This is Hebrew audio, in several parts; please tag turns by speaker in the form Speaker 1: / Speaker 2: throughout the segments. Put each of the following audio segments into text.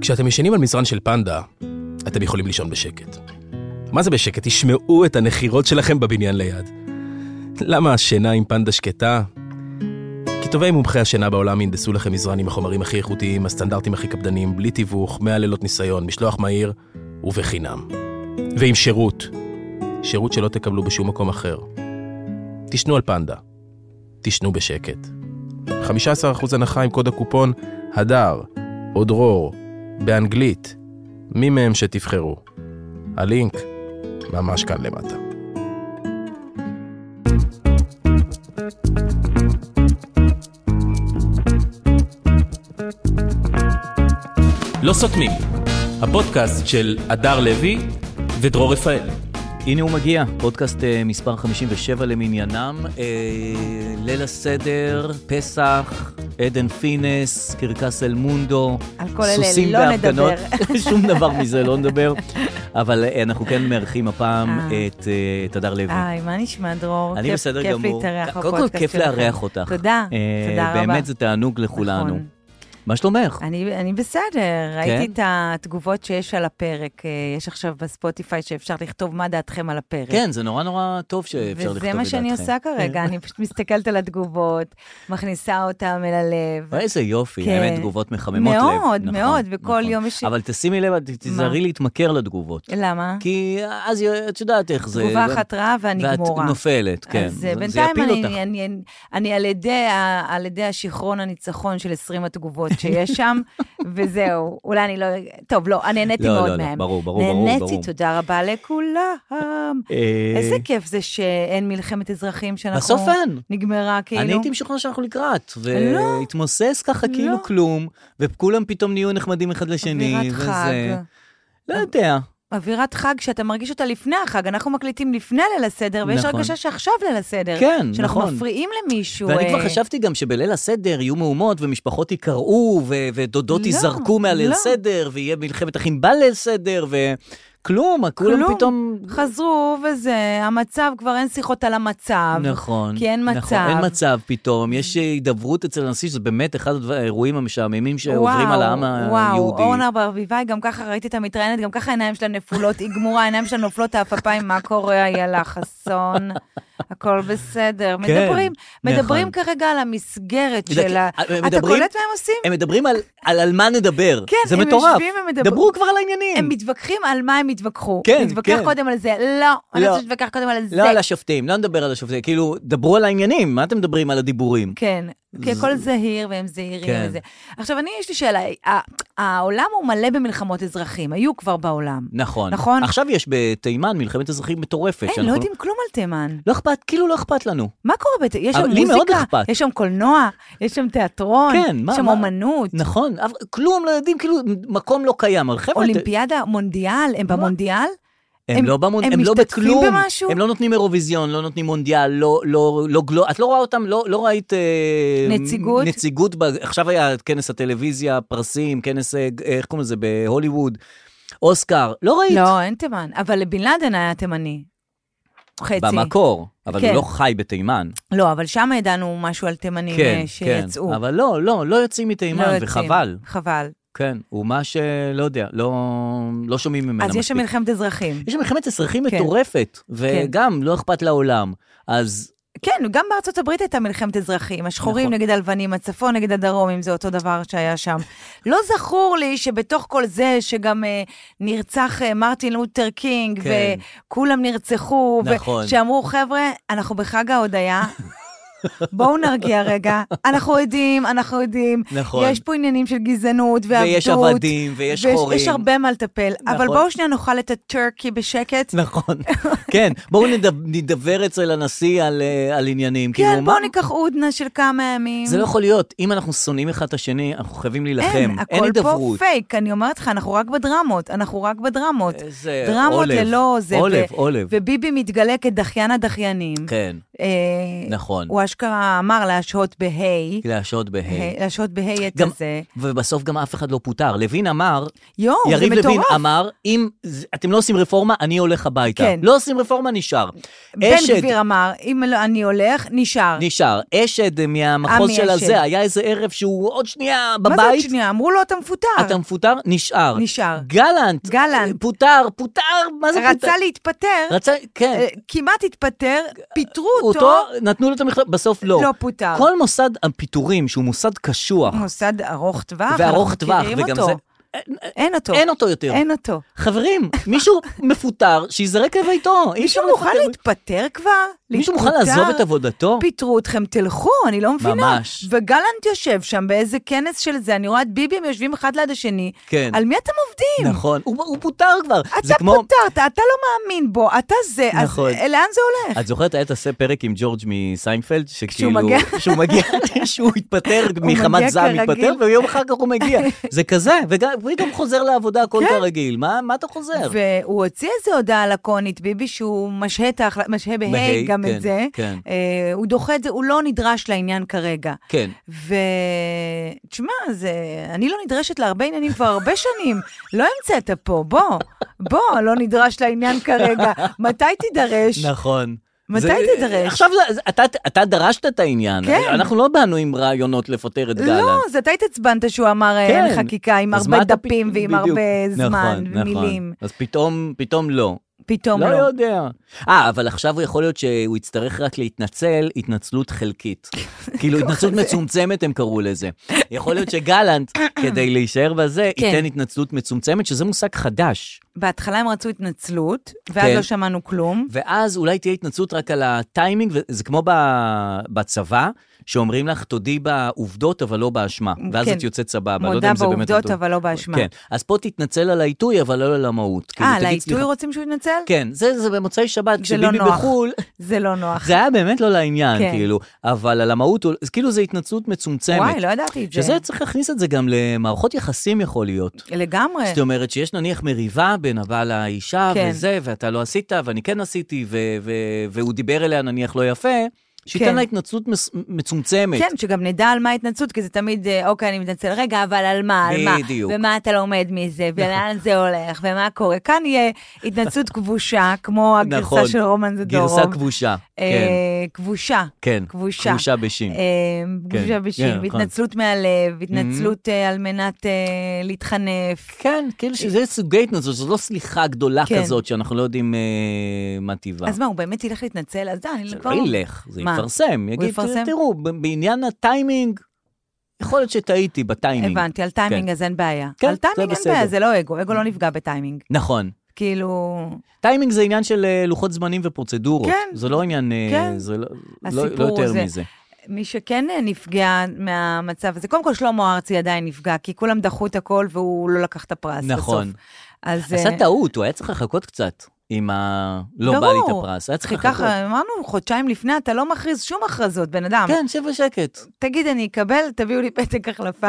Speaker 1: כשאתם ישנים על מזרן של פנדה, אתם יכולים לישון בשקט. מה זה בשקט? תשמעו את הנחירות שלכם בבניין ליד. למה השינה עם פנדה שקטה? כי טובי מומחי השינה בעולם ינדסו לכם מזרן עם החומרים הכי איכותיים, הסטנדרטים הכי קפדניים, בלי תיווך, 100 לילות ניסיון, משלוח מהיר ובחינם. ועם שירות. שירות שלא תקבלו בשום מקום אחר. תשנו על פנדה. תשנו בשקט. 15% הנחה עם קוד הקופון הדר או דרור באנגלית, מי מהם שתבחרו. הלינק ממש כאן למטה.
Speaker 2: לא סותמים, הפודקאסט של הדר לוי ודרור רפאל.
Speaker 3: הנה הוא מגיע, פודקאסט אה, מספר 57 למניינם. אה, ליל הסדר, פסח, עדן פינס, קרקס אל מונדו.
Speaker 4: על כל אלה
Speaker 3: סוסים
Speaker 4: לא
Speaker 3: בהפגנות. שום דבר מזה לא נדבר. אבל אה, אנחנו כן מארחים הפעם
Speaker 4: אה.
Speaker 3: את, אה, את הדר לוי.
Speaker 4: היי, מה נשמע, דרור?
Speaker 3: אני
Speaker 4: כיף-
Speaker 3: בסדר
Speaker 4: כיף
Speaker 3: גמור.
Speaker 4: להתארח בפודקאסט
Speaker 3: קודם כל, כיף
Speaker 4: שלכם.
Speaker 3: לארח אותך.
Speaker 4: תודה,
Speaker 3: אה,
Speaker 4: תודה רבה.
Speaker 3: באמת זה תענוג לכולנו.
Speaker 4: נכון.
Speaker 3: מה שלומך?
Speaker 4: אני, אני
Speaker 3: כן?
Speaker 4: בסדר, ראיתי את התגובות שיש על הפרק. אה, יש עכשיו בספוטיפיי שאפשר לכתוב מה דעתכם על הפרק.
Speaker 3: כן, זה נורא נורא טוב שאפשר לכתוב כן. את
Speaker 4: וזה מה שאני
Speaker 3: דעתכם.
Speaker 4: עושה כרגע, אני פשוט מסתכלת על התגובות, מכניסה אותם אל הלב.
Speaker 3: איזה יופי,
Speaker 4: כן.
Speaker 3: האמת, תגובות מחממות לב.
Speaker 4: מאוד,
Speaker 3: נכון,
Speaker 4: מאוד, וכל
Speaker 3: נכון.
Speaker 4: יום יש-
Speaker 3: אבל תשימי לב, ת- תיזהרי להתמכר לתגובות.
Speaker 4: למה?
Speaker 3: כי אז י- את יודעת איך זה...
Speaker 4: תגובה אחת רעה ואני גמורה.
Speaker 3: ואת נופלת, כן.
Speaker 4: אז
Speaker 3: זה-
Speaker 4: אה,
Speaker 3: זה
Speaker 4: בינתיים
Speaker 3: יפיל
Speaker 4: אני,
Speaker 3: אותך.
Speaker 4: אני, אני, אני על, ידי, ה- על ידי השיכרון הניצחון של 20 התגובות שיש שם, וזהו. אולי אני לא... טוב, לא, אני נהניתי
Speaker 3: לא,
Speaker 4: מאוד
Speaker 3: לא, לא,
Speaker 4: מהם.
Speaker 3: ברור, ברור, ברור, ברור.
Speaker 4: נהניתי, תודה רבה לכולם.
Speaker 3: אה,
Speaker 4: איזה כיף זה שאין מלחמת אזרחים שאנחנו...
Speaker 3: בסוף אין.
Speaker 4: נגמרה, כאילו.
Speaker 3: אני הייתי משוכנע שאנחנו לקראת,
Speaker 4: לא.
Speaker 3: והתמוסס ככה כאילו
Speaker 4: לא.
Speaker 3: כלום, וכולם פתאום נהיו נחמדים אחד לשני,
Speaker 4: אווירת
Speaker 3: וזה...
Speaker 4: חג.
Speaker 3: לא יודע.
Speaker 4: אווירת חג שאתה מרגיש אותה לפני החג, אנחנו מקליטים לפני ליל הסדר, ויש
Speaker 3: נכון.
Speaker 4: הרגשה שעכשיו ליל הסדר.
Speaker 3: כן,
Speaker 4: שאנחנו
Speaker 3: נכון.
Speaker 4: מפריעים למישהו.
Speaker 3: ואני
Speaker 4: אה,
Speaker 3: כבר חשבתי גם שבליל הסדר יהיו מהומות ומשפחות יקרעו ו- ודודות
Speaker 4: לא,
Speaker 3: ייזרקו מהליל
Speaker 4: לא.
Speaker 3: סדר, ויהיה מלחמת אחים בליל סדר, וכלום, כולם
Speaker 4: כלום.
Speaker 3: פתאום...
Speaker 4: חזרו וזה, המצב, כבר אין שיחות על המצב.
Speaker 3: נכון.
Speaker 4: כי אין
Speaker 3: נכון,
Speaker 4: מצב.
Speaker 3: אין מצב פתאום, יש הידברות אצל הנשיא, שזה באמת אחד הדבר- האירועים המשעממים שעוברים
Speaker 4: וואו,
Speaker 3: על העם
Speaker 4: וואו,
Speaker 3: היהודי.
Speaker 4: אורנה ברביבאי, גם ככה ראיתי אותה מתראיינת, גם ככה העיניים שלה נפולות, היא גמורה, העיניים שלה נופלות, העפפיים, מה קורה, איילה חסון, הכל בסדר.
Speaker 3: כן,
Speaker 4: מדברים, מדברים
Speaker 3: נכון.
Speaker 4: כרגע על המסגרת
Speaker 3: יודעת,
Speaker 4: של ה...
Speaker 3: אה,
Speaker 4: אתה
Speaker 3: מדברים-
Speaker 4: קולט מה הם עושים?
Speaker 3: הם מדברים על, על, על מה נדבר.
Speaker 4: כן,
Speaker 3: זה
Speaker 4: הם
Speaker 3: מטורף.
Speaker 4: יושבים, הם מדברים-
Speaker 3: דברו כבר על העניינים.
Speaker 4: הם מתווכחים על מה הם התווכחו.
Speaker 3: כן,
Speaker 4: נתווכח
Speaker 3: כן.
Speaker 4: קודם על זה, לא, אני
Speaker 3: לא.
Speaker 4: רוצה להתווכח קודם על זה.
Speaker 3: לא על השופטים, לא נדבר על השופטים. כאילו, דברו על העניינים, מה אתם מדברים על הדיבורים?
Speaker 4: כן, כי הכל זהיר והם זהירים
Speaker 3: כן.
Speaker 4: וזה. עכשיו, אני, יש לי שאלה, ה- העולם הוא מלא במלחמות אזרחים, היו כבר בעולם.
Speaker 3: נכון.
Speaker 4: נכון.
Speaker 3: עכשיו יש בתימן מלחמת אזרחים מטורפת.
Speaker 4: אין,
Speaker 3: שאנחנו-
Speaker 4: לא יודעים כלום על תימן.
Speaker 3: לא אכפת, כאילו לא אכפת לנו.
Speaker 4: מה קורה בת... יש שם
Speaker 3: אבל לי מאוד
Speaker 4: מוזיקה,
Speaker 3: אכפת.
Speaker 4: יש שם קולנוע, יש שם תיאטרון,
Speaker 3: כן, מה-
Speaker 4: יש שם
Speaker 3: מה-
Speaker 4: אומנות,
Speaker 3: נכון, אבל כלום לא יודעים, כאילו, מקום לא קיים. אבל חבר'ה, ת-
Speaker 4: אולימפיאדה, מונדיאל, הם במונדיאל?
Speaker 3: הם
Speaker 4: הם-
Speaker 3: לא במונ... הם,
Speaker 4: הם
Speaker 3: לא
Speaker 4: משתתפים
Speaker 3: בכלום.
Speaker 4: במשהו?
Speaker 3: הם לא נותנים אירוויזיון, לא נותנים מונדיאל, לא, לא, לא גלו... את לא רואה אותם, לא, לא ראית... אה,
Speaker 4: נציגות?
Speaker 3: נציגות, ב... עכשיו היה כנס הטלוויזיה, פרסים, כנס, אה, איך קוראים לזה, בהוליווד, אוסקר, לא ראית.
Speaker 4: לא, אין תימן. אבל בן לאדן היה תימני. חצי.
Speaker 3: במקור, אבל הוא
Speaker 4: כן.
Speaker 3: לא חי בתימן.
Speaker 4: לא, אבל שם ידענו משהו על תימנים
Speaker 3: כן,
Speaker 4: אה,
Speaker 3: כן.
Speaker 4: שיצאו.
Speaker 3: אבל לא, לא, לא יוצאים
Speaker 4: לא
Speaker 3: מתימן,
Speaker 4: יוצאים.
Speaker 3: וחבל.
Speaker 4: חבל.
Speaker 3: כן, הוא מה שלא יודע, לא, לא שומעים ממנה
Speaker 4: אז יש שם
Speaker 3: מספיק.
Speaker 4: מלחמת אזרחים.
Speaker 3: יש שם מלחמת אזרחים
Speaker 4: כן.
Speaker 3: מטורפת, וגם לא אכפת לעולם. אז
Speaker 4: כן, גם בארצות הברית הייתה מלחמת אזרחים. השחורים
Speaker 3: נכון.
Speaker 4: נגד הלבנים, הצפון נגד הדרום, אם זה אותו דבר שהיה שם. לא זכור לי שבתוך כל זה, שגם אה, נרצח אה, מרטין לותר קינג,
Speaker 3: כן.
Speaker 4: וכולם נרצחו,
Speaker 3: נכון.
Speaker 4: ושאמרו, חבר'ה, אנחנו בחג ההודיה. בואו נרגיע רגע, אנחנו יודעים, אנחנו יודעים,
Speaker 3: נכון.
Speaker 4: יש פה עניינים של גזענות ועבדות.
Speaker 3: ויש עבדים, ויש חורים.
Speaker 4: יש הרבה מה לטפל, אבל
Speaker 3: נכון.
Speaker 4: בואו שנייה נאכל את הטורקי בשקט.
Speaker 3: נכון, כן, בואו נדב- נדבר אצל הנשיא על, אה, על עניינים.
Speaker 4: כן,
Speaker 3: כאילו,
Speaker 4: בואו
Speaker 3: מה-
Speaker 4: ניקח אודנה של כמה ימים.
Speaker 3: זה לא יכול להיות, אם אנחנו שונאים אחד את השני, אנחנו חייבים להילחם.
Speaker 4: אין,
Speaker 3: אין
Speaker 4: הכל פה
Speaker 3: הידברות.
Speaker 4: פייק, אני אומרת לך, אנחנו רק בדרמות, אנחנו רק בדרמות.
Speaker 3: איזה
Speaker 4: דרמות
Speaker 3: אה, עולב,
Speaker 4: ללא זה. ו-
Speaker 3: עולב, עולב.
Speaker 4: וביבי מתגלה כדחיין הדחיינים.
Speaker 3: כן,
Speaker 4: אה,
Speaker 3: נכון.
Speaker 4: הוא אשכרה אמר להשהות בהיי.
Speaker 3: להשהות בהיי.
Speaker 4: היי, להשהות בהיי את
Speaker 3: גם-
Speaker 4: הזה.
Speaker 3: ובסוף גם אף אחד לא פוטר. לוין אמר,
Speaker 4: יואו, זה
Speaker 3: יריב לוין
Speaker 4: מטורף.
Speaker 3: אמר, אם ז- אתם לא עושים רפורמה, אני הולך הביתה.
Speaker 4: כן.
Speaker 3: לא עושים רפורמה, נשאר.
Speaker 4: בן גביר אמר, אם לא, אני הולך, נשאר.
Speaker 3: נשאר. אשד אה, מהמחוז
Speaker 4: עמי
Speaker 3: של
Speaker 4: אשד.
Speaker 3: הזה, היה איזה ערב שהוא עוד שנייה
Speaker 4: מה זה עוד
Speaker 3: בבית,
Speaker 4: שנייה? אמרו לו, אתה מפוטר.
Speaker 3: אתה מפוטר, נשאר.
Speaker 4: נשאר.
Speaker 3: גלנט,
Speaker 4: גלנט.
Speaker 3: פוטר, פוטר, מה זה פוטר?
Speaker 4: רצה להתפטר,
Speaker 3: רצה, כן.
Speaker 4: אה, כמעט התפטר, פיטרו
Speaker 3: אותו,
Speaker 4: אותו,
Speaker 3: נתנו לו את המכתב, בסוף לא.
Speaker 4: לא פוטר.
Speaker 3: כל מוסד הפיטורים, שהוא מוסד קשוח
Speaker 4: מוסד ארוך טווח,
Speaker 3: וארוך
Speaker 4: אנחנו
Speaker 3: טווח,
Speaker 4: מכירים
Speaker 3: וגם
Speaker 4: אותו.
Speaker 3: זה...
Speaker 4: אין אותו.
Speaker 3: אין אותו יותר.
Speaker 4: אין אותו.
Speaker 3: חברים, מישהו מפוטר, שייזרק לביתו. אי אפשר
Speaker 4: מישהו מוכן
Speaker 3: לפטר-
Speaker 4: להתפטר כבר?
Speaker 3: לא, מישהו מוכן
Speaker 4: להתפוטר?
Speaker 3: לעזוב את עבודתו?
Speaker 4: פיטרו אתכם, תלכו, אני לא מבינה.
Speaker 3: ממש.
Speaker 4: וגלנט יושב שם באיזה כנס של זה, אני רואה את ביבי, הם יושבים אחד ליד השני.
Speaker 3: כן.
Speaker 4: על מי אתם עובדים?
Speaker 3: נכון, הוא הוא פוטר כבר. זה
Speaker 4: אתה
Speaker 3: כמו-
Speaker 4: פוטרת, אתה לא מאמין בו, אתה זה, אז
Speaker 3: נכון.
Speaker 4: אה, לאן זה הולך?
Speaker 3: את זוכרת, היה את עשה פרק עם ג'ורג' מסיינפלד, שכאילו...
Speaker 4: מגיע.
Speaker 3: שהוא מגיע, שהוא התפטר
Speaker 4: מגיע
Speaker 3: מחמת זעם,
Speaker 4: כרגיל.
Speaker 3: התפטר, ויום אחר כך הוא מגיע. זה כזה, וגם- וגם חוזר לעבודה הכל
Speaker 4: כן.
Speaker 3: כרגיל. מה מה אתה חוזר?
Speaker 4: והוא הוציא איזו הודעה לקונית, ביבי, שהוא משהה את ההחלטה, משהה בה"א
Speaker 3: בה"א,
Speaker 4: גם
Speaker 3: כן,
Speaker 4: את זה.
Speaker 3: כן.
Speaker 4: אה, הוא דוחה את זה, הוא לא נדרש לעניין כרגע.
Speaker 3: כן.
Speaker 4: ותשמע, זה... אני לא נדרשת להרבה עניינים כבר הרבה שנים. לא המצאת פה, בוא, בוא, לא נדרש לעניין כרגע. מתי תידרש?
Speaker 3: נכון.
Speaker 4: מתי תידרש?
Speaker 3: עכשיו, זה- זה- אתה, אתה דרשת את העניין.
Speaker 4: כן.
Speaker 3: אנחנו לא באנו עם רעיונות לפטר את גלנט.
Speaker 4: לא, אז אתה התעצבנת שהוא אמר אה, אין
Speaker 3: כן.
Speaker 4: חקיקה עם
Speaker 3: אז
Speaker 4: הרבה
Speaker 3: מה אתה פ-
Speaker 4: דפים ועם
Speaker 3: בדיוק.
Speaker 4: הרבה זמן
Speaker 3: נכון,
Speaker 4: ומילים.
Speaker 3: נכון. אז פתאום, פתאום לא.
Speaker 4: פתאום
Speaker 3: לא
Speaker 4: לא.
Speaker 3: יודע. אה, אבל עכשיו הוא יכול להיות שהוא יצטרך רק להתנצל התנצלות חלקית. כאילו, התנצלות מצומצמת הם קראו לזה. יכול להיות שגלנט, כדי להישאר בזה,
Speaker 4: כן.
Speaker 3: ייתן התנצלות מצומצמת, שזה מושג חדש.
Speaker 4: בהתחלה הם רצו התנצלות, ואז
Speaker 3: כן.
Speaker 4: לא שמענו כלום.
Speaker 3: ואז אולי תהיה התנצלות רק על הטיימינג, וזה כמו ב- בצבא, שאומרים לך, תודי בעובדות, אבל לא באשמה. ואז
Speaker 4: כן.
Speaker 3: את יוצאת סבבה, לא יודע
Speaker 4: מודה
Speaker 3: אם זה באמת...
Speaker 4: בעובדות,
Speaker 3: אותו.
Speaker 4: אבל לא באשמה.
Speaker 3: כן, אז פה תתנצל על העיתוי, אבל לא על המהות. כאילו,
Speaker 4: אה, על
Speaker 3: תגיד,
Speaker 4: העיתוי
Speaker 3: "סליחה."
Speaker 4: רוצים שהוא יתנצל?
Speaker 3: כן, זה, זה במוצאי שבת,
Speaker 4: זה לא
Speaker 3: כשביבי
Speaker 4: נוח.
Speaker 3: בחו"ל,
Speaker 4: זה לא נוח.
Speaker 3: זה היה באמת לא לעניין,
Speaker 4: כן.
Speaker 3: כאילו, אבל על המהות, הוא- אז כאילו זו התנצלות מצומצמת.
Speaker 4: וואי, לא ידעתי את זה.
Speaker 3: שזה צריך להכניס את זה גם למערכות יחסים יכול להיות.
Speaker 4: לגמרי.
Speaker 3: זאת אומרת שיש נניח מריבה בין הבעל האישה
Speaker 4: כן.
Speaker 3: וזה, ואתה לא עשית, ואני כן עשיתי, ו- ו- והוא דיבר אליה נניח לא יפה, שייתן
Speaker 4: כן.
Speaker 3: לה התנצלות מס- מצומצמת.
Speaker 4: כן, שגם נדע על מה ההתנצלות, כי זה תמיד, אה, אוקיי, אני מתנצל, רגע, אבל על מה, על מה?
Speaker 3: בדיוק.
Speaker 4: ומה אתה לומד מזה, ולאן זה הולך, ומה קורה. כאן יהיה התנצלות כבושה, כמו הגרסה
Speaker 3: נכון.
Speaker 4: של רומן זדורוב.
Speaker 3: גרסה כבושה, כן,
Speaker 4: אה, כבושה.
Speaker 3: כן,
Speaker 4: כבושה.
Speaker 3: כבושה בשין.
Speaker 4: אה,
Speaker 3: כן,
Speaker 4: כבושה
Speaker 3: כן,
Speaker 4: בשין,
Speaker 3: נכון. Mm-hmm.
Speaker 4: והתנצלות מהלב, התנצלות אה, על מנת אה, להתחנף.
Speaker 3: כן, כאילו שזה סוגי התנצלות, זו לא סליחה גדולה
Speaker 4: כן.
Speaker 3: כזאת שאנחנו לא יודעים אה, מה טיבה.
Speaker 4: אז מה, הוא באמת ילך להתנצל? אז די, אני
Speaker 3: זה
Speaker 4: כבר...
Speaker 3: לא ילך, זה
Speaker 4: נכון. מה?
Speaker 3: יפרסם. יגיד,
Speaker 4: יפרסם?
Speaker 3: תראו, ב- בעניין הטיימינג, יכול להיות שטעיתי בטיימינג.
Speaker 4: הבנתי, על טיימינג
Speaker 3: כן.
Speaker 4: אז אין בעיה.
Speaker 3: כן,
Speaker 4: על
Speaker 3: זה
Speaker 4: טיימינג אין
Speaker 3: בסדר.
Speaker 4: בעיה, זה לא אגו, אגו לא נפגע בטיימינג.
Speaker 3: נכון.
Speaker 4: כאילו,
Speaker 3: טיימינג זה עניין של אה, לוחות זמנים ופרוצדורות.
Speaker 4: כן.
Speaker 3: זה לא עניין, אה,
Speaker 4: כן.
Speaker 3: זה לא- לא לא
Speaker 4: הסיפור
Speaker 3: יותר
Speaker 4: זה-
Speaker 3: מזה.
Speaker 4: מי שכן אה, נפגע מהמצב הזה, קודם כל שלמה ארצי עדיין נפגע, כי כולם דחו את הכל והוא לא לקח את הפרס בסוף.
Speaker 3: נכון.
Speaker 4: אז...
Speaker 3: עשה
Speaker 4: אה,
Speaker 3: טעות, הוא היה צריך לחכות קצת עם ה... לא בא לי את
Speaker 4: ברור.
Speaker 3: הפרס, היה צריך
Speaker 4: כי
Speaker 3: לחכות.
Speaker 4: ככה אמרנו, חודשיים לפני אתה לא מכריז שום הכרזות, בן אדם.
Speaker 3: כן, שב בשקט.
Speaker 4: תגיד, אני אקבל, תביאו לי פתק החלפה,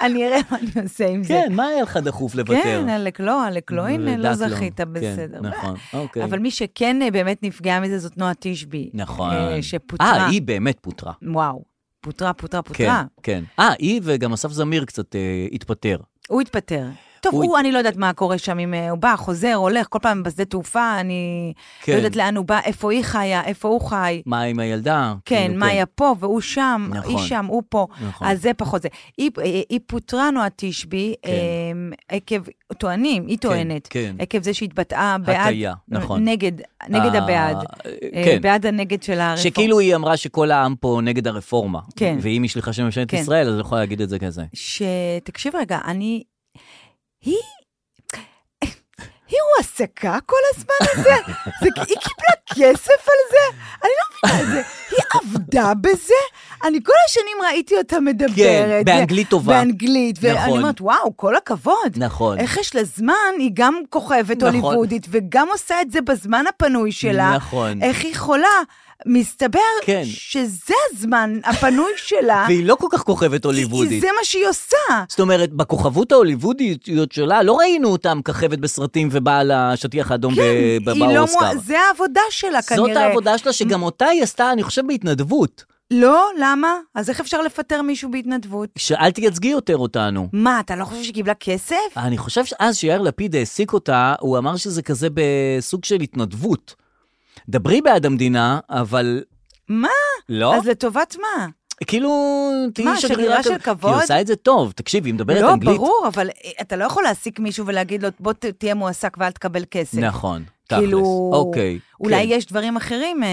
Speaker 4: אני אראה מה אני עושה עם זה.
Speaker 3: כן, מה היה לך דחוף לוותר?
Speaker 4: כן, עלק לא, עלק לא, הנה,
Speaker 3: לדעת
Speaker 4: לא זכית, בסדר.
Speaker 3: כן, נכון, אוקיי.
Speaker 4: אבל מי שכן אה, באמת נפגעה מזה זאת נועה תשבי.
Speaker 3: נכון.
Speaker 4: אה,
Speaker 3: אה,
Speaker 4: שפוטרה.
Speaker 3: היא באמת פוטרה.
Speaker 4: וואו, פוטרה, פוטרה,
Speaker 3: כן,
Speaker 4: פוטרה.
Speaker 3: כן. אה, היא וגם אסף זמיר קצת אה, התפטר.
Speaker 4: הוא התפטר. טוב,
Speaker 3: הוא
Speaker 4: הוא, אני לא יודעת מה קורה שם, אם אה, הוא בא, חוזר, הולך, כל פעם בשדה תעופה, אני
Speaker 3: כן.
Speaker 4: לא יודעת לאן הוא בא, איפה היא חיה, איפה הוא חי.
Speaker 3: מה עם הילדה?
Speaker 4: כן,
Speaker 3: כאילו,
Speaker 4: מאיה פה והוא שם,
Speaker 3: נכון.
Speaker 4: היא שם, הוא פה.
Speaker 3: נכון.
Speaker 4: אז זה פחות זה. היא, אה, היא פוטרה, נועה תשבי,
Speaker 3: כן.
Speaker 4: אמ, עקב, טוענים, היא טוענת,
Speaker 3: כן.
Speaker 4: עקב זה שהתבטאה בעד,
Speaker 3: הטעיה, נכון.
Speaker 4: נגד, נגד
Speaker 3: אה,
Speaker 4: הבעד,
Speaker 3: אה,
Speaker 4: אה,
Speaker 3: כן.
Speaker 4: בעד הנגד של הרפורמה.
Speaker 3: שכאילו היא אמרה שכל העם פה נגד הרפורמה.
Speaker 4: כן.
Speaker 3: ואם היא שליחה של ממשלת
Speaker 4: כן.
Speaker 3: ישראל, אז היא יכולה להגיד את זה כזה.
Speaker 4: שתקשיב רגע, אני... היא... היא הועסקה כל הזמן הזה? זה, היא קיבלה כסף על זה? אני לא מבינה את זה. היא עבדה בזה? אני כל השנים ראיתי אותה מדברת.
Speaker 3: כן, באנגלית טובה.
Speaker 4: באנגלית. ואני
Speaker 3: נכון.
Speaker 4: אומרת, וואו, כל הכבוד.
Speaker 3: נכון.
Speaker 4: איך יש לה זמן? היא גם כוכבת
Speaker 3: נכון.
Speaker 4: הוליוודית, וגם עושה את זה בזמן הפנוי שלה.
Speaker 3: נכון.
Speaker 4: איך היא חולה? מסתבר
Speaker 3: כן.
Speaker 4: שזה הזמן הפנוי שלה.
Speaker 3: והיא לא כל כך כוכבת
Speaker 4: כי
Speaker 3: הוליוודית.
Speaker 4: זה מה שהיא עושה.
Speaker 3: זאת אומרת, בכוכבות ההוליוודיות שלה, לא ראינו אותם ככבת בסרטים ובאה לשטיח האדום
Speaker 4: כן,
Speaker 3: ב- ב-
Speaker 4: היא לא
Speaker 3: באוסקר.
Speaker 4: מוע- זה העבודה שלה כנראה.
Speaker 3: זאת העבודה שלה, שגם אותה היא עשתה, אני חושב, בהתנדבות.
Speaker 4: לא, למה? אז איך אפשר לפטר מישהו בהתנדבות?
Speaker 3: שאל תייצגי יותר אותנו.
Speaker 4: מה, אתה לא חושב שהיא קיבלה כסף?
Speaker 3: אני חושב שאז שיאיר לפיד העסיק אותה, הוא אמר שזה כזה בסוג של התנדבות. דברי בעד המדינה, אבל
Speaker 4: מה?
Speaker 3: לא.
Speaker 4: אז לטובת מה?
Speaker 3: כאילו, תהיי
Speaker 4: מה, שגרירה של
Speaker 3: כזאת.
Speaker 4: כבוד?
Speaker 3: כי היא עושה את זה טוב, תקשיבי, היא מדברת
Speaker 4: לא,
Speaker 3: אנגלית.
Speaker 4: ברור, אבל אתה לא יכול להעסיק מישהו ולהגיד לו, בוא ת- תהיה מועסק ואל תקבל כסף.
Speaker 3: נכון, תכלס.
Speaker 4: כאילו,
Speaker 3: אוקיי.
Speaker 4: אולי
Speaker 3: כן.
Speaker 4: יש דברים אחרים. אה,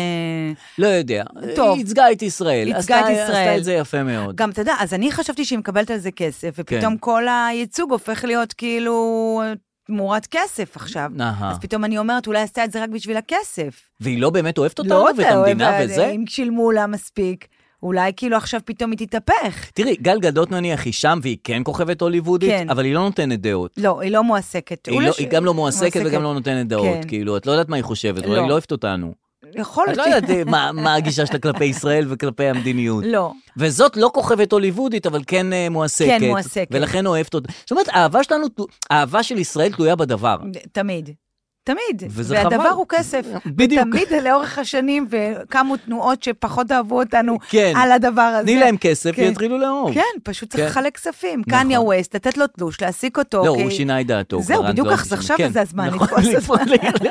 Speaker 3: לא יודע.
Speaker 4: טוב.
Speaker 3: היא ייצגה את ישראל.
Speaker 4: ייצגה
Speaker 3: עשתה-
Speaker 4: את
Speaker 3: עשתה
Speaker 4: ישראל.
Speaker 3: את זה יפה מאוד.
Speaker 4: גם, אתה יודע, אז אני חשבתי שהיא מקבלת על זה כסף,
Speaker 3: כן.
Speaker 4: ופתאום כל הייצוג הופך להיות כאילו תמורת כסף עכשיו.
Speaker 3: אהה.
Speaker 4: אז פתאום אני אומרת, אולי עשתה את זה רק בשביל הכסף.
Speaker 3: והיא לא באמת אוהבת אותנו
Speaker 4: לא,
Speaker 3: ואת
Speaker 4: אתה אוהב,
Speaker 3: המדינה
Speaker 4: אבל
Speaker 3: וזה?
Speaker 4: אם שילמו לה מספיק, אולי כאילו עכשיו פתאום היא תתהפך.
Speaker 3: תראי, גל גדות נניח היא שם והיא כן כוכבת הוליוודית,
Speaker 4: כן.
Speaker 3: אבל היא לא נותנת דעות.
Speaker 4: לא, היא לא מועסקת.
Speaker 3: היא,
Speaker 4: אולי
Speaker 3: לא,
Speaker 4: ש-
Speaker 3: היא גם לא מועסקת וגם לא נותנת דעות,
Speaker 4: כן.
Speaker 3: כאילו, את לא יודעת מה היא חושבת, אולי
Speaker 4: לא.
Speaker 3: היא לא אוהבת אותנו.
Speaker 4: יכול
Speaker 3: את
Speaker 4: להיות.
Speaker 3: לא
Speaker 4: שהיא-
Speaker 3: יודעת אה, מה, מה הגישה שלה כלפי ישראל וכלפי המדיניות.
Speaker 4: לא.
Speaker 3: וזאת לא כוכבת הוליוודית, אבל כן אה, מועסקת.
Speaker 4: כן, מועסקת.
Speaker 3: ולכן אוהבת אותה. זאת אומרת, האהבה שלנו, תלו- האהבה של ישראל תלויה בדבר.
Speaker 4: תמיד. תמיד.
Speaker 3: וזה
Speaker 4: והדבר
Speaker 3: חבל.
Speaker 4: הוא כסף.
Speaker 3: בדיוק.
Speaker 4: תמיד לאורך השנים, וקמו תנועות שפחות אהבו אותנו
Speaker 3: כן.
Speaker 4: על הדבר הזה.
Speaker 3: תני להם כסף,
Speaker 4: כן.
Speaker 3: יתחילו לאהוב.
Speaker 4: כן, פשוט צריך
Speaker 3: כן.
Speaker 4: לחלק כספים.
Speaker 3: נכון.
Speaker 4: קניה ווסט, לתת לו תלוש, להעסיק אותו.
Speaker 3: לא,
Speaker 4: כי-
Speaker 3: הוא שינה את דעתו.
Speaker 4: אוקיי. זהו,
Speaker 3: כבר, אני
Speaker 4: בדיוק
Speaker 3: לא
Speaker 4: כך,
Speaker 3: הייתי
Speaker 4: אז
Speaker 3: שם.
Speaker 4: עכשיו
Speaker 3: כן,
Speaker 4: זה הזמן
Speaker 3: נכון,
Speaker 4: לתפוס
Speaker 3: לתפוס
Speaker 4: אותה.
Speaker 3: לגמרי.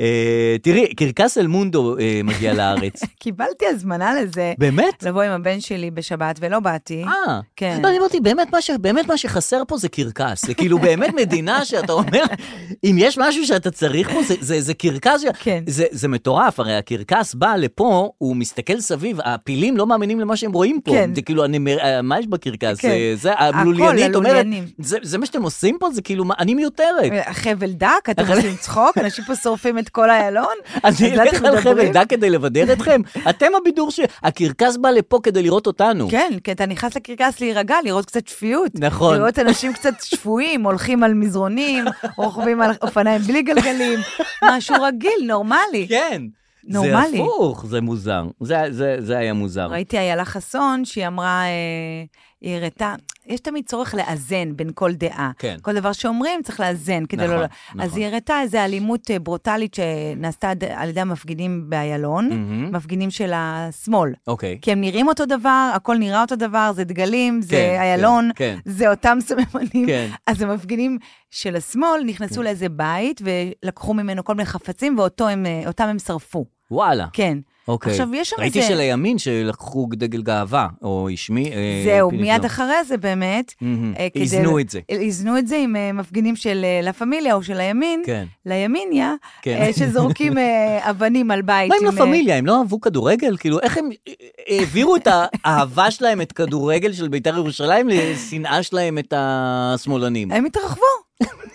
Speaker 3: אה, תראי, קרקס אל מונדו אה, מגיע לארץ.
Speaker 4: קיבלתי הזמנה לזה,
Speaker 3: באמת?
Speaker 4: לבוא עם הבן שלי בשבת, ולא באתי.
Speaker 3: אה,
Speaker 4: כן.
Speaker 3: לא, אני אמרתי, באמת מה, ש... באמת מה שחסר פה זה קרקס. זה כאילו באמת מדינה שאתה אומר, אם יש משהו שאתה צריך פה, זה, זה, זה קרקס. ש...
Speaker 4: כן.
Speaker 3: זה, זה מטורף, הרי הקרקס בא לפה, הוא מסתכל סביב, הפילים לא מאמינים למה שהם רואים פה.
Speaker 4: כן.
Speaker 3: זה כאילו, אני, מר- אה, מה יש בקרקס?
Speaker 4: כן.
Speaker 3: זה, זה
Speaker 4: הכל,
Speaker 3: הבלוליינים. אומרת,
Speaker 4: הלוליינים.
Speaker 3: זה, זה מה שאתם עושים פה? זה כאילו, מה, אני מיותרת.
Speaker 4: חבל דק, אתם
Speaker 3: החבל-
Speaker 4: עושים צחוק, אנשים פה שורפים את כל איילון. אז
Speaker 3: אני
Speaker 4: על זה
Speaker 3: אלך
Speaker 4: אתם
Speaker 3: על
Speaker 4: מדברים?
Speaker 3: חבל דק כדי לבדר אתכם? אתם הבידור ש... הקרקס בא לפה כדי לראות אותנו.
Speaker 4: כן, כי אתה נכנס לקרקס להירגע, לראות קצת שפיות.
Speaker 3: נכון.
Speaker 4: לראות אנשים קצת שפויים, הולכים על מזרונים, רוכבים על אופניים בלי גלגלים, משהו רגיל, נורמלי.
Speaker 3: כן. זה
Speaker 4: נורמלי.
Speaker 3: הפוך, זה מוזר. זה, זה, זה היה מוזר.
Speaker 4: ראיתי איילה חסון, שהיא אמרה, אה, היא הראתה, יש תמיד צורך לאזן בין כל דעה.
Speaker 3: כן.
Speaker 4: כל דבר שאומרים צריך לאזן כדי
Speaker 3: נכון,
Speaker 4: לא...
Speaker 3: נכון.
Speaker 4: אז היא הראתה איזו אלימות אה, ברוטלית שנעשתה עד- על ידי המפגינים באיילון,
Speaker 3: מהמם.
Speaker 4: מפגינים של השמאל.
Speaker 3: אוקיי.
Speaker 4: כי הם נראים אותו דבר, הכל נראה אותו דבר, זה דגלים, זה
Speaker 3: כן,
Speaker 4: איילון,
Speaker 3: כן, כן.
Speaker 4: זה אותם סממנים.
Speaker 3: כן.
Speaker 4: אז המפגינים של השמאל נכנסו לאיזה בית ולקחו ממנו כל מיני חפצים, ואותם הם, אה, אותם הם שרפו.
Speaker 3: וואלה.
Speaker 4: כן.
Speaker 3: אוקיי.
Speaker 4: עכשיו, יש שם
Speaker 3: ראיתי
Speaker 4: איזה-
Speaker 3: שלימין שלקחו דגל גאווה, או השמי... אה,
Speaker 4: זהו,
Speaker 3: פיליפ
Speaker 4: מיד
Speaker 3: לא.
Speaker 4: אחרי זה באמת.
Speaker 3: מהמם.
Speaker 4: אה, כדי-
Speaker 3: איזנו את זה.
Speaker 4: איזנו את זה עם אה, מפגינים של אה, לה פמיליה או של הימין,
Speaker 3: כן.
Speaker 4: לימיניה,
Speaker 3: כן.
Speaker 4: אה, שזורקים אה, אבנים על בית.
Speaker 3: מה עם לה
Speaker 4: עם, אה,
Speaker 3: פמיליה? הם לא אהבו כדורגל? כאילו, איך הם אה, העבירו את האהבה שלהם, את כדורגל של בית"ר ירושלים, לשנאה שלהם את השמאלנים?
Speaker 4: הם התרחבו.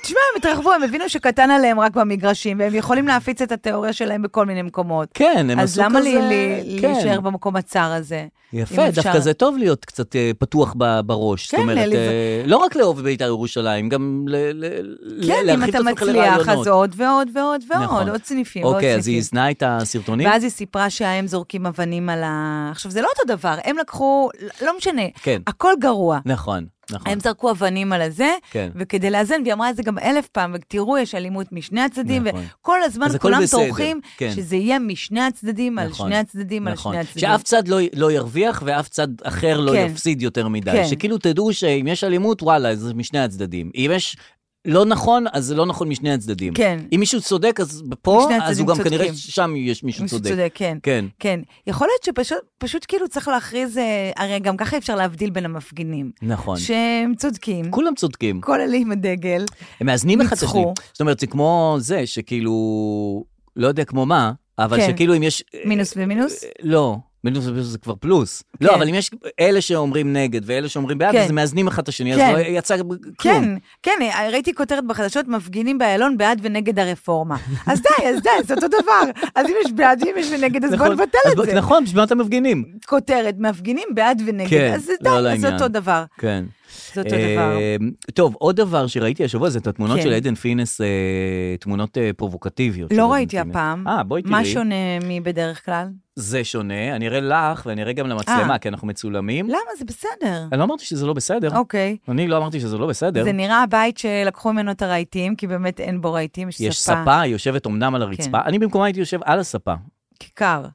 Speaker 4: תשמע, הם התרחבו, הם הבינו שקטן עליהם רק במגרשים, והם יכולים להפיץ את התיאוריה שלהם בכל מיני מקומות.
Speaker 3: כן, הם עשו
Speaker 4: אז
Speaker 3: כזה...
Speaker 4: למה לי- לי-
Speaker 3: כן.
Speaker 4: להישאר במקום הצר הזה?
Speaker 3: יפה,
Speaker 4: אם אפשר-
Speaker 3: דווקא זה טוב להיות קצת אה, פתוח ב- בראש.
Speaker 4: כן,
Speaker 3: זאת אומרת,
Speaker 4: ללב-
Speaker 3: אה, לא רק לאהוב את בית"ר ירושלים, גם ל- ל- ל-
Speaker 4: כן, אם
Speaker 3: להרחיב את
Speaker 4: אתה
Speaker 3: עצמך
Speaker 4: מצליח,
Speaker 3: לרעיונות.
Speaker 4: אז עוד ועוד ועוד ועוד,
Speaker 3: נכון.
Speaker 4: עוד סניפים, עוד
Speaker 3: אוקיי, אז היא
Speaker 4: סניפים.
Speaker 3: הזנה את הסרטונים?
Speaker 4: ואז היא סיפרה שההם זורקים אבנים על ה... עכשיו, זה לא אותו דבר, הם לקחו, לא משנה,
Speaker 3: כן.
Speaker 4: הכל גרוע.
Speaker 3: נכון, נכון.
Speaker 4: הם זרקו אבנים על הזה,
Speaker 3: כן.
Speaker 4: וכדי לאזן, והיא אמרה את זה גם אלף פעם, ותראו, יש אלימות משני הצדדים,
Speaker 3: נכון.
Speaker 4: וכל הזמן
Speaker 3: אז הכל
Speaker 4: כולם
Speaker 3: בסדר,
Speaker 4: טורחים
Speaker 3: כן.
Speaker 4: שזה יהיה משני הצדדים, על
Speaker 3: נכון,
Speaker 4: שני הצדדים, על
Speaker 3: נכון.
Speaker 4: שני הצדדים.
Speaker 3: שאף צד לא, י- לא ירוויח ואף צד אחר לא
Speaker 4: כן.
Speaker 3: יפסיד יותר מדי.
Speaker 4: כן.
Speaker 3: שכאילו תדעו שאם יש אלימות, וואלה, זה משני הצדדים. אם יש לא נכון, אז זה לא נכון משני הצדדים.
Speaker 4: כן.
Speaker 3: אם מישהו צודק, אז פה,
Speaker 4: משני
Speaker 3: אז הוא
Speaker 4: הצדדים
Speaker 3: גם כנראה
Speaker 4: צודקים.
Speaker 3: שם יש מישהו
Speaker 4: מישהו
Speaker 3: צודק.
Speaker 4: צודק, כן.
Speaker 3: כן.
Speaker 4: כן. יכול להיות שפשוט פשוט כאילו צריך להכריז, אה, הרי גם ככה אפשר להבדיל בין המפגינים.
Speaker 3: נכון.
Speaker 4: שהם צודקים,
Speaker 3: כולם צודקים.
Speaker 4: כל אלה עם הדגל.
Speaker 3: הם מאזנים אחד את השני.
Speaker 4: ניצחו.
Speaker 3: זאת אומרת, זה כמו זה שכאילו, לא יודע כמו מה, אבל
Speaker 4: כן.
Speaker 3: שכאילו אם יש...
Speaker 4: מינוס ומינוס?
Speaker 3: לא, מינוס ומינוס זה כבר פלוס.
Speaker 4: כן.
Speaker 3: לא, אבל אם יש אלה שאומרים נגד ואלה שאומרים בעד,
Speaker 4: כן.
Speaker 3: אז הם מאזנים אחד את השני,
Speaker 4: כן.
Speaker 3: אז לא יצא כלום.
Speaker 4: כן, כן, ראיתי כותרת בחדשות, מפגינים באיילון בעד ונגד הרפורמה. אז די, אז די, זה אותו דבר. אז אם יש בעד ואם יש ונגד, אז בוא
Speaker 3: נכון.
Speaker 4: נבטל
Speaker 3: אז
Speaker 4: את
Speaker 3: בוא-
Speaker 4: זה.
Speaker 3: נכון, בשביל מה אתם מפגינים?
Speaker 4: כותרת, מפגינים בעד ונגד,
Speaker 3: כן,
Speaker 4: אז זה די,
Speaker 3: לא
Speaker 4: אז
Speaker 3: לעניין.
Speaker 4: זה אותו דבר.
Speaker 3: כן.
Speaker 4: זה אותו דבר.
Speaker 3: אה, טוב, עוד דבר שראיתי השבוע זה את התמונות
Speaker 4: כן.
Speaker 3: של עדן פינס, אה, תמונות אה, פרובוקטיביות. של
Speaker 4: לא
Speaker 3: עדן
Speaker 4: ראיתי
Speaker 3: פינס.
Speaker 4: הפעם.
Speaker 3: אה, בואי תראי.
Speaker 4: מה שונה מבדרך כלל?
Speaker 3: זה שונה, אני אראה לך ואני אראה גם למצלמה,
Speaker 4: אה.
Speaker 3: כי אנחנו מצולמים.
Speaker 4: למה? זה בסדר.
Speaker 3: אני לא אמרתי שזה לא בסדר.
Speaker 4: אוקיי.
Speaker 3: אני לא אמרתי שזה לא בסדר.
Speaker 4: זה נראה הבית שלקחו ממנו את הרהיטים, כי באמת אין בו רהיטים, כן.
Speaker 3: יש ספה, היא יושבת אומנם על הרצפה. אני במקומה הייתי יושב על הספה.
Speaker 4: כיכר.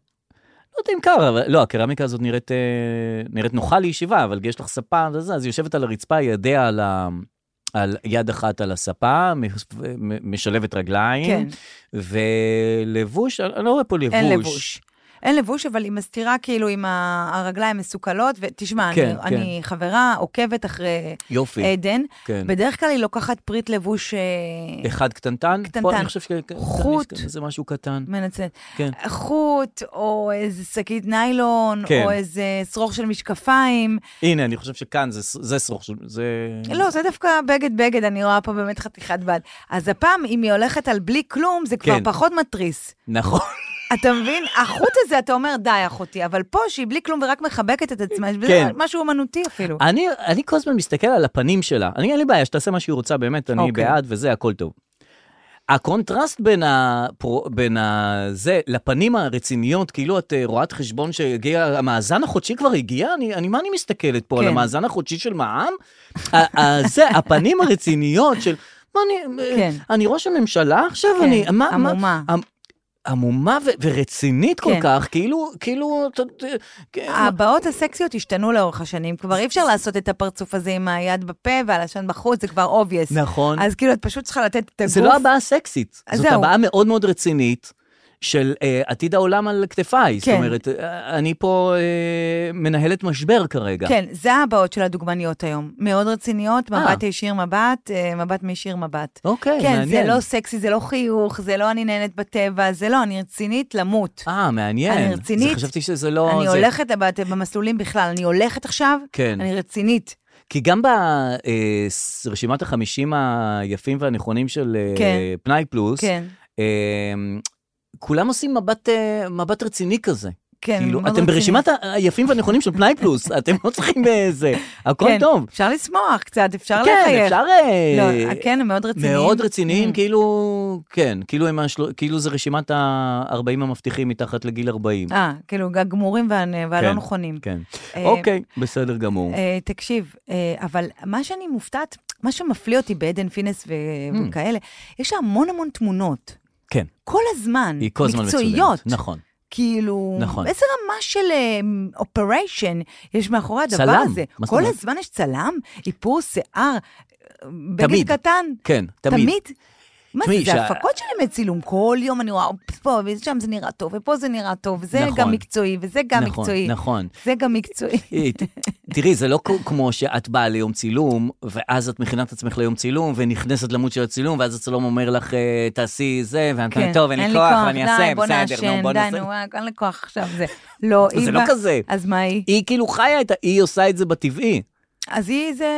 Speaker 3: לא יודע אם קר, אבל לא, הקרמיקה הזאת נראית, אה, נראית נוחה לישיבה, אבל יש לך ספה, וזה, אז היא יושבת על הרצפה, ידיה על ה... על יד אחת על הספה, מס- מ- משלבת רגליים,
Speaker 4: כן.
Speaker 3: ולבוש, אני אני לא רואה פה לבוש.
Speaker 4: אין לבוש. אין לבוש, אבל היא מסתירה כאילו עם ה- הרגליים מסוכלות, ותשמע, אני-
Speaker 3: כן, כן.
Speaker 4: אני חברה עוקבת אחרי
Speaker 3: יופי,
Speaker 4: עדן,
Speaker 3: כן.
Speaker 4: בדרך כלל היא לוקחת פריט לבוש אה,
Speaker 3: אחד קטנטן, פה
Speaker 4: קטנטן.
Speaker 3: אני חושב שכאן
Speaker 4: חוט.
Speaker 3: יש איזה משהו קטן.
Speaker 4: מנצלת.
Speaker 3: כן.
Speaker 4: חוט, או איזה שקית ניילון,
Speaker 3: כן.
Speaker 4: או איזה שרוך של משקפיים.
Speaker 3: הנה, אני חושב שכאן זה ס- זה שרוך, של- זה...
Speaker 4: לא, זה דווקא בגד-בגד, אני רואה פה באמת חתיכת בד. אז הפעם, אם היא הולכת על בלי כלום, זה כבר
Speaker 3: כן.
Speaker 4: פחות מתריס.
Speaker 3: נכון.
Speaker 4: אתה מבין? החוט הזה, אתה אומר, די, אחותי, אבל פה, שהיא בלי כלום ורק מחבקת את עצמה, יש בזה
Speaker 3: כן. אה,
Speaker 4: משהו אומנותי אפילו.
Speaker 3: אני, אני כל הזמן מסתכל על הפנים שלה. אני, אין לי בעיה, שתעשה מה שהיא רוצה, באמת, אני
Speaker 4: אוקיי.
Speaker 3: בעד וזה, הכל טוב. הקונטרסט בין, הפרו, בין הזה לפנים הרציניות, כאילו את אה, רואת חשבון שהגיע, המאזן החודשי כבר הגיע? אני, אני מה אני מסתכלת פה? על
Speaker 4: כן.
Speaker 3: המאזן החודשי של מע"מ? ה- ה- זה, הפנים הרציניות של, מה אני, אה,
Speaker 4: כן.
Speaker 3: אני ראש הממשלה עכשיו?
Speaker 4: כן,
Speaker 3: אני, מה, מה- אה,
Speaker 4: עמומה.
Speaker 3: עמ- עמומה ו- ורצינית כל
Speaker 4: כן.
Speaker 3: כך, כאילו, כאילו, אתה- אה, כן,
Speaker 4: הבעות הסקסיות השתנו לאורך השנים, כבר אי אפשר לעשות את הפרצוף הזה עם היד בפה והלשון בחוץ, זה כבר אובייס.
Speaker 3: נכון.
Speaker 4: אז כאילו, את פשוט צריכה לתת את הגוף.
Speaker 3: זה לא הבעה סקסית,
Speaker 4: אז
Speaker 3: זאת
Speaker 4: זהו.
Speaker 3: הבעה מאוד מאוד רצינית. של אה, עתיד העולם על כתפיי, זאת
Speaker 4: כן.
Speaker 3: אומרת, אה, אני פה אה, מנהלת משבר כרגע.
Speaker 4: כן, זה הבעות של הדוגמניות היום. מאוד רציניות,
Speaker 3: אה.
Speaker 4: מבט הישיר מבט, אה, מבט מישיר מבט.
Speaker 3: אוקיי,
Speaker 4: כן, זה
Speaker 3: מעניין.
Speaker 4: לא סקסי, זה לא חיוך, זה לא אני נהנית בטבע, זה לא, אני רצינית למות.
Speaker 3: אה, מעניין.
Speaker 4: אני
Speaker 3: זה-
Speaker 4: רצינית.
Speaker 3: חשבתי שזה לא...
Speaker 4: אני
Speaker 3: זה...
Speaker 4: הולכת בת- במסלולים בכלל, אני הולכת עכשיו,
Speaker 3: כן.
Speaker 4: אני רצינית.
Speaker 3: כי גם ברשימת החמישים היפים והנכונים של אה,
Speaker 4: כן.
Speaker 3: פנאי פלוס,
Speaker 4: כן,
Speaker 3: אה, כולם עושים מבט, אה, מבט רציני כזה.
Speaker 4: כן.
Speaker 3: כאילו,
Speaker 4: מאוד
Speaker 3: אתם
Speaker 4: רצינית.
Speaker 3: ברשימת ה- היפים והנכונים של פנאי פלוס, אתם לא צריכים איזה... הכל
Speaker 4: כן,
Speaker 3: טוב.
Speaker 4: אפשר לשמוח קצת, אפשר לחייך.
Speaker 3: כן, אפשר... אה,
Speaker 4: לא, כן, הם מאוד רציניים.
Speaker 3: מאוד רציניים,
Speaker 4: Mm.
Speaker 3: כאילו, כן, כאילו, הם השל... כאילו זה רשימת ה-40 המבטיחים מתחת לגיל 40.
Speaker 4: אה, כאילו, הגמורים והנ- והלא
Speaker 3: כן,
Speaker 4: נכונים.
Speaker 3: כן.
Speaker 4: אה,
Speaker 3: אוקיי, בסדר גמור.
Speaker 4: אה, תקשיב, אה, אבל מה שאני מופתעת, מה שמפליא אותי בעדן פינס ו-
Speaker 3: Mm.
Speaker 4: וכאלה, יש לה המון המון תמונות.
Speaker 3: כן.
Speaker 4: כל הזמן.
Speaker 3: היא כל הזמן מצולמת.
Speaker 4: מקצועיות.
Speaker 3: נכון.
Speaker 4: כאילו,
Speaker 3: נכון.
Speaker 4: איזה רמה של אופריישן יש מאחורי הדבר
Speaker 3: צלם,
Speaker 4: הזה?
Speaker 3: מה זאת
Speaker 4: כל
Speaker 3: אומרת?
Speaker 4: הזמן יש צלם, איפור שיער, אה, בגד
Speaker 3: תמיד.
Speaker 4: קטן.
Speaker 3: כן, תמיד.
Speaker 4: תמיד. מה
Speaker 3: תשמעי,
Speaker 4: זה, זה
Speaker 3: שה-
Speaker 4: הפקות שלהם לצילום, כל יום אני רואה, "אופס, פה ושם זה נראה טוב, ופה זה נראה טוב, וזה
Speaker 3: נכון.
Speaker 4: גם מקצועי, וזה גם
Speaker 3: נכון,
Speaker 4: מקצועי,
Speaker 3: נכון.
Speaker 4: זה גם מקצועי.
Speaker 3: אה, ת- תראי, זה לא כ- כמו שאת באה ליום צילום, ואז את מכינה את עצמך ליום צילום, ונכנסת למות של הצילום, ואז הצלום אומר לך, אה, תעשי זה, ואת
Speaker 4: כן,
Speaker 3: אומרת, טוב, אין לי כוח, ואני אעשה,
Speaker 4: די, בוא
Speaker 3: בסדר, נו,
Speaker 4: נעשן,
Speaker 3: בוא
Speaker 4: די,
Speaker 3: נעשה.
Speaker 4: נו, אה, אין לי כוח עכשיו, זה לא,
Speaker 3: זה
Speaker 4: היא
Speaker 3: לא
Speaker 4: בא-
Speaker 3: כזה.
Speaker 4: אז מה היא?
Speaker 3: היא כאילו חיה את ה... היא עושה את זה בטבעי.
Speaker 4: אז היא זה,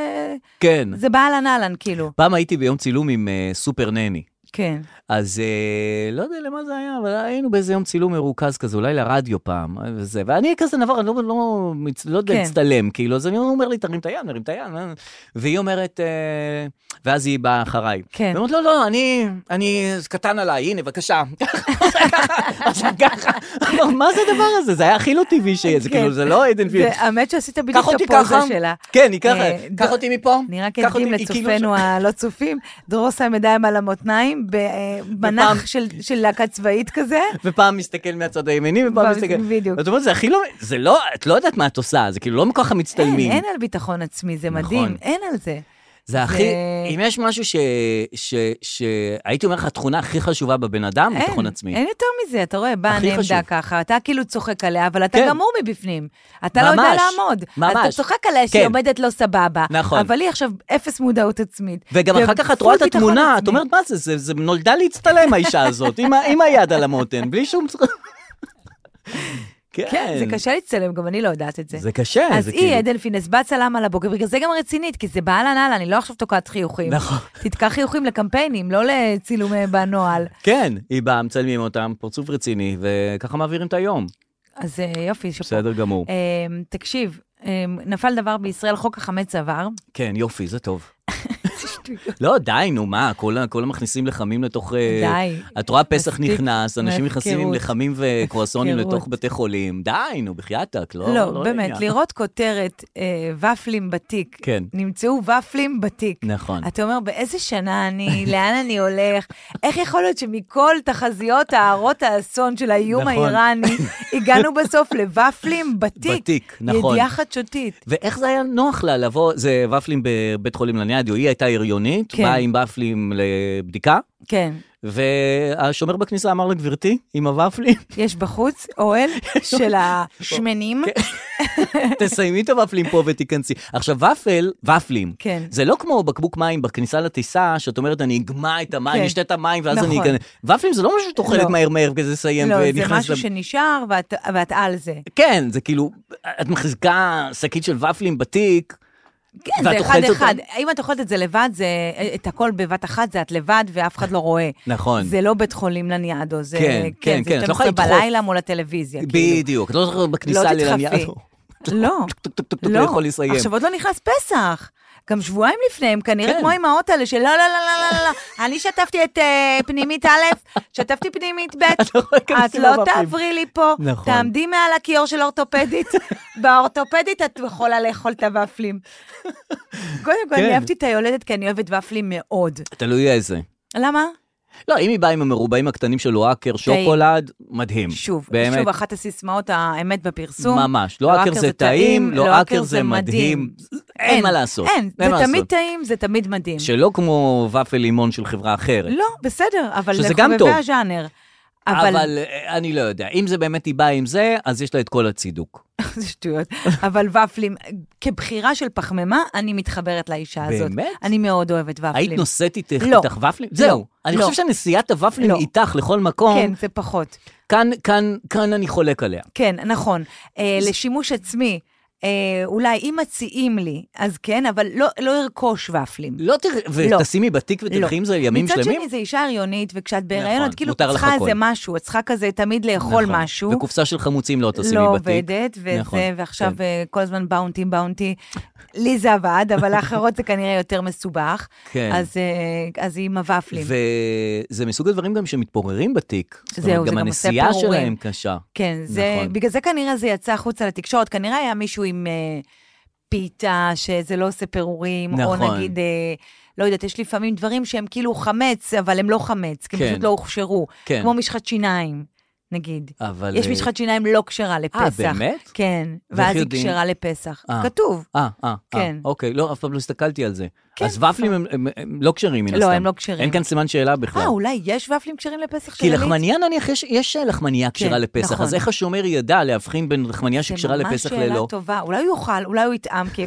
Speaker 3: כן.
Speaker 4: זה באהלן אהלן, כאילו,
Speaker 3: פעם הייתי ביום צילום עם אה, סופר נני.
Speaker 4: כן.
Speaker 3: אז אה, לא יודע למה זה היה, אבל היינו באיזה יום צילום מרוכז כזה, אולי לרדיו פעם, אה, וזה, ואני כזה נבר, אני לא, לא, מצ- לא יודע
Speaker 4: כן.
Speaker 3: להצטלם, כאילו, אז אני אומר לי, תרים את היד, נרים את היד, אה." והיא אומרת, אה, ואז היא באה אחריי.
Speaker 4: כן.
Speaker 3: היא אומרת, לא, לא, אני, אני, זה קטן עליי, הנה, בבקשה. עכשיו ככה, אמר, מה זה הדבר הזה? זה היה הכי לא טבעי שיהיה, זה
Speaker 4: כן.
Speaker 3: כאילו, זה לא עדן פילד.
Speaker 4: זה- האמת שעשית
Speaker 3: קח
Speaker 4: בדיוק
Speaker 3: אותי
Speaker 4: את הפוזה
Speaker 3: ככה,
Speaker 4: שלה.
Speaker 3: כן, היא ככה,
Speaker 4: אה,
Speaker 3: קח
Speaker 4: דו-
Speaker 3: אותי מפה,
Speaker 4: אני רק
Speaker 3: קח אותי,
Speaker 4: אדגים
Speaker 3: היא כאילו-
Speaker 4: לצופינו הלא צופים, דרור שם ידיים על המותניים,
Speaker 3: ופעם-
Speaker 4: במנח של- של להקה צבאית כזה.
Speaker 3: ופעם מסתכל מהצד הימיני, ופעם
Speaker 4: פעם-
Speaker 3: מסתכל...
Speaker 4: בדיוק.
Speaker 3: ואת אומרת, זה הכי לא... זה לא... את לא יודעת מה את עושה, זה כאילו לא מכוח המצטלמים.
Speaker 4: אין, אין על ביטחון עצמי, זה
Speaker 3: נכון.
Speaker 4: מדהים, אין על זה.
Speaker 3: זה הכי...
Speaker 4: זה-
Speaker 3: אם יש משהו ש... ש... ש... הייתי אומר לך, התכונה הכי חשובה בבן אדם,
Speaker 4: אין,
Speaker 3: ביטחון עצמי.
Speaker 4: אין יותר מזה, אתה רואה, באה
Speaker 3: הכי חשוב.
Speaker 4: נעמדה ככה, אתה כאילו צוחק עליה, אבל אתה
Speaker 3: כן.
Speaker 4: גמור מבפנים. אתה לא יודע
Speaker 3: ממש,
Speaker 4: לעמוד. אז אתה
Speaker 3: ממש.
Speaker 4: צוחק עליה
Speaker 3: כן.
Speaker 4: שהיא עומדת לא סבבה.
Speaker 3: נכון.
Speaker 4: אבל היא עכשיו אפס מודעות עצמית.
Speaker 3: וגם אחר כך את רואה את
Speaker 4: ופול ביטחון
Speaker 3: התמונה, את
Speaker 4: עצמי.
Speaker 3: אומרת, מה זה, זה, זה נולדה להצטלם, האישה הזאת, עם, ה- עם היד על המותן, בלי שום צורך.
Speaker 4: כן, זה קשה להצטלם, גם אני לא יודעת את זה.
Speaker 3: זה קשה,
Speaker 4: אז
Speaker 3: זה כאילו-
Speaker 4: היא, עדן פינס, בא צלם על הבוקר, בגלל זה גם רצינית, כי זה באהלן אהלן, אני לא עכשיו תוקעת חיוכים.
Speaker 3: נכון.
Speaker 4: תתקע חיוכים לקמפיינים, לא לצילומי בנוהל.
Speaker 3: כן, היא באה, מצלמים אותם, פרצוף רציני, וככה מעבירים את היום.
Speaker 4: אז אה, יופי, שאפו.
Speaker 3: בסדר גמור.
Speaker 4: אה, אמ, תקשיב, אה, נפל דבר בישראל, חוק החמץ עבר.
Speaker 3: כן, יופי, זה טוב. לא, די, נו, מה, כל ה- כל המכניסים לחמים לתוך... אה,
Speaker 4: די.
Speaker 3: את רואה פסח
Speaker 4: מספיק.
Speaker 3: נכנס, אנשים נכנסים עם
Speaker 4: מהפקרות.
Speaker 3: לחמים וקרואסונים
Speaker 4: הפקרות.
Speaker 3: לתוך בתי חולים. די, נו, בחייאתק, לא...
Speaker 4: לא, באמת,
Speaker 3: לעניין.
Speaker 4: לראות כותרת אה, ופלים בתיק.
Speaker 3: כן.
Speaker 4: נמצאו ופלים בתיק.
Speaker 3: נכון.
Speaker 4: אתה אומר, באיזה שנה אני, לאן אני הולך? איך יכול להיות שמכל תחזיות הערות האסון של האיום
Speaker 3: נכון.
Speaker 4: האיראני, הגענו בסוף לוופלים בתיק?
Speaker 3: בתיק, נכון.
Speaker 4: ידיעה חדשותית.
Speaker 3: ואיך זה היה נוח לה לבוא, זה ופלים בבית חולים לניאדיו, היא הייתה הריונית,
Speaker 4: כן.
Speaker 3: באה עם ופלים לבדיקה,
Speaker 4: כן.
Speaker 3: והשומר בכניסה אמר לה, גברתי, עם הוופלים,
Speaker 4: יש בחוץ אוהל של השמנים.
Speaker 3: כן, תסיימי את הוופלים פה ותיכנסי. עכשיו, ופל, ופלים,
Speaker 4: כן.
Speaker 3: זה לא כמו בקבוק מים בכניסה לטיסה, שאת אומרת, אני אגמע את המים,
Speaker 4: כן.
Speaker 3: אני אשתה את המים, ואז
Speaker 4: נכון.
Speaker 3: אני אכנס. ופלים זה לא משהו שאת אוכלת
Speaker 4: לא.
Speaker 3: מהר מהר כזה לסיים
Speaker 4: לא, זה
Speaker 3: ונכנס
Speaker 4: משהו
Speaker 3: לב-
Speaker 4: שנשאר ואת- ואת על זה.
Speaker 3: כן, זה כאילו, את מחזיקה שקית של ופלים בתיק.
Speaker 4: כן,
Speaker 3: ואת
Speaker 4: זה
Speaker 3: אוכלת אותו?
Speaker 4: אחד-אחד. אם את אוכלת את זה לבד, זה את הכל בבת אחת, זה את לבד ואף אחד לא רואה.
Speaker 3: נכון.
Speaker 4: זה לא בית חולים לניאדו, זה...
Speaker 3: כן, כן,
Speaker 4: זה
Speaker 3: כן, את לא יכולה
Speaker 4: 12
Speaker 3: לדחוף.
Speaker 4: בלילה מול הטלוויזיה, כאילו.
Speaker 3: בדיוק, את לא זוכרת
Speaker 4: לא
Speaker 3: בכניסה
Speaker 4: תדחפי.
Speaker 3: ללניאדו.
Speaker 4: לא,
Speaker 3: טוק טוק טוק טוק, לא
Speaker 4: לא.
Speaker 3: יכול לסיים.
Speaker 4: עכשיו עוד לא נכנס פסח. גם שבועיים לפני, הם
Speaker 3: כן.
Speaker 4: כנראה כמו האמהות האלה של לא, לא, לא, לא, לא, לא, לא, אני שתפתי את אה, פנימית א', שתפתי פנימית ב',
Speaker 3: לא יכולה להיכנס
Speaker 4: את לא
Speaker 3: למפים.
Speaker 4: תעברי לי פה,
Speaker 3: נכון.
Speaker 4: תעמדי מעל הכיור של אורתופדית, באורתופדית את יכולה לאכול את הוואפלים. קודם כל,
Speaker 3: כן.
Speaker 4: אני אהבתי את היולדת כי אני אוהבת ופלים מאוד.
Speaker 3: תלוי איזה.
Speaker 4: למה?
Speaker 3: לא, אם היא באה עם המרובעים הקטנים של לואקר, שוקולד, מדהים.
Speaker 4: שוב,
Speaker 3: באמת.
Speaker 4: שוב, אחת הסיסמאות האמת בפרסום. לא
Speaker 3: ממש, לואקר זה טעים, לואקר זה מדהים. אין מה לעשות.
Speaker 4: אין, זה
Speaker 3: מה
Speaker 4: תמיד
Speaker 3: לעשות.
Speaker 4: טעים, זה תמיד מדהים.
Speaker 3: שלא כמו ופל לימון של חברה אחרת.
Speaker 4: לא, בסדר, אבל
Speaker 3: שזה
Speaker 4: זה
Speaker 3: גם טוב.
Speaker 4: חובבי הז'אנר. אבל,
Speaker 3: אבל אה, אני לא יודע, אם זה באמת היא באה עם זה, אז יש לה את כל הצידוק.
Speaker 4: זה שטויות, אבל ופלים, כבחירה של פחמימה, אני מתחברת לאישה הזאת.
Speaker 3: באמת?
Speaker 4: אני מאוד אוהבת ופלים.
Speaker 3: היית נוסעת איתך
Speaker 4: לא.
Speaker 3: איתך ופלים? זהו. אני
Speaker 4: לא.
Speaker 3: חושב שנסיעת הוופלים
Speaker 4: לא.
Speaker 3: איתך לכל מקום,
Speaker 4: כן, זה פחות.
Speaker 3: כאן- כאן- כאן אני חולק עליה.
Speaker 4: כן, נכון. אה, לשימוש עצמי, אה, אולי אם מציעים לי, אז כן, אבל לא- לא ארכוש ופלים.
Speaker 3: לא תראי,
Speaker 4: לא.
Speaker 3: ותשימי בתיק ותלכי עם זה ימים
Speaker 4: מצד
Speaker 3: שלמים?
Speaker 4: שני, זו אישה הריונית, וכשאת
Speaker 3: נכון,
Speaker 4: בהיריון, את כאילו
Speaker 3: מותר לך
Speaker 4: צריכה
Speaker 3: הכל.
Speaker 4: איזה משהו, את צריכה כזה תמיד לאכול
Speaker 3: נכון.
Speaker 4: משהו.
Speaker 3: וקופסה של חמוצים לא תשימי בתיק.
Speaker 4: לא עובדת, וזה,
Speaker 3: נכון,
Speaker 4: ועכשיו
Speaker 3: כן.
Speaker 4: אה, כל הזמן באונטי, באונטי. לי זה עבד, אבל לאחרות זה כנראה יותר מסובך.
Speaker 3: כן.
Speaker 4: אז, אה, אז היא עם הוואפלים.
Speaker 3: וזה מסוג הדברים גם שמתפוררים בתיק. זאת
Speaker 4: זהו,
Speaker 3: אומרת,
Speaker 4: זה
Speaker 3: גם
Speaker 4: גם עושה
Speaker 3: הנסיעה
Speaker 4: פירורים.
Speaker 3: שלהם קשה.
Speaker 4: כן, זה,
Speaker 3: נכון.
Speaker 4: בגלל זה כנראה זה יצא החוצה לתקשורת. כנראה היה מישהו עם אה, פיתה, שזה לא עושה פירורים, או
Speaker 3: נכון.
Speaker 4: נגיד, אה, לא יודעת, יש לפעמים דברים שהם כאילו חמץ, אבל הם לא חמץ, כי הם
Speaker 3: כן.
Speaker 4: פשוט לא הוכשרו.
Speaker 3: כן.
Speaker 4: כמו משחת שיניים, נגיד.
Speaker 3: אבל...
Speaker 4: יש
Speaker 3: אה,
Speaker 4: משחת שיניים לא כשרה לפסח.
Speaker 3: באמת?
Speaker 4: כן,
Speaker 3: ואיך
Speaker 4: ואז היא
Speaker 3: יודעים?
Speaker 4: כשרה לפסח.
Speaker 3: אה.
Speaker 4: כתוב.
Speaker 3: אה, אה, אה,
Speaker 4: כן.
Speaker 3: אוקיי, לא, אף פעם לא הסתכלתי על זה.
Speaker 4: כן,
Speaker 3: אז ופלים הם- הם- הם לא כשרים מן
Speaker 4: לא,
Speaker 3: הסתם.
Speaker 4: הם לא כשרים.
Speaker 3: אין כאן סימן שאלה בכלל.
Speaker 4: אה, אולי יש ופלים כשרים לפסח
Speaker 3: כי
Speaker 4: של עלית?
Speaker 3: לחמניה נניח, יש- יש אה, לחמניה כשרה
Speaker 4: כן,
Speaker 3: לפסח,
Speaker 4: נכון.
Speaker 3: אז איך השומר ידע להבחין בין לחמניה שכשרה לפסח
Speaker 4: זה ממש
Speaker 3: ללא?
Speaker 4: שאלה טובה, אולי הוא יאכל, אולי הוא יטעם, כי...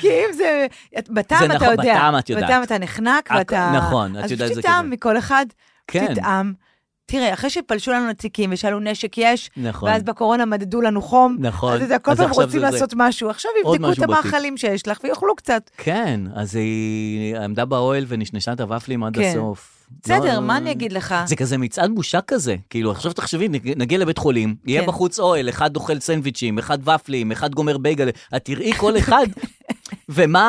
Speaker 4: כי אם זה... את- בטעם
Speaker 3: זה
Speaker 4: אתה
Speaker 3: נכון,
Speaker 4: יודע.
Speaker 3: בטעם את יודעת.
Speaker 4: בטעם אתה נחנק
Speaker 3: הכ-
Speaker 4: ואתה...
Speaker 3: נכון, את יודעת
Speaker 4: אז
Speaker 3: זה
Speaker 4: פשוט
Speaker 3: כזה.
Speaker 4: טעם מכל אחד,
Speaker 3: כן.
Speaker 4: תטעם. תראה, אחרי שפלשו לנו נציקים ושאלו נשק יש,
Speaker 3: נכון.
Speaker 4: ואז בקורונה מדדו לנו חום,
Speaker 3: נכון.
Speaker 4: אז אתה כל
Speaker 3: אז
Speaker 4: פעם
Speaker 3: עכשיו
Speaker 4: רוצים
Speaker 3: זה זה.
Speaker 4: לעשות משהו, עכשיו
Speaker 3: עוד
Speaker 4: יבדקו את
Speaker 3: משהו בתיק.
Speaker 4: המאכלים שיש לך ויאכלו קצת.
Speaker 3: כן, אז היא עמדה באוהל ונשנשה את הוואפלים עד
Speaker 4: כן.
Speaker 3: הסוף.
Speaker 4: בסדר,
Speaker 3: לא-
Speaker 4: מה אני אגיד לך?
Speaker 3: זה כזה מצעד בושה כזה. כאילו, עכשיו תחשבי, נג- נגיע לבית חולים, יהיה
Speaker 4: כן.
Speaker 3: בחוץ אוהל, אחד אוכל סנדוויצ'ים, אחד ופלים, אחד גומר בייגל, את תראי כל אחד, ומה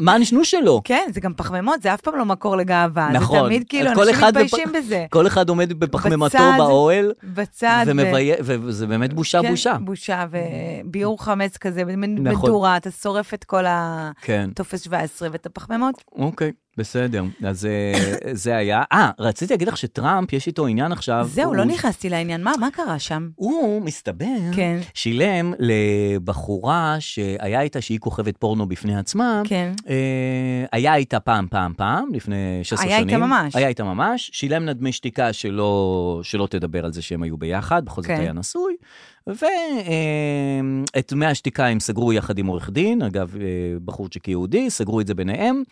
Speaker 3: מה הנשנוש שלו.
Speaker 4: כן, זה גם פחמימות, זה אף פעם לא מקור לגאווה.
Speaker 3: נכון.
Speaker 4: זה תמיד כאילו,
Speaker 3: אז כל
Speaker 4: אנשים
Speaker 3: אחד
Speaker 4: מתביישים
Speaker 3: בפ-
Speaker 4: בזה.
Speaker 3: כל אחד עומד בפחמימתו
Speaker 4: בצד,
Speaker 3: באוהל,
Speaker 4: בצד. ו-
Speaker 3: ומביה- וזה באמת בושה
Speaker 4: כן,
Speaker 3: בושה. Mm.
Speaker 4: בושה וביעור חמץ כזה, מין
Speaker 3: נכון.
Speaker 4: מדורה, אתה שורף את כל הטופס
Speaker 3: כן.
Speaker 4: 17 ואת הפחמימות.
Speaker 3: אוקיי, בסדר. אז אה, זה היה... אה, רציתי להגיד לך שטראמפ, יש איתו עניין עכשיו.
Speaker 4: זהו,
Speaker 3: הוא-
Speaker 4: לא נכנסתי לעניין, מה מה קרה שם?
Speaker 3: הוא, מסתבר,
Speaker 4: כן.
Speaker 3: שילם לבחורה שהיה איתה שהיא כוכבת פורנו בפני עצמה.
Speaker 4: כן.
Speaker 3: אה, היה איתה פעם, פעם, פעם, לפני 16
Speaker 4: היה
Speaker 3: שנים.
Speaker 4: איתה ממש.
Speaker 3: היה איתה ממש. שילם לה דמי שתיקה שלא, שלא תדבר על זה שהם היו ביחד, בכל זאת
Speaker 4: כן.
Speaker 3: היה נשוי. ואת דמי השתיקה הם סגרו יחד עם עורך דין, אגב, אה, בחורצ'יק יהודי, סגרו את זה ביניהם,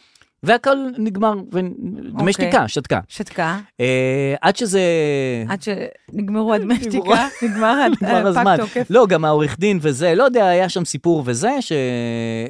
Speaker 3: והכל נגמר, ודמי
Speaker 4: אוקיי.
Speaker 3: שתיקה, שתקה.
Speaker 4: שתקה,
Speaker 3: אה, עד שזה...
Speaker 4: עד שנגמרו הדמי
Speaker 3: כן, נגמרו-
Speaker 4: שתיקה, נגמר הד-
Speaker 3: נגמר הזמן.
Speaker 4: הפג אה, תוקף.
Speaker 3: לא, גם העורך דין וזה, לא יודע, היה שם סיפור וזה, ש...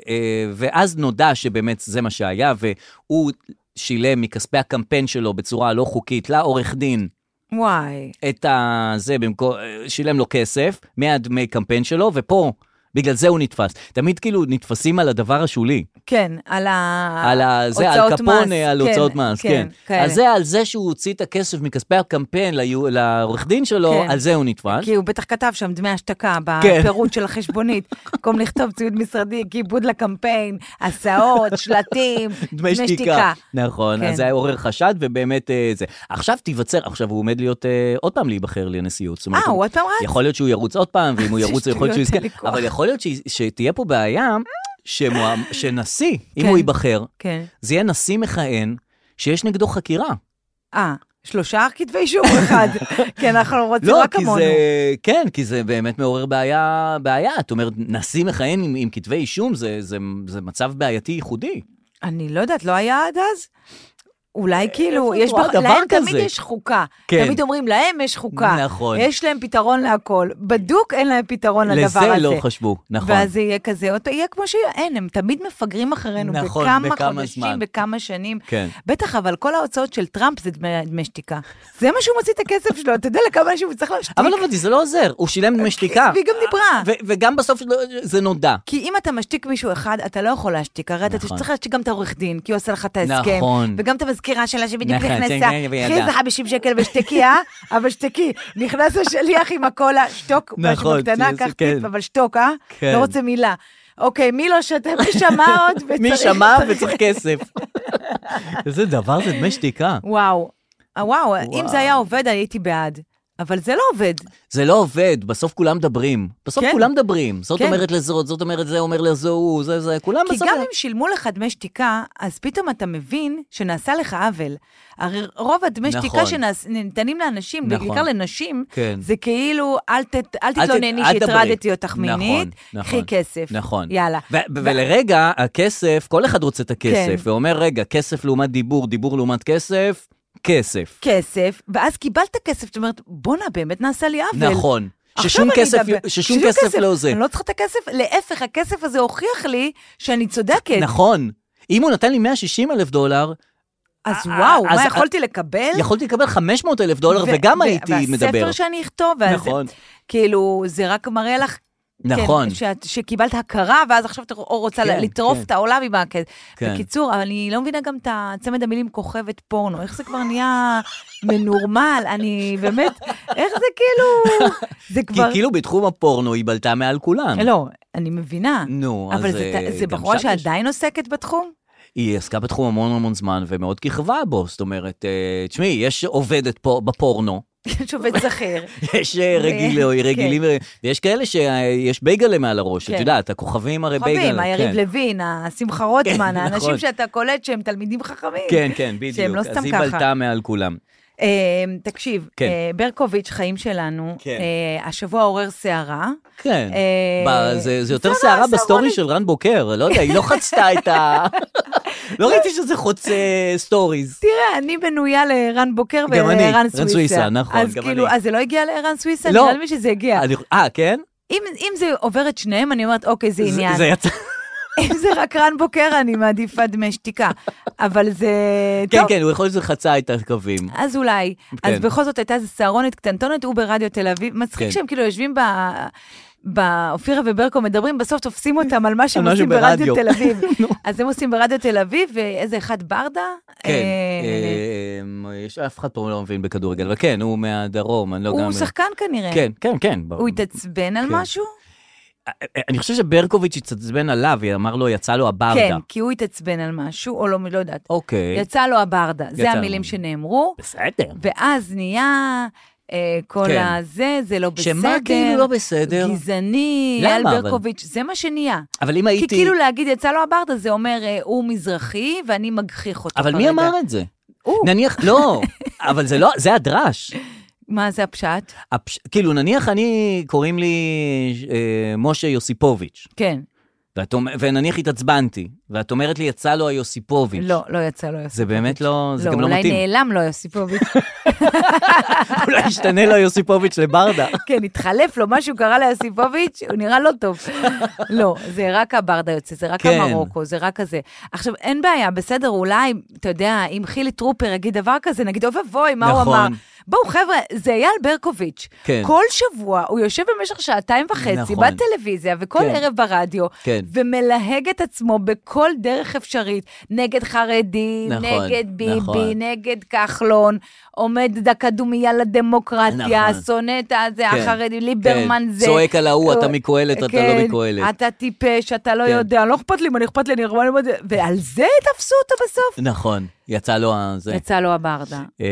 Speaker 3: אה, ואז נודע שבאמת זה מה שהיה, והוא שילם מכספי הקמפיין שלו בצורה לא חוקית לעורך דין
Speaker 4: וואי,
Speaker 3: אה, את ה... זה במקום... שילם לו כסף מהדמי קמפיין שלו, ופה בגלל זה הוא נתפס. תמיד כאילו נתפסים על הדבר השולי.
Speaker 4: כן, על ה...
Speaker 3: על ה... זה, על
Speaker 4: הוצאות מס,
Speaker 3: קפונה, על
Speaker 4: כן,
Speaker 3: הוצאות מס, כן.
Speaker 4: כאלה.
Speaker 3: על זה, על זה שהוא הוציא את הכסף מכספי הקמפיין ליו- לעורך דין שלו,
Speaker 4: כן.
Speaker 3: על זה הוא נתפס.
Speaker 4: כי הוא בטח כתב שם דמי השתקה
Speaker 3: כן.
Speaker 4: בפירוט של החשבונית, במקום לכתוב ציוד משרדי, כיבוד לקמפיין, הסעות, שלטים,
Speaker 3: נכון,
Speaker 4: כן.
Speaker 3: אז זה היה עורר חשד, ובאמת אה, זה. עכשיו תיווצר, עכשיו הוא עומד להיות, אה, עוד פעם להיבחר לנשיאות. זאת אומרת,
Speaker 4: אה, הוא עוד פעם רץ?
Speaker 3: יכול להיות שהוא ירוץ עוד פעם, ואם הוא
Speaker 4: זה
Speaker 3: ירוץ, יכול להיות שהוא
Speaker 4: שטויות,
Speaker 3: יזכה.
Speaker 4: אין לי כוח.
Speaker 3: אבל יכול להיות ש- שתהיה פה בעיה, שמועמ- שנשיא, אם
Speaker 4: כן.
Speaker 3: הוא ייבחר,
Speaker 4: כן.
Speaker 3: זה יהיה נשיא מכהן שיש נגדו חקירה.
Speaker 4: אה, שלושה כתבי אישום או אחד. כי אנחנו רוצים
Speaker 3: לא,
Speaker 4: רק
Speaker 3: כי
Speaker 4: כמונו.
Speaker 3: זה... כן, כי זה באמת מעורר בעיה, בעיה. את אומרת, נשיא מכהן עם, עם כתבי אישום, זה, זה, זה מצב בעייתי ייחודי.
Speaker 4: אני לא יודעת, לא היה עד אז? אולי
Speaker 3: אה,
Speaker 4: כאילו, יש...
Speaker 3: את רואה
Speaker 4: בח-
Speaker 3: דבר
Speaker 4: להם תמיד
Speaker 3: כזה?
Speaker 4: יש חוקה.
Speaker 3: כן.
Speaker 4: תמיד אומרים, להם יש חוקה.
Speaker 3: נכון.
Speaker 4: יש להם פתרון להכל. בדוק אין להם פתרון לדבר
Speaker 3: לזה
Speaker 4: הזה.
Speaker 3: לא חשבו, נכון.
Speaker 4: ואז זה יהיה כזה, עוד פעם, יהיה כמו שאין, הם תמיד מפגרים אחרינו,
Speaker 3: נכון,
Speaker 4: בכמה,
Speaker 3: בכמה
Speaker 4: חודשים,
Speaker 3: זמן.
Speaker 4: בכמה שנים.
Speaker 3: כן.
Speaker 4: בטח, אבל כל ההוצאות של טראמפ זה דמי, דמי שתיקה. זה מה שהוא מוציא את הכסף שלו, אתה יודע לכמה אנשים הוא צריך להשתיק?
Speaker 3: אבל עבודי, זה לא עוזר, הוא שילם דמי שתיקה.
Speaker 4: אה, והיא גם דיברה.
Speaker 3: ו- וגם בסוף לא- זה נודע.
Speaker 4: כי אם אתה משתיק מישהו אחד, אתה לא יכול להשתיק, הרי אתה
Speaker 3: נכון.
Speaker 4: צריך להשתיק גם את העורך דין, כי הוא עושה לך את ההסכם.
Speaker 3: נכון.
Speaker 4: וגם את המזכירה שלה שבדיוק
Speaker 3: נכון, כן,
Speaker 4: נכנסה.
Speaker 3: כן, והיא
Speaker 4: קחי איזה
Speaker 3: ידעה.
Speaker 4: 50 שקל ושתקי, אה? אבל שתקי. נכנס השליח עם הקולה, שתוק, משהו
Speaker 3: נכון,
Speaker 4: בקטנה,
Speaker 3: שזה-
Speaker 4: קח טיפ,
Speaker 3: כן.
Speaker 4: אבל שתוק, אה?
Speaker 3: כן.
Speaker 4: לא רוצה מילה. אוקיי, מי לא שתה? מי שמע עוד? וצריך-
Speaker 3: מי שמע וצריך כסף. איזה דבר זה דמי שתיקה.
Speaker 4: וואו. אה, וואו, אם
Speaker 3: וואו.
Speaker 4: זה היה עובד, הייתי בעד. אבל זה לא עובד.
Speaker 3: זה לא עובד, בסוף כולם מדברים. בסוף
Speaker 4: כן.
Speaker 3: כולם מדברים. זאת
Speaker 4: כן.
Speaker 3: אומרת לזאת, זאת אומרת זה, אומר לזו, הוא, זה, זה, כולם
Speaker 4: כי
Speaker 3: בסוף...
Speaker 4: גם אם שילמו לך דמי שתיקה, אז פתאום אתה מבין שנעשה לך עוול. הרי רוב הדמי
Speaker 3: נכון.
Speaker 4: שתיקה שניתנים לאנשים,
Speaker 3: נכון.
Speaker 4: בעיקר לנשים,
Speaker 3: כן.
Speaker 4: זה כאילו, אל ת- אל
Speaker 3: אל ת-
Speaker 4: תתלונני
Speaker 3: אל דברי."
Speaker 4: שהטרדתי אותך
Speaker 3: נכון,
Speaker 4: מינית,
Speaker 3: נכון,
Speaker 4: קחי כסף.
Speaker 3: נכון.
Speaker 4: יאללה.
Speaker 3: ו- ו- ולרגע, הכסף, כל אחד רוצה את הכסף,
Speaker 4: כן.
Speaker 3: ואומר, רגע, כסף לעומת דיבור, דיבור לעומת כסף, כסף.
Speaker 4: כסף, ואז קיבלת כסף, זאת אומרת, בואנה, באמת נעשה לי עוול.
Speaker 3: נכון.
Speaker 4: עכשיו
Speaker 3: ששום
Speaker 4: אני
Speaker 3: כסף,
Speaker 4: אדבר.
Speaker 3: ששום כסף לא זה.
Speaker 4: אני לא צריכה את הכסף, להפך, הכסף הזה הוכיח לי שאני צודקת.
Speaker 3: נכון. אם הוא נתן לי 160 אלף דולר,
Speaker 4: אז וואו,
Speaker 3: אז-
Speaker 4: מה יכולתי לקבל?
Speaker 3: יכולתי לקבל 500 אלף דולר, וגם הייתי מדבר.
Speaker 4: כן. והספר שאני אכתוב, ואז-
Speaker 3: נכון.
Speaker 4: כאילו, זה רק מראה לך...
Speaker 3: נכון.
Speaker 4: כן, שאת, שקיבלת הכרה, ואז עכשיו אתה או רוצה
Speaker 3: כן,
Speaker 4: כן, לטרוף
Speaker 3: כן.
Speaker 4: את העולם עם הכסף.
Speaker 3: כן.
Speaker 4: כן. בקיצור, אבל אני לא מבינה גם את צמד המילים כוכבת פורנו, איך זה כבר נהיה מנורמל, אני באמת, איך זה כאילו, זה
Speaker 3: כי
Speaker 4: כבר...
Speaker 3: כאילו בתחום הפורנו היא בלטה מעל כולם.
Speaker 4: לא, אני מבינה.
Speaker 3: נו, אז...
Speaker 4: אבל זה,
Speaker 3: אה,
Speaker 4: זה
Speaker 3: גם
Speaker 4: בחורה
Speaker 3: שם יש-
Speaker 4: שעדיין עוסקת בתחום?
Speaker 3: היא עסקה בתחום המון המון זמן, ומאוד כיכבה בו. זאת אומרת, אה, תשמעי, יש עובדת פה בפורנו,
Speaker 4: יש עובד שכיר.
Speaker 3: יש אה, רגיל,
Speaker 4: כן.
Speaker 3: רגילים, אה, ויש כאלה שיש בייגלה מעל הראש, את
Speaker 4: כן.
Speaker 3: יודעת, הכוכבים הרי בייגלה.
Speaker 4: חווים, היריב
Speaker 3: כן.
Speaker 4: לוין, השמחה רוטמן,
Speaker 3: כן, נכון.
Speaker 4: האנשים שאתה קולט שהם תלמידים חכמים.
Speaker 3: כן, כן, בדיוק.
Speaker 4: שהם לא
Speaker 3: אז
Speaker 4: סתם
Speaker 3: היא
Speaker 4: ככה.
Speaker 3: בלטה מעל כולם.
Speaker 4: אה, תקשיב,
Speaker 3: כן.
Speaker 4: אה, ברקוביץ', חיים שלנו,
Speaker 3: כן.
Speaker 4: אה, השבוע עורר סערה.
Speaker 3: כן.
Speaker 4: אה,
Speaker 3: ב- זה זה יותר
Speaker 4: לא,
Speaker 3: סערה
Speaker 4: סערוני.
Speaker 3: בסטורי של רן בוקר, לא יודע, היא לא חצתה את ה... לא ראיתי שזה חוצה סטוריז.
Speaker 4: תראה, אני בנויה לערן בוקר
Speaker 3: גם אני,
Speaker 4: ולערן
Speaker 3: ערן
Speaker 4: סוויסה.
Speaker 3: סוויסה, נכון,
Speaker 4: אז
Speaker 3: גם
Speaker 4: כאילו,
Speaker 3: אני.
Speaker 4: אז זה לא הגיע לערן סוויסה?
Speaker 3: לא.
Speaker 4: נראה לי שזה הגיע.
Speaker 3: אני- אה, כן?
Speaker 4: אם אם זה עובר את שניהם, אני אומרת, אוקיי, זה
Speaker 3: זה-
Speaker 4: עניין.
Speaker 3: זה יצא...
Speaker 4: אם זה רק רן בוקר, אני מעדיפה דמי שתיקה. אבל זה...
Speaker 3: כן,
Speaker 4: טוב,
Speaker 3: כן, הוא יכול להיות שזה חצה את הקווים.
Speaker 4: אז אולי. אז
Speaker 3: כן.
Speaker 4: בכל זאת הייתה איזו סהרונית קטנטונת, הוא ברדיו תל אביב. מצחיק
Speaker 3: כן.
Speaker 4: שהם כאילו יושבים ב... באופירה וברקו מדברים, בסוף תופסים אותם על מה שהם
Speaker 3: משהו
Speaker 4: עושים
Speaker 3: ברדיו.
Speaker 4: ברדיו תל אביב. אז הם עושים ברדיו תל אביב, ואיזה אחד ברדה?
Speaker 3: כן,
Speaker 4: אה,
Speaker 3: אה, יש אף אחד פה לא מבין בכדורגל, אבל כן, הוא מהדרום, אני לא גם...
Speaker 4: הוא שחקן כנראה.
Speaker 3: כן, כן, כן. ברור.
Speaker 4: הוא התעצבן על
Speaker 3: כן.
Speaker 4: משהו?
Speaker 3: אני חושב שברקוביץ' התעצבן עליו, היא אמר לו, יצא לו הברדה.
Speaker 4: כן, כי הוא התעצבן על משהו, או לא, לא יודעת.
Speaker 3: אוקיי.
Speaker 4: יצא לו הברדה,
Speaker 3: יצא
Speaker 4: זה המילים
Speaker 3: לו.
Speaker 4: שנאמרו,
Speaker 3: בסדר.
Speaker 4: ואז נהיה אה, כל
Speaker 3: כן.
Speaker 4: הזה, זה לא בסדר.
Speaker 3: שמה כאילו לא בסדר?
Speaker 4: גזעני,
Speaker 3: למה,
Speaker 4: אייל
Speaker 3: אבל?
Speaker 4: ברקוביץ', זה מה שנהיה.
Speaker 3: אבל אם
Speaker 4: כי
Speaker 3: הייתי...
Speaker 4: כאילו להגיד, יצא לו הברדה, זה אומר, אה, הוא מזרחי ואני מגחיך אותו
Speaker 3: אבל
Speaker 4: כרגע.
Speaker 3: מי אמר את זה?
Speaker 4: הוא.
Speaker 3: נניח, לא, אבל זה לא, זה הדרש.
Speaker 4: מה זה הפשט?
Speaker 3: הפש- כאילו, נניח אני, קוראים לי אה, משה יוסיפוביץ',
Speaker 4: כן,
Speaker 3: ואת אומר- ונניח התעצבנתי, ואת אומרת לי, יצא לו היוסיפוביץ'.
Speaker 4: לא, לא יצא לו יוסיפוביץ'.
Speaker 3: זה באמת לא, זה גם לא
Speaker 4: אולי
Speaker 3: מתאים.
Speaker 4: נעלם לו יוסיפוביץ'.
Speaker 3: אולי ישתנה לו יוסיפוביץ' לברדה.
Speaker 4: כן, התחלף לו, משהו קרה ליוסיפוביץ', הוא נראה לא טוב. לא, זה רק הברדה יוצא, זה רק
Speaker 3: כן.
Speaker 4: המרוקו, זה רק הזה. עכשיו, אין בעיה, בסדר, אולי, אתה יודע, אם חילי טרופר יגיד דבר כזה, נגיד, אוי ואבוי, מה הוא
Speaker 3: נכון.
Speaker 4: אמר? בואו, חבר'ה, זה אייל ברקוביץ'.
Speaker 3: כן.
Speaker 4: כל שבוע הוא יושב במשך שעתיים וחצי
Speaker 3: נכון.
Speaker 4: בטלוויזיה וכל
Speaker 3: כן.
Speaker 4: ערב ברדיו,
Speaker 3: כן.
Speaker 4: ומלהג את עצמו בכל דרך אפשרית, נגד חרדים,
Speaker 3: נכון,
Speaker 4: נגד ביבי,
Speaker 3: נכון.
Speaker 4: נגד כחלון, עומד דקה דומייה לדמוקרטיה,
Speaker 3: נכון.
Speaker 4: שונא את הזה,
Speaker 3: כן,
Speaker 4: החרדי, ליברמן
Speaker 3: כן,
Speaker 4: זה.
Speaker 3: צועק על ההוא, אתה
Speaker 4: הוא-
Speaker 3: מקהלת, אתה
Speaker 4: כן,
Speaker 3: לא מקהלת.
Speaker 4: אתה טיפש, אתה לא
Speaker 3: כן.
Speaker 4: יודע, לא אכפת לי מה אכפת לי, אני ארמה ללמוד, ועל זה תפסו אותו בסוף?
Speaker 3: נכון, יצא לו הזה.
Speaker 4: יצא לו הברדה.
Speaker 3: אה,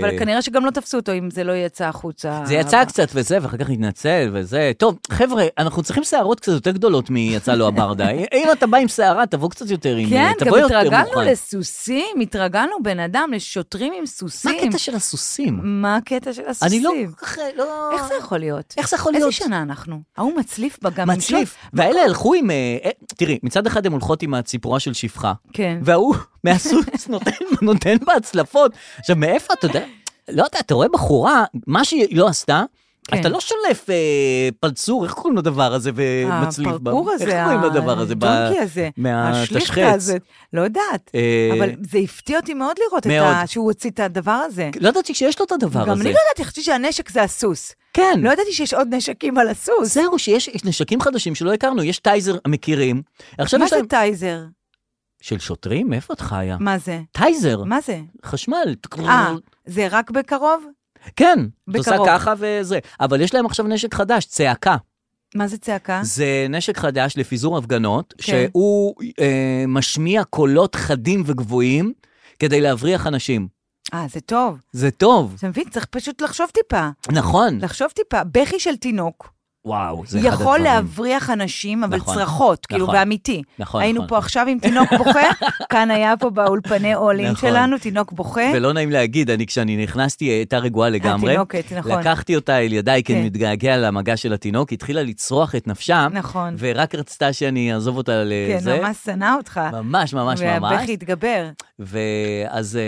Speaker 4: אבל כנראה שגם לא תפסו אותו אם זה לא יצא החוצה.
Speaker 3: זה יצא קצת וזה, ואחר כך התנצל וזה. טוב, חבר'ה, אנחנו צריכים שערות קצת יותר גדולות מיצא לו הברדה. אם אתה בא עם שערה, תבוא קצת יותר עם...
Speaker 4: כן, גם
Speaker 3: תבוא יותר
Speaker 4: התרגלנו
Speaker 3: מוכן.
Speaker 4: לסוסים, התרגלנו בן אדם, לשוטרים עם
Speaker 3: מה
Speaker 4: סוסים.
Speaker 3: הקטע של הסוסים?
Speaker 4: מה הקטע של
Speaker 3: אני לא
Speaker 4: הסוסים?
Speaker 3: כל כך... לא...
Speaker 4: איך זה יכול להיות?
Speaker 3: איך זה יכול
Speaker 4: איזה
Speaker 3: להיות?
Speaker 4: שנה אנחנו? ההוא מצליף בה גם עם
Speaker 3: מצליף.
Speaker 4: שוט?
Speaker 3: והאלה הלכו עם... אה, אה, תראי, מצד אחד הן הולכות עם הציפורה של שפחה,
Speaker 4: כן.
Speaker 3: וההוא מהסוס נותן, נותן בה הצלפות. עכשיו, מאיפה אתה יודע? לא יודע, אתה רואה בחורה, מה שהיא לא עשתה,
Speaker 4: כן.
Speaker 3: אתה לא שולף אה, פלצור, איך קוראים לדבר הזה ומצליף בה?
Speaker 4: אה, הפרקור הזה,
Speaker 3: איך קוראים לדבר הזה? ב-
Speaker 4: הג'ונקי הזה,
Speaker 3: מהתשחץ.
Speaker 4: השליכטה הזאת, לא יודעת.
Speaker 3: אה,
Speaker 4: אבל זה הפתיע אותי מאוד לראות את
Speaker 3: מאוד.
Speaker 4: ה- שהוא הוציא את הדבר הזה.
Speaker 3: לא ידעתי שיש לו את הדבר הזה.
Speaker 4: גם אני לא ידעתי, חשבתי שהנשק זה הסוס.
Speaker 3: כן.
Speaker 4: לא ידעתי שיש עוד נשקים על הסוס.
Speaker 3: זהו, שיש יש נשקים חדשים שלא הכרנו, יש טייזר מכירים. עכשיו
Speaker 4: מה
Speaker 3: יש
Speaker 4: זה
Speaker 3: להם...
Speaker 4: טייזר?
Speaker 3: של שוטרים? מאיפה את חיה?
Speaker 4: מה זה?
Speaker 3: טייזר,
Speaker 4: מה זה?
Speaker 3: חשמל.
Speaker 4: אה, זה רק בקרוב?
Speaker 3: כן, את עושה
Speaker 4: בקרוב.
Speaker 3: ככה וזה. אבל יש להם עכשיו נשק חדש, צעקה.
Speaker 4: מה זה צעקה?
Speaker 3: זה נשק חדש לפיזור הפגנות,
Speaker 4: אה? כן.
Speaker 3: שהוא אה, משמיע קולות חדים וגבוהים כדי להבריח אנשים.
Speaker 4: אה, זה טוב.
Speaker 3: זה טוב,
Speaker 4: אתה מבין? צריך פשוט לחשוב טיפה.
Speaker 3: נכון.
Speaker 4: לחשוב טיפה. בכי של תינוק
Speaker 3: וואו, זה אחד הדברים.
Speaker 4: יכול להבריח אנשים, אבל
Speaker 3: נכון,
Speaker 4: צרחות, כאילו,
Speaker 3: נכון,
Speaker 4: באמיתי.
Speaker 3: נכון,
Speaker 4: היינו
Speaker 3: נכון.
Speaker 4: פה עכשיו עם תינוק בוכה, כאן היה פה באולפני אולין
Speaker 3: נכון.
Speaker 4: שלנו תינוק בוכה.
Speaker 3: ולא נעים להגיד, אני כשאני נכנסתי, היא הייתה רגועה לגמרי.
Speaker 4: התינוקת, נכון.
Speaker 3: לקחתי אותה אל ידיי, כי
Speaker 4: כן.
Speaker 3: אני מתגעגע למגע של התינוק, היא התחילה לצרוח את נפשה,
Speaker 4: נכון.
Speaker 3: ורק רצתה שאני אעזוב אותה
Speaker 4: כן,
Speaker 3: לזה.
Speaker 4: ממש שנא אותך.
Speaker 3: ממש, ממש, ממש.
Speaker 4: והבכי התגבר.
Speaker 3: ואז אה,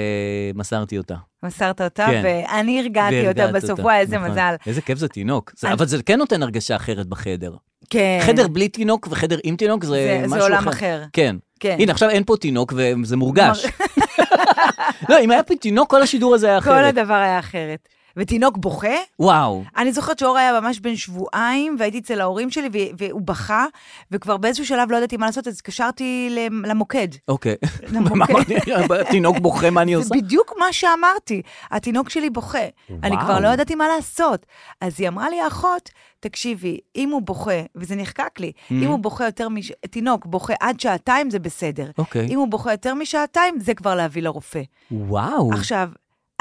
Speaker 3: מסרתי אותה.
Speaker 4: מסרת אותה,
Speaker 3: כן.
Speaker 4: ואני הרגעתי אותה
Speaker 3: והרגעת
Speaker 4: בסוף.
Speaker 3: אותה.
Speaker 4: וואי, איזה
Speaker 3: נכון.
Speaker 4: מזל.
Speaker 3: איזה כיף זה תינוק. זה-
Speaker 4: אני-
Speaker 3: אבל זה כן נותן הרגשה אחרת בחדר.
Speaker 4: כן.
Speaker 3: חדר בלי תינוק וחדר עם תינוק זה
Speaker 4: זה- זה
Speaker 3: משהו אחר.
Speaker 4: עולם אחר.
Speaker 3: כן.
Speaker 4: כן.
Speaker 3: הנה, עכשיו אין פה תינוק וזה מורגש. לא, אם היה פה תינוק, כל השידור הזה היה
Speaker 4: כל
Speaker 3: אחרת.
Speaker 4: הדבר היה אחרת. ותינוק בוכה?
Speaker 3: וואו.
Speaker 4: אני זוכרת שאור היה ממש בן שבועיים, והייתי אצל ההורים שלי, ו- והוא בכה, וכבר באיזשהו שלב לא ידעתי מה לעשות, אז התקשרתי למ- למוקד.
Speaker 3: אוקיי.
Speaker 4: למוקד.
Speaker 3: מה אמרתי? התינוק בוכה, מה אני
Speaker 4: כן. זה
Speaker 3: עושה?
Speaker 4: בדיוק מה שאמרתי, התינוק שלי בוכה. אני כבר לא ידעתי מה לעשות. אז היא אמרה לי, האחות, תקשיבי, אם הוא בוכה, וזה נחקק לי, אם
Speaker 3: Mm-hmm.
Speaker 4: הוא בוכה יותר מש... תינוק בוכה עד שעתיים, זה בסדר.
Speaker 3: אוקיי. Mm.
Speaker 4: אם הוא בוכה יותר משעתיים, זה כבר להביא לרופא.
Speaker 3: וואו.
Speaker 4: עכשיו,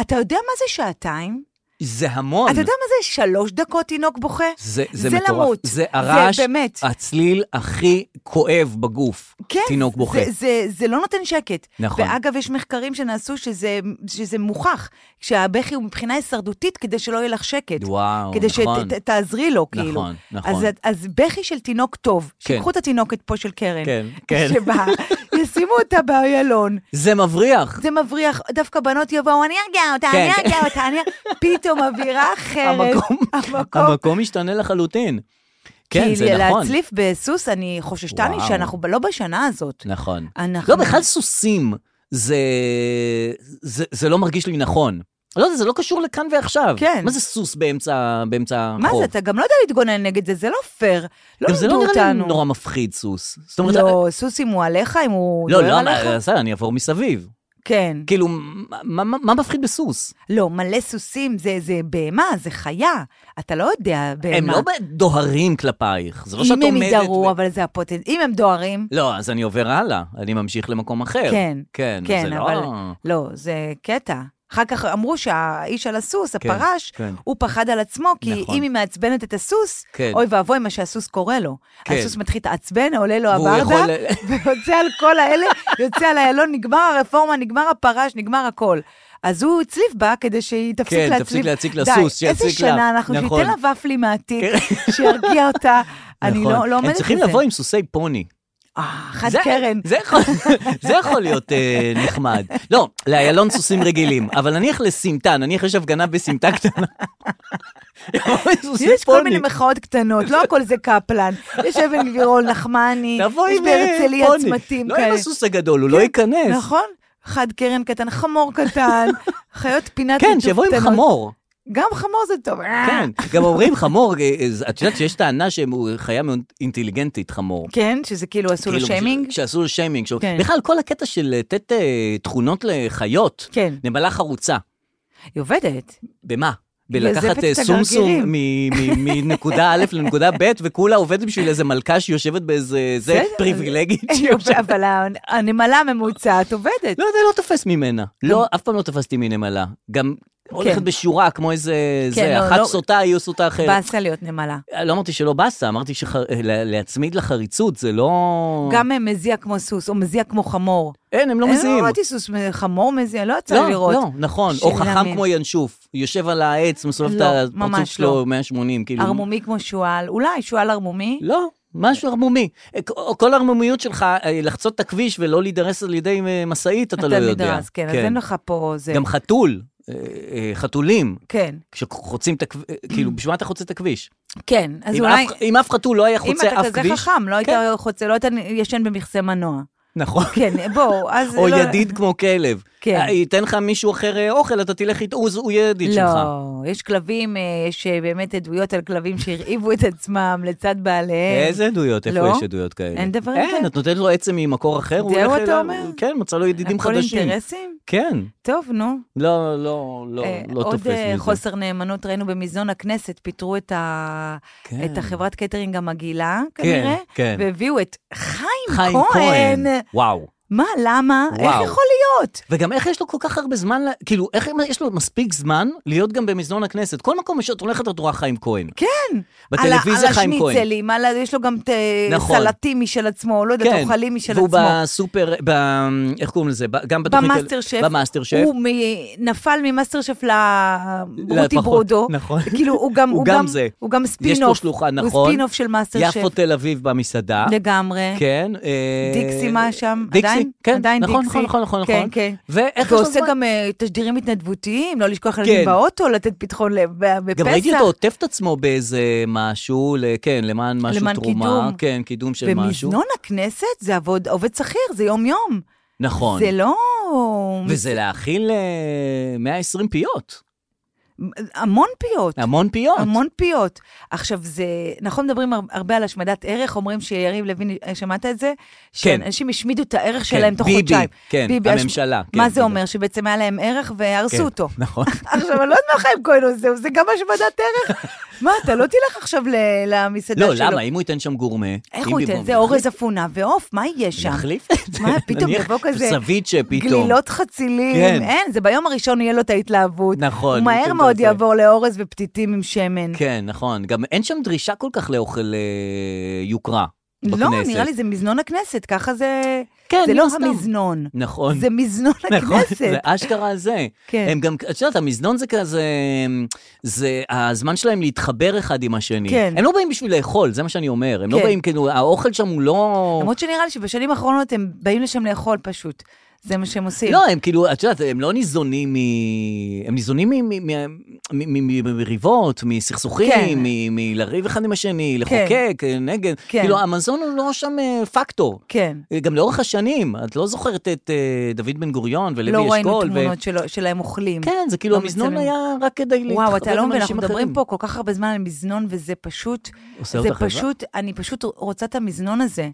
Speaker 4: אתה יודע מה זה שעתיים?
Speaker 3: זה המון.
Speaker 4: אתה יודע מה זה שלוש דקות תינוק בוכה?
Speaker 3: Oh, זה, זה,
Speaker 4: זה
Speaker 3: מטורף.
Speaker 4: למות.
Speaker 3: זה
Speaker 4: זה
Speaker 3: הרעש,
Speaker 4: באמת.
Speaker 3: הצליל הכי כואב בגוף.
Speaker 4: כן,
Speaker 3: תינוק בוכה.
Speaker 4: זה, זה, זה לא נותן שקט.
Speaker 3: נכון.
Speaker 4: ואגב, יש מחקרים שנעשו שזה, שזה מוכח, שהבכי הוא מבחינה הישרדותית כדי שלא יהיה לך שקט.
Speaker 3: וואו,
Speaker 4: כדי
Speaker 3: נכון.
Speaker 4: שתעזרי לו,
Speaker 3: נכון,
Speaker 4: כאילו.
Speaker 3: נכון.
Speaker 4: אז, אז בכי של תינוק טוב,
Speaker 3: כן.
Speaker 4: שיקחו את התינוקת פה של קרן.
Speaker 3: כן, כן.
Speaker 4: שבה ישימו אותה באיילון.
Speaker 3: זה מבריח.
Speaker 4: זה מבריח, דווקא בנות יבואו, אני ארגיע אותה,
Speaker 3: כן.
Speaker 4: אני ארגיע אותה, אני... ארגיע-" פתאום אווירה אחרת.
Speaker 3: המקום,
Speaker 4: המקום
Speaker 3: המקום משתנה לחלוטין. כן,
Speaker 4: כי
Speaker 3: זה נכון.
Speaker 4: להצליף בסוס, אני חוששתני
Speaker 3: וואו.
Speaker 4: שאנחנו ב- לא בשנה הזאת.
Speaker 3: נכון.
Speaker 4: אנחנו...
Speaker 3: לא, בכלל סוסים, זה, זה, זה לא מרגיש לי נכון. לא יודע, זה לא קשור לכאן ועכשיו.
Speaker 4: כן.
Speaker 3: מה זה סוס באמצע, באמצע
Speaker 4: מה
Speaker 3: חוב?
Speaker 4: זה, אתה גם לא יודע להתגונן נגד זה, זה לא פייר. לא
Speaker 3: נכון. גם זה
Speaker 4: לימדו
Speaker 3: לא נראה לי
Speaker 4: אותנו.
Speaker 3: נורא מפחיד, סוס. זאת אומרת, אה,
Speaker 4: לא, סוס אם הוא נכון. עליך, אם הוא
Speaker 3: לא,
Speaker 4: דוהר
Speaker 3: לא,
Speaker 4: עליך?
Speaker 3: מה- בסדר, אני אעבור מסביב.
Speaker 4: כן.
Speaker 3: כאילו, מה- מה מה מפחיד בסוס?
Speaker 4: לא, מלא סוסים, זה, זה בהמה, זה חיה. אתה לא יודע בהמה.
Speaker 3: הם לא דוהרים כלפייך, זה לא שאת
Speaker 4: אם הם
Speaker 3: עומדת...
Speaker 4: ידהרו,
Speaker 3: ו-
Speaker 4: אבל זה הפוטנט... אם הם דוהרים,
Speaker 3: לא, אז אני עובר הלאה, אני ממשיך למקום אחר.
Speaker 4: כן.
Speaker 3: כן,
Speaker 4: כן,
Speaker 3: זה
Speaker 4: אבל...
Speaker 3: לא...
Speaker 4: לא, זה קטע. אחר כך אמרו שהאיש על הסוס,
Speaker 3: כן,
Speaker 4: הפרש,
Speaker 3: כן.
Speaker 4: הוא פחד על עצמו, כי
Speaker 3: נכון.
Speaker 4: אם היא מעצבנת את הסוס,
Speaker 3: כן.
Speaker 4: אוי ואבוי מה שהסוס קורא לו.
Speaker 3: כן.
Speaker 4: הסוס מתחיל להתעצבן, עולה לו
Speaker 3: והוא
Speaker 4: הברדה,
Speaker 3: יכול-
Speaker 4: ויוצא על כל האלה, יוצא על איילון, נגמר הרפורמה, נגמר הפרש, נגמר הכל. אז הוא הצליף בה כדי שהיא תפסיק
Speaker 3: כן,
Speaker 4: להצליף.
Speaker 3: תפסיק להציק לסוס,
Speaker 4: די, איזה
Speaker 3: שיציק לה.
Speaker 4: שנה אנחנו,
Speaker 3: נכון. כן.
Speaker 4: שייתן לה ופלי מהתיק, שירגיע אותה. אני
Speaker 3: נכון.
Speaker 4: לא לא עומדת בזה.
Speaker 3: הם צריכים לבוא עם סוסי פוני.
Speaker 4: אה, חד
Speaker 3: זה-
Speaker 4: קרן.
Speaker 3: זה יכול- זה יכול להיות אה, נחמד. לא, לאיילון סוסים רגילים, אבל נניח לסמטה, נניח יש הפגנה בסמטה קטנה. יבואו עם סוסי
Speaker 4: יש כל
Speaker 3: פוני.
Speaker 4: מיני מחאות קטנות, לא הכל זה קפלן. יש אבן גבירול, נחמני,
Speaker 3: תבוא
Speaker 4: יש
Speaker 3: עם אה,
Speaker 4: בהרצליה
Speaker 3: פוני.
Speaker 4: צמתים
Speaker 3: לא עם
Speaker 4: כאלה.
Speaker 3: הסוס הגדול, הוא לא
Speaker 4: כן,
Speaker 3: ייכנס.
Speaker 4: נכון? חד קרן קטן, חמור קטן, חיות פינת
Speaker 3: כן,
Speaker 4: ליטוף
Speaker 3: שיבוא עם
Speaker 4: קטנות.
Speaker 3: חמור.
Speaker 4: גם חמור זה טוב. אה,
Speaker 3: כן, גם אומרים חמור, אה, אה, זה- את יודעת שיש טענה שהוא חיה מאוד אינטליגנטית, חמור.
Speaker 4: כן, שזה כאילו עשו לו
Speaker 3: כאילו,
Speaker 4: שיימינג?
Speaker 3: ש- שעשו לו שיימינג. שהוא-
Speaker 4: כן.
Speaker 3: בכלל, כל הקטע של לתת אה, תכונות לחיות,
Speaker 4: כן.
Speaker 3: נמלה חרוצה.
Speaker 4: היא עובדת.
Speaker 3: במה?
Speaker 4: היא עוזבת
Speaker 3: בלקחת
Speaker 4: את
Speaker 3: אה, סומסום
Speaker 4: הגרגירים.
Speaker 3: מ- מ- מנקודה א' לנקודה ב', וכולה עובדת בשביל איזה מלכה שיושבת באיזה זה
Speaker 4: בסדר,
Speaker 3: פריבילגית. שהיא יושבת-
Speaker 4: אבל ה- הנמלה הממוצעת עובדת.
Speaker 3: לא, זה לא תופס ממנה.
Speaker 4: כן.
Speaker 3: לא, אף פעם לא תפסתי מנמלה. גם הולכת בשורה כמו איזה... זה,
Speaker 4: לא,
Speaker 3: אחת
Speaker 4: לא-
Speaker 3: סוטה, היא סוטה אחרת.
Speaker 4: באסה להיות נמלה.
Speaker 3: לא אמרתי שלא באסה, אמרתי שלהצמיד לחריצות זה לא...
Speaker 4: גם אה, מזיע כמו סוס, או מזיע כמו חמור.
Speaker 3: אין, הם לא
Speaker 4: אני
Speaker 3: מזיעים.
Speaker 4: לא ראיתי סוס מ- חמור מזיע, לא יצא לי לראות.
Speaker 3: לא, נכון. או
Speaker 4: שאלה
Speaker 3: חכם
Speaker 4: מי.
Speaker 3: כמו ינשוף, יושב על העץ, מסובב את
Speaker 4: לא,
Speaker 3: הפרצוף
Speaker 4: ממש
Speaker 3: שלו
Speaker 4: לא.
Speaker 3: 180, כאילו...
Speaker 4: ערמומי כמו שועל, אולי שועל ערמומי.
Speaker 3: לא, משהו ערמומי. אה, כ- כל הערמומיות שלך, אה, לחצות את הכביש ולא להידרס על ידי אה, משאית, אתה לא יודע.
Speaker 4: נדרס, כן, אז אין לך פה זה.
Speaker 3: גם חתול, אה, אה, חתולים,
Speaker 4: כן,
Speaker 3: כשחוצים את הכביש, כאילו, בשביל מה אתה חוצה את הכביש?
Speaker 4: כן, אז
Speaker 3: אם
Speaker 4: אולי...
Speaker 3: אף- אם אף חתול לא היה
Speaker 4: אם
Speaker 3: חוצה
Speaker 4: אתה
Speaker 3: אף
Speaker 4: כזה
Speaker 3: כביש...
Speaker 4: חכם, לא היית
Speaker 3: כן.
Speaker 4: חוצה, לא היית ישן במכסה מנוע.
Speaker 3: נכון.
Speaker 4: כן, בואו, אז...
Speaker 3: או
Speaker 4: לא-
Speaker 3: ידיד כמו כלב.
Speaker 4: כן.
Speaker 3: אה, ייתן לך מישהו אחר אה, אוכל, אתה תלך איתו, הוא- הוא יהיה ידיד שלך.
Speaker 4: לא, יש כלבים, אה, יש אה, באמת עדויות על כלבים שהרעיבו את עצמם לצד בעליהם.
Speaker 3: איזה עדויות? איפה
Speaker 4: לא.
Speaker 3: יש עדויות כאלה?
Speaker 4: אין דבר
Speaker 3: אין,
Speaker 4: כזה.
Speaker 3: את נותנת לו עצם ממקור אחר, הוא
Speaker 4: זהו,
Speaker 3: הולך
Speaker 4: אתה
Speaker 3: אליו,
Speaker 4: אומר?
Speaker 3: כן, מצא לו ידידים חדשים.
Speaker 4: הכל אינטרסים?
Speaker 3: כן.
Speaker 4: טוב, נו.
Speaker 3: לא, לא, לא,
Speaker 4: אה,
Speaker 3: לא תופס
Speaker 4: עוד אה,
Speaker 3: מזה.
Speaker 4: חוסר נאמנות ראינו במזנון הכנסת, פיטרו את ה-
Speaker 3: כן.
Speaker 4: את החברת קייטרינג המגעילה, כנראה,
Speaker 3: כן.
Speaker 4: והביאו את חיים
Speaker 3: חיים כהן.
Speaker 4: כהן.
Speaker 3: וואו.
Speaker 4: מה, למה?
Speaker 3: וואו.
Speaker 4: איך יכול להיות?
Speaker 3: וגם איך יש לו כל כך הרבה זמן, ל- כאילו, איך יש לו מספיק זמן להיות גם במזנון הכנסת? כל מקום שאת הולכת את רואה חיים כהן.
Speaker 4: כן.
Speaker 3: בטלוויזיה חיים
Speaker 4: על
Speaker 3: כהן.
Speaker 4: השניצלים, על ה- יש לו גם ת-
Speaker 3: נכון. כן.
Speaker 4: סלטים משל עצמו, לא יודעת, אוכלים משל
Speaker 3: והוא
Speaker 4: עצמו.
Speaker 3: בסופר, ב... איך קוראים לזה? ב- גם בתוכנית...
Speaker 4: במאסטר שף.
Speaker 3: במאסטר שף.
Speaker 4: הוא מ- נפל ממאסטר שף לברוטי
Speaker 3: לפחות,
Speaker 4: ברודו.
Speaker 3: נכון.
Speaker 4: כאילו, הוא גם,
Speaker 3: הוא
Speaker 4: הוא
Speaker 3: גם
Speaker 4: גם,
Speaker 3: זה.
Speaker 4: הוא גם
Speaker 3: יש לו
Speaker 4: ספינוף.
Speaker 3: שלוחה, נכון.
Speaker 4: הוא ספינוף של מאסטר שף.
Speaker 3: יפו תל אביב במסעדה.
Speaker 4: לגמרי.
Speaker 3: כן. אה,
Speaker 4: דיקסי מה שם?
Speaker 3: דיקסי,
Speaker 4: עדיין?
Speaker 3: כן,
Speaker 4: עדיין
Speaker 3: נכון,
Speaker 4: דיקסי.
Speaker 3: נכון, נכון, נכון.
Speaker 4: כן, כן.
Speaker 3: ואיך יש לו
Speaker 4: ועושה
Speaker 3: זמן? כן.
Speaker 4: גם אה, תשדירים התנדבותיים, לא לשכוח ילדים באוטו, לתת פתחון לב ב- בפסח.
Speaker 3: גם ראיתי אותו עוטף את עצמו באיזה משהו, ל- כן, למען משהו
Speaker 4: למען
Speaker 3: תרומה.
Speaker 4: קידום.
Speaker 3: כן, קידום של משהו.
Speaker 4: במזנון הכנסת זה עבוד, עובד שכיר, זה יום-יום.
Speaker 3: נכון.
Speaker 4: זה לא...
Speaker 3: וזה להאכיל אה, 120 פיות.
Speaker 4: המון פיות.
Speaker 3: המון פיות.
Speaker 4: המון פיות. עכשיו, זה, נכון, מדברים הר- הרבה על השמדת ערך, אומרים שיריב לוין, אה, שמעת את זה? שאנשים השמידו את הערך שלהם תוך
Speaker 3: כן. ביבי,
Speaker 4: חודשיים.
Speaker 3: כן,
Speaker 4: הש-
Speaker 3: הממשלה, כן,
Speaker 4: מה זה
Speaker 3: בדיוק.
Speaker 4: אומר? שבעצם היה להם ערך והרסו
Speaker 3: כן,
Speaker 4: אותו.
Speaker 3: נכון.
Speaker 4: עכשיו, אני לא יודעת מה חיים כהן עושה, זה גם השמדת ערך. מה, אתה לא תלך עכשיו ל- למסעדה
Speaker 3: לא,
Speaker 4: שלו.
Speaker 3: למה? אם הוא ייתן שם גורמה...
Speaker 4: איך
Speaker 3: אם
Speaker 4: הוא
Speaker 3: יבוא-
Speaker 4: ייתן? זה אורז אפונה ועוף, מה יהיה שם?
Speaker 3: נחליף את זה.
Speaker 4: מה, פתאום
Speaker 3: נניח
Speaker 4: יבוא כזה
Speaker 3: סביצ'ה פתאום.
Speaker 4: גלילות חצילים,
Speaker 3: כן.
Speaker 4: אין, זה ביום הראשון יהיה לו את ההתלהבות.
Speaker 3: נכון,
Speaker 4: הוא מהר
Speaker 3: פתאום
Speaker 4: מאוד
Speaker 3: זה-
Speaker 4: יעבור לאורז ופתיתים עם שמן.
Speaker 3: כן, נכון. גם אין שם דרישה כל כך לאוכל אה, יוקרה בכנסת.
Speaker 4: לא, נראה לי זה מזנון הכנסת, ככה זה...
Speaker 3: כן,
Speaker 4: זה
Speaker 3: מן
Speaker 4: לא
Speaker 3: הסתם.
Speaker 4: המזנון.
Speaker 3: נכון.
Speaker 4: זה מזנון
Speaker 3: נכון, זה
Speaker 4: הכנסת.
Speaker 3: אשכרה זה.
Speaker 4: כן.
Speaker 3: הם גם, את יודעת, המזנון זה כזה, זה הזמן שלהם להתחבר אחד עם השני.
Speaker 4: כן.
Speaker 3: הם לא באים בשביל לאכול, זה מה שאני אומר. הם לא
Speaker 4: כן.
Speaker 3: באים, כאילו, האוכל שם הוא לא...
Speaker 4: למרות שנראה לי שבשנים האחרונות הם באים לשם לאכול פשוט. זה מה שהם עושים.
Speaker 3: לא, הם כאילו, את יודעת, הם לא ניזונים מ... הם ניזונים מ- מ- מ- מ- מ- ממריבות,
Speaker 4: כן.
Speaker 3: מסכסוכים, מ- מלריב אחד עם השני, לחוקק, נגד.
Speaker 4: כן.
Speaker 3: כאילו, המזון הוא לא שם אה, פקטור.
Speaker 4: כן.
Speaker 3: אה, גם לאורך השנים, את לא זוכרת את אה, דוד בן גוריון ולוי
Speaker 4: לא
Speaker 3: אשכול.
Speaker 4: ראינו
Speaker 3: ו-
Speaker 4: תמונות שלו- שלהם אוכלים.
Speaker 3: כן, זה כאילו,
Speaker 4: לא
Speaker 3: המזנון
Speaker 4: מצלמים.
Speaker 3: היה רק כדי להתחבר
Speaker 4: וואו, אתה לא
Speaker 3: עם
Speaker 4: מבין,
Speaker 3: אנשים
Speaker 4: אנחנו מדברים
Speaker 3: אחרים.
Speaker 4: פה כל כך הרבה זמן על מזנון, וזה פשוט...
Speaker 3: עושה
Speaker 4: זה
Speaker 3: אותך רעבה?
Speaker 4: פשוט, אני פשוט רוצה את המזנון הזה.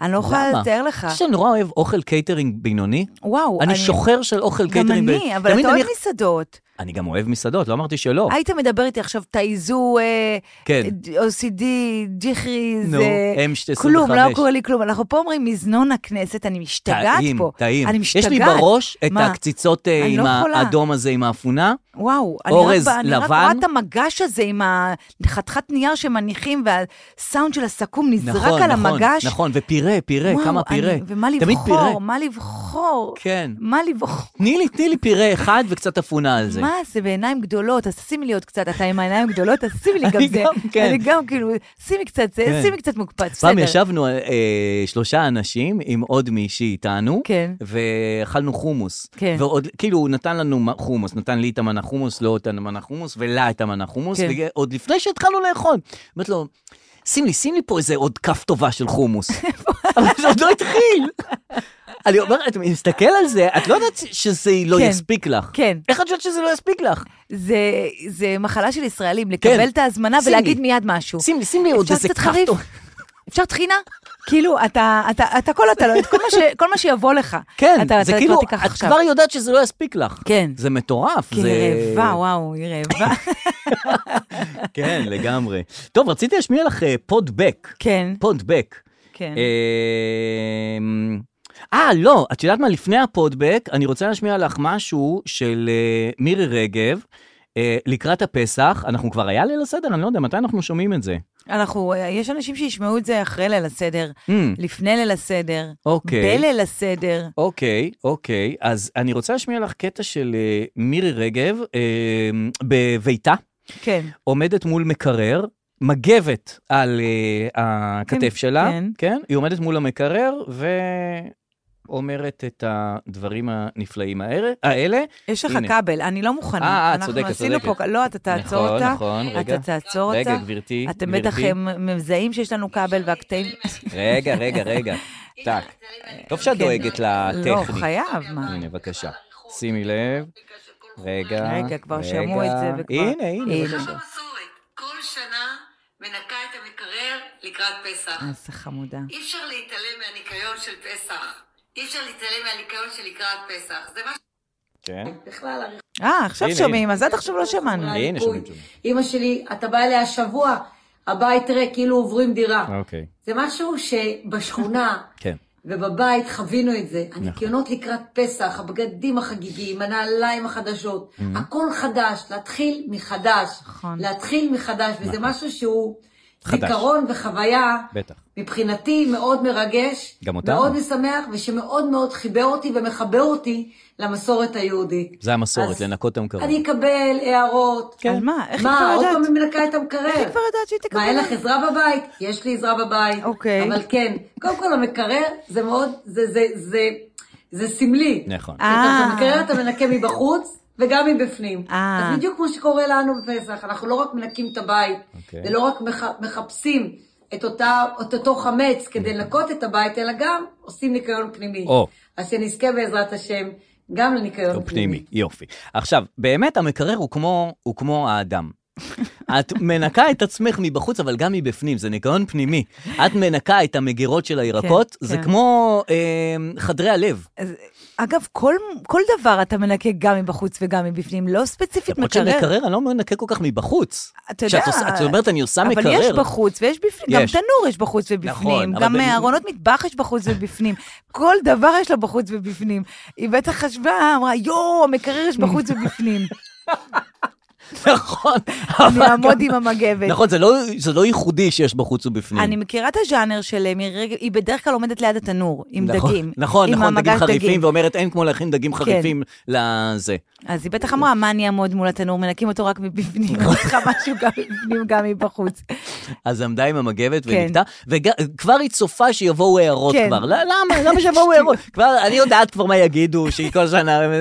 Speaker 4: אני לא יכולה
Speaker 3: למה?
Speaker 4: לתאר לך.
Speaker 3: אתה חושב שאני נורא אוהב אוכל קייטרינג בינוני?
Speaker 4: וואו,
Speaker 3: אני שוחר של אוכל
Speaker 4: גם
Speaker 3: קייטרינג בינוני.
Speaker 4: אני, אבל
Speaker 3: תמיד
Speaker 4: אתה אוהב
Speaker 3: אני-
Speaker 4: מסעדות.
Speaker 3: אני גם אוהב מסעדות, לא אמרתי שלא.
Speaker 4: היית מדבר איתי עכשיו, תעיזו, אה,
Speaker 3: כן.
Speaker 4: OCD, ג'יחריז,
Speaker 3: נו,
Speaker 4: אה,
Speaker 3: M25.
Speaker 4: כלום, לא קורה לי כלום. אנחנו פה אומרים מזנון הכנסת, אני משתגעת
Speaker 3: טעים,
Speaker 4: פה.
Speaker 3: טעים.
Speaker 4: אני משתגעת.
Speaker 3: יש לי בראש את
Speaker 4: מה?
Speaker 3: הקציצות אה,
Speaker 4: אני
Speaker 3: עם
Speaker 4: לא יכולה.
Speaker 3: האדום הזה, עם האפונה.
Speaker 4: וואו,
Speaker 3: אורז
Speaker 4: אני רק, אני רק
Speaker 3: לבן.
Speaker 4: רואה את המגש הזה עם החתיכת נייר שמניחים והסאונד של הסכו"ם נזרק
Speaker 3: נכון,
Speaker 4: על
Speaker 3: נכון,
Speaker 4: המגש.
Speaker 3: נכון, ופירה, פירה,
Speaker 4: וואו,
Speaker 3: כמה
Speaker 4: אני-
Speaker 3: פירה.
Speaker 4: ומה
Speaker 3: תמיד פירה.
Speaker 4: לבחור, מה לבחור,
Speaker 3: כן.
Speaker 4: מה לבחור.
Speaker 3: תני לי, תני לי פירה אחד וקצת אפונה על זה.
Speaker 4: מה זה בעיניים גדולות, אז שימי לי עוד קצת, אתה עם העיניים גדולות, אז שימי לי גם
Speaker 3: אני
Speaker 4: זה.
Speaker 3: גם, כן.
Speaker 4: אני גם כאילו, שימי קצת
Speaker 3: כן.
Speaker 4: זה, שימי קצת מוקפץ, בסדר.
Speaker 3: פעם ישבנו אה, שלושה אנשים עם עוד מישהי איתנו,
Speaker 4: כן.
Speaker 3: ואכלנו חומוס.
Speaker 4: כן.
Speaker 3: ועוד, כאילו, הוא נתן לנו מ- חומוס, נתן לי את המנה חומוס, לא את המנה חומוס, ולה את המנה חומוס,
Speaker 4: כן.
Speaker 3: ועוד לפני שהתחלנו לאכול. אמרתי לו, שים לי, שים לי פה איזה עוד כף טובה של חומוס. אבל זה עוד לא התחיל. אני אומר, את מסתכל על זה, את לא יודעת שזה לא
Speaker 4: כן.
Speaker 3: יספיק לך.
Speaker 4: כן,
Speaker 3: איך את יודעת שזה לא יספיק לך?
Speaker 4: זה, זה מחלה של ישראלים, לקבל
Speaker 3: כן.
Speaker 4: את ההזמנה
Speaker 3: שים
Speaker 4: ולהגיד
Speaker 3: לי.
Speaker 4: מיד משהו.
Speaker 3: שים לי, שים לי עוד
Speaker 4: אפשר
Speaker 3: איזה
Speaker 4: קצת חריף?
Speaker 3: כפתור.
Speaker 4: אפשר טחינה? כאילו, אתה, אתה, אתה כל אתה, לא- כל מה, ש, כל מה שיבוא לך.
Speaker 3: כן,
Speaker 4: אתה,
Speaker 3: זה
Speaker 4: אתה
Speaker 3: כאילו,
Speaker 4: כבר תיקח
Speaker 3: את
Speaker 4: עכשיו.
Speaker 3: כבר יודעת שזה לא יספיק לך.
Speaker 4: כן.
Speaker 3: זה מטורף.
Speaker 4: כי
Speaker 3: זה-
Speaker 4: היא רעבה, וואו, היא רעבה.
Speaker 3: כן, לגמרי. טוב, רציתי להשמיע לך אה, פודבק.
Speaker 4: כן,
Speaker 3: פודבק.
Speaker 4: כן.
Speaker 3: אה. אמ, אה, לא, את יודעת מה? לפני הפודבק, אני רוצה להשמיע לך משהו של אה, מירי רגב. אה, לקראת הפסח, אנחנו כבר היה ליל הסדר, אני לא יודע, מתי אנחנו שומעים את זה?
Speaker 4: אנחנו, יש אנשים שישמעו את זה אחרי ליל הסדר,
Speaker 3: Hmm,
Speaker 4: לפני ליל הסדר,
Speaker 3: אוקיי.
Speaker 4: בליל הסדר.
Speaker 3: אוקיי, אוקיי, אז אני רוצה להשמיע לך קטע של אה, מירי רגב אמ, בביתה,
Speaker 4: כן,
Speaker 3: עומדת מול מקרר, מגבת על אה, הכתף שלה,
Speaker 4: כן.
Speaker 3: כן, היא עומדת מול המקרר ואומרת את הדברים הנפלאים האלה- האלה.
Speaker 4: יש לך
Speaker 3: הנה.
Speaker 4: כבל, אני לא
Speaker 3: אה,
Speaker 4: מוכנה.
Speaker 3: אה,
Speaker 4: אנחנו
Speaker 3: צודקת,
Speaker 4: עשינו
Speaker 3: צודקת.
Speaker 4: פה, לא, אתה תעצור אותה.
Speaker 3: נכון, נכון, רגע.
Speaker 4: אתה תעצור אותה.
Speaker 3: רגע, גברתי,
Speaker 4: אתם
Speaker 3: גברתי.
Speaker 4: בטח הם מזהים שיש לנו כבל והקטעים...
Speaker 3: רגע, רגע, רגע. טאק. טוב שאת
Speaker 4: כן.
Speaker 3: דואגת לטכני.
Speaker 4: לא, חייב, מה.
Speaker 3: הנה, בבקשה. שימי לב. רגע,
Speaker 4: רגע, כבר שמעו את זה וכבר-
Speaker 3: הנה, הנה,
Speaker 4: הנה.
Speaker 3: בבקשה.
Speaker 5: המסורת, כל שנה מנקה את המקרר לקראת פסח.
Speaker 4: איזה חמודה.
Speaker 5: אי אפשר להתעלם מהניקיון של פסח. אי אפשר להתעלם מהניקיון של לקראת פסח. זה מה
Speaker 3: כן.
Speaker 5: שבכלל...
Speaker 4: אה, עכשיו
Speaker 3: הנה,
Speaker 4: שומעים, אז עד עכשיו לא שמענו.
Speaker 3: הנה, שומעים, שומעים.
Speaker 5: אימא שלי, אתה בא אליה השבוע, הבית ריק, כאילו עוברים דירה.
Speaker 3: אוקיי.
Speaker 5: זה משהו שבשכונה...
Speaker 3: כן.
Speaker 5: ובבית חווינו את
Speaker 3: נכון.
Speaker 5: זה. הניקיונות לקראת פסח, הבגדים החגיגיים, הנעליים החדשות, הכל חדש, להתחיל מחדש.
Speaker 4: נכון.
Speaker 5: להתחיל מחדש, וזה משהו שהוא
Speaker 3: נכון. חדש.
Speaker 5: זיכרון וחוויה,
Speaker 3: בטח.
Speaker 5: מבחינתי מאוד מרגש,
Speaker 3: גם אותנו.
Speaker 5: מאוד משמח, ושמאוד מאוד חיבר אותי ומחבר אותי למסורת היהודית.
Speaker 3: זה המסורת,
Speaker 5: אז
Speaker 3: לנקות את המקרר.
Speaker 5: אני אקבל הערות.
Speaker 4: על כן. מה? איך היא כבר
Speaker 5: מה, עוד
Speaker 4: יודעת?
Speaker 5: פעם היא מנקה את המקרר?
Speaker 4: איך היא כבר יודעת שהיא תקבל?
Speaker 5: מה, אין לך עזרה בבית? יש לי עזרה בבית.
Speaker 4: אוקיי.
Speaker 5: אבל כן, קודם כל המקרר זה מאוד, זה, זה, זה, זה סמלי.
Speaker 3: נכון.
Speaker 4: אה.
Speaker 5: אתה מקרר אתה מנקה מבחוץ וגם מבפנים.
Speaker 4: אה.
Speaker 5: אז בדיוק כמו שקורה לנו בפסח, אנחנו לא רק מנקים את הבית,
Speaker 3: אוקיי.
Speaker 5: ולא רק מח- מחפשים את, אותה, את אותו חמץ כדי לנקות את הבית, אלא גם עושים ניקיון פנימי.
Speaker 3: נכון. או.
Speaker 5: אז שנזכה בעזרת השם גם לניקיון
Speaker 3: הוא פנימי, יופי. עכשיו, באמת המקרר הוא כמו, הוא כמו האדם. את מנקה את עצמך מבחוץ, אבל גם מבפנים, זה ניקיון פנימי. את מנקה את המגירות של הירקות,
Speaker 4: כן,
Speaker 3: זה
Speaker 4: כן.
Speaker 3: כמו אה, חדרי הלב.
Speaker 4: אז, אגב, כל, כל דבר אתה מנקה גם מבחוץ וגם מבפנים, לא ספציפית
Speaker 3: למרות
Speaker 4: מקרר.
Speaker 3: שמקרר אני לא מנקה כל כך מבחוץ.
Speaker 4: אתה יודע,
Speaker 3: כשאת עושה- את אומרת, אני עושה
Speaker 4: אבל
Speaker 3: מקרר.
Speaker 4: יש בחוץ ויש בפנים,
Speaker 3: יש.
Speaker 4: גם תנור יש בחוץ ובפנים,
Speaker 3: נכון, אבל
Speaker 4: גם
Speaker 3: ב-
Speaker 4: ארונות מטבח יש בחוץ ובפנים, כל דבר יש לו בחוץ ובפנים. היא בטח חשבה, אמרה, יואו, המקרר יש בחוץ ובפנים,
Speaker 3: נכון.
Speaker 4: אני
Speaker 3: אבל
Speaker 4: אעמוד
Speaker 3: גם-
Speaker 4: עם המגבת.
Speaker 3: נכון, זה לא- זה לא ייחודי שיש בחוץ ובפנים.
Speaker 4: אני מכירה את הז'אנר של מירי רגב, היא בדרך כלל עומדת ליד התנור, עם
Speaker 3: נכון,
Speaker 4: דגים.
Speaker 3: נכון,
Speaker 4: עם כן.
Speaker 3: נכון, דגים
Speaker 4: המגש
Speaker 3: חריפים, ואומרת, אין כמו להכין דגים חריפים לזה.
Speaker 4: אז היא בטח אמרה, מה אני אעמוד מול התנור, מנקים אותו רק מבפנים,
Speaker 3: נכון.
Speaker 4: אני צריכה משהו גם מבפנים, גם מבחוץ.
Speaker 3: אז עמדה עם המגבת
Speaker 4: כן.
Speaker 3: ונקטה, וכבר היא צופה שיבואו הערות
Speaker 4: כן.
Speaker 3: כבר. לא- למה? למה שיבואו הערות? כבר, אני יודעת כבר מה יגידו, שהיא כל שנה... מי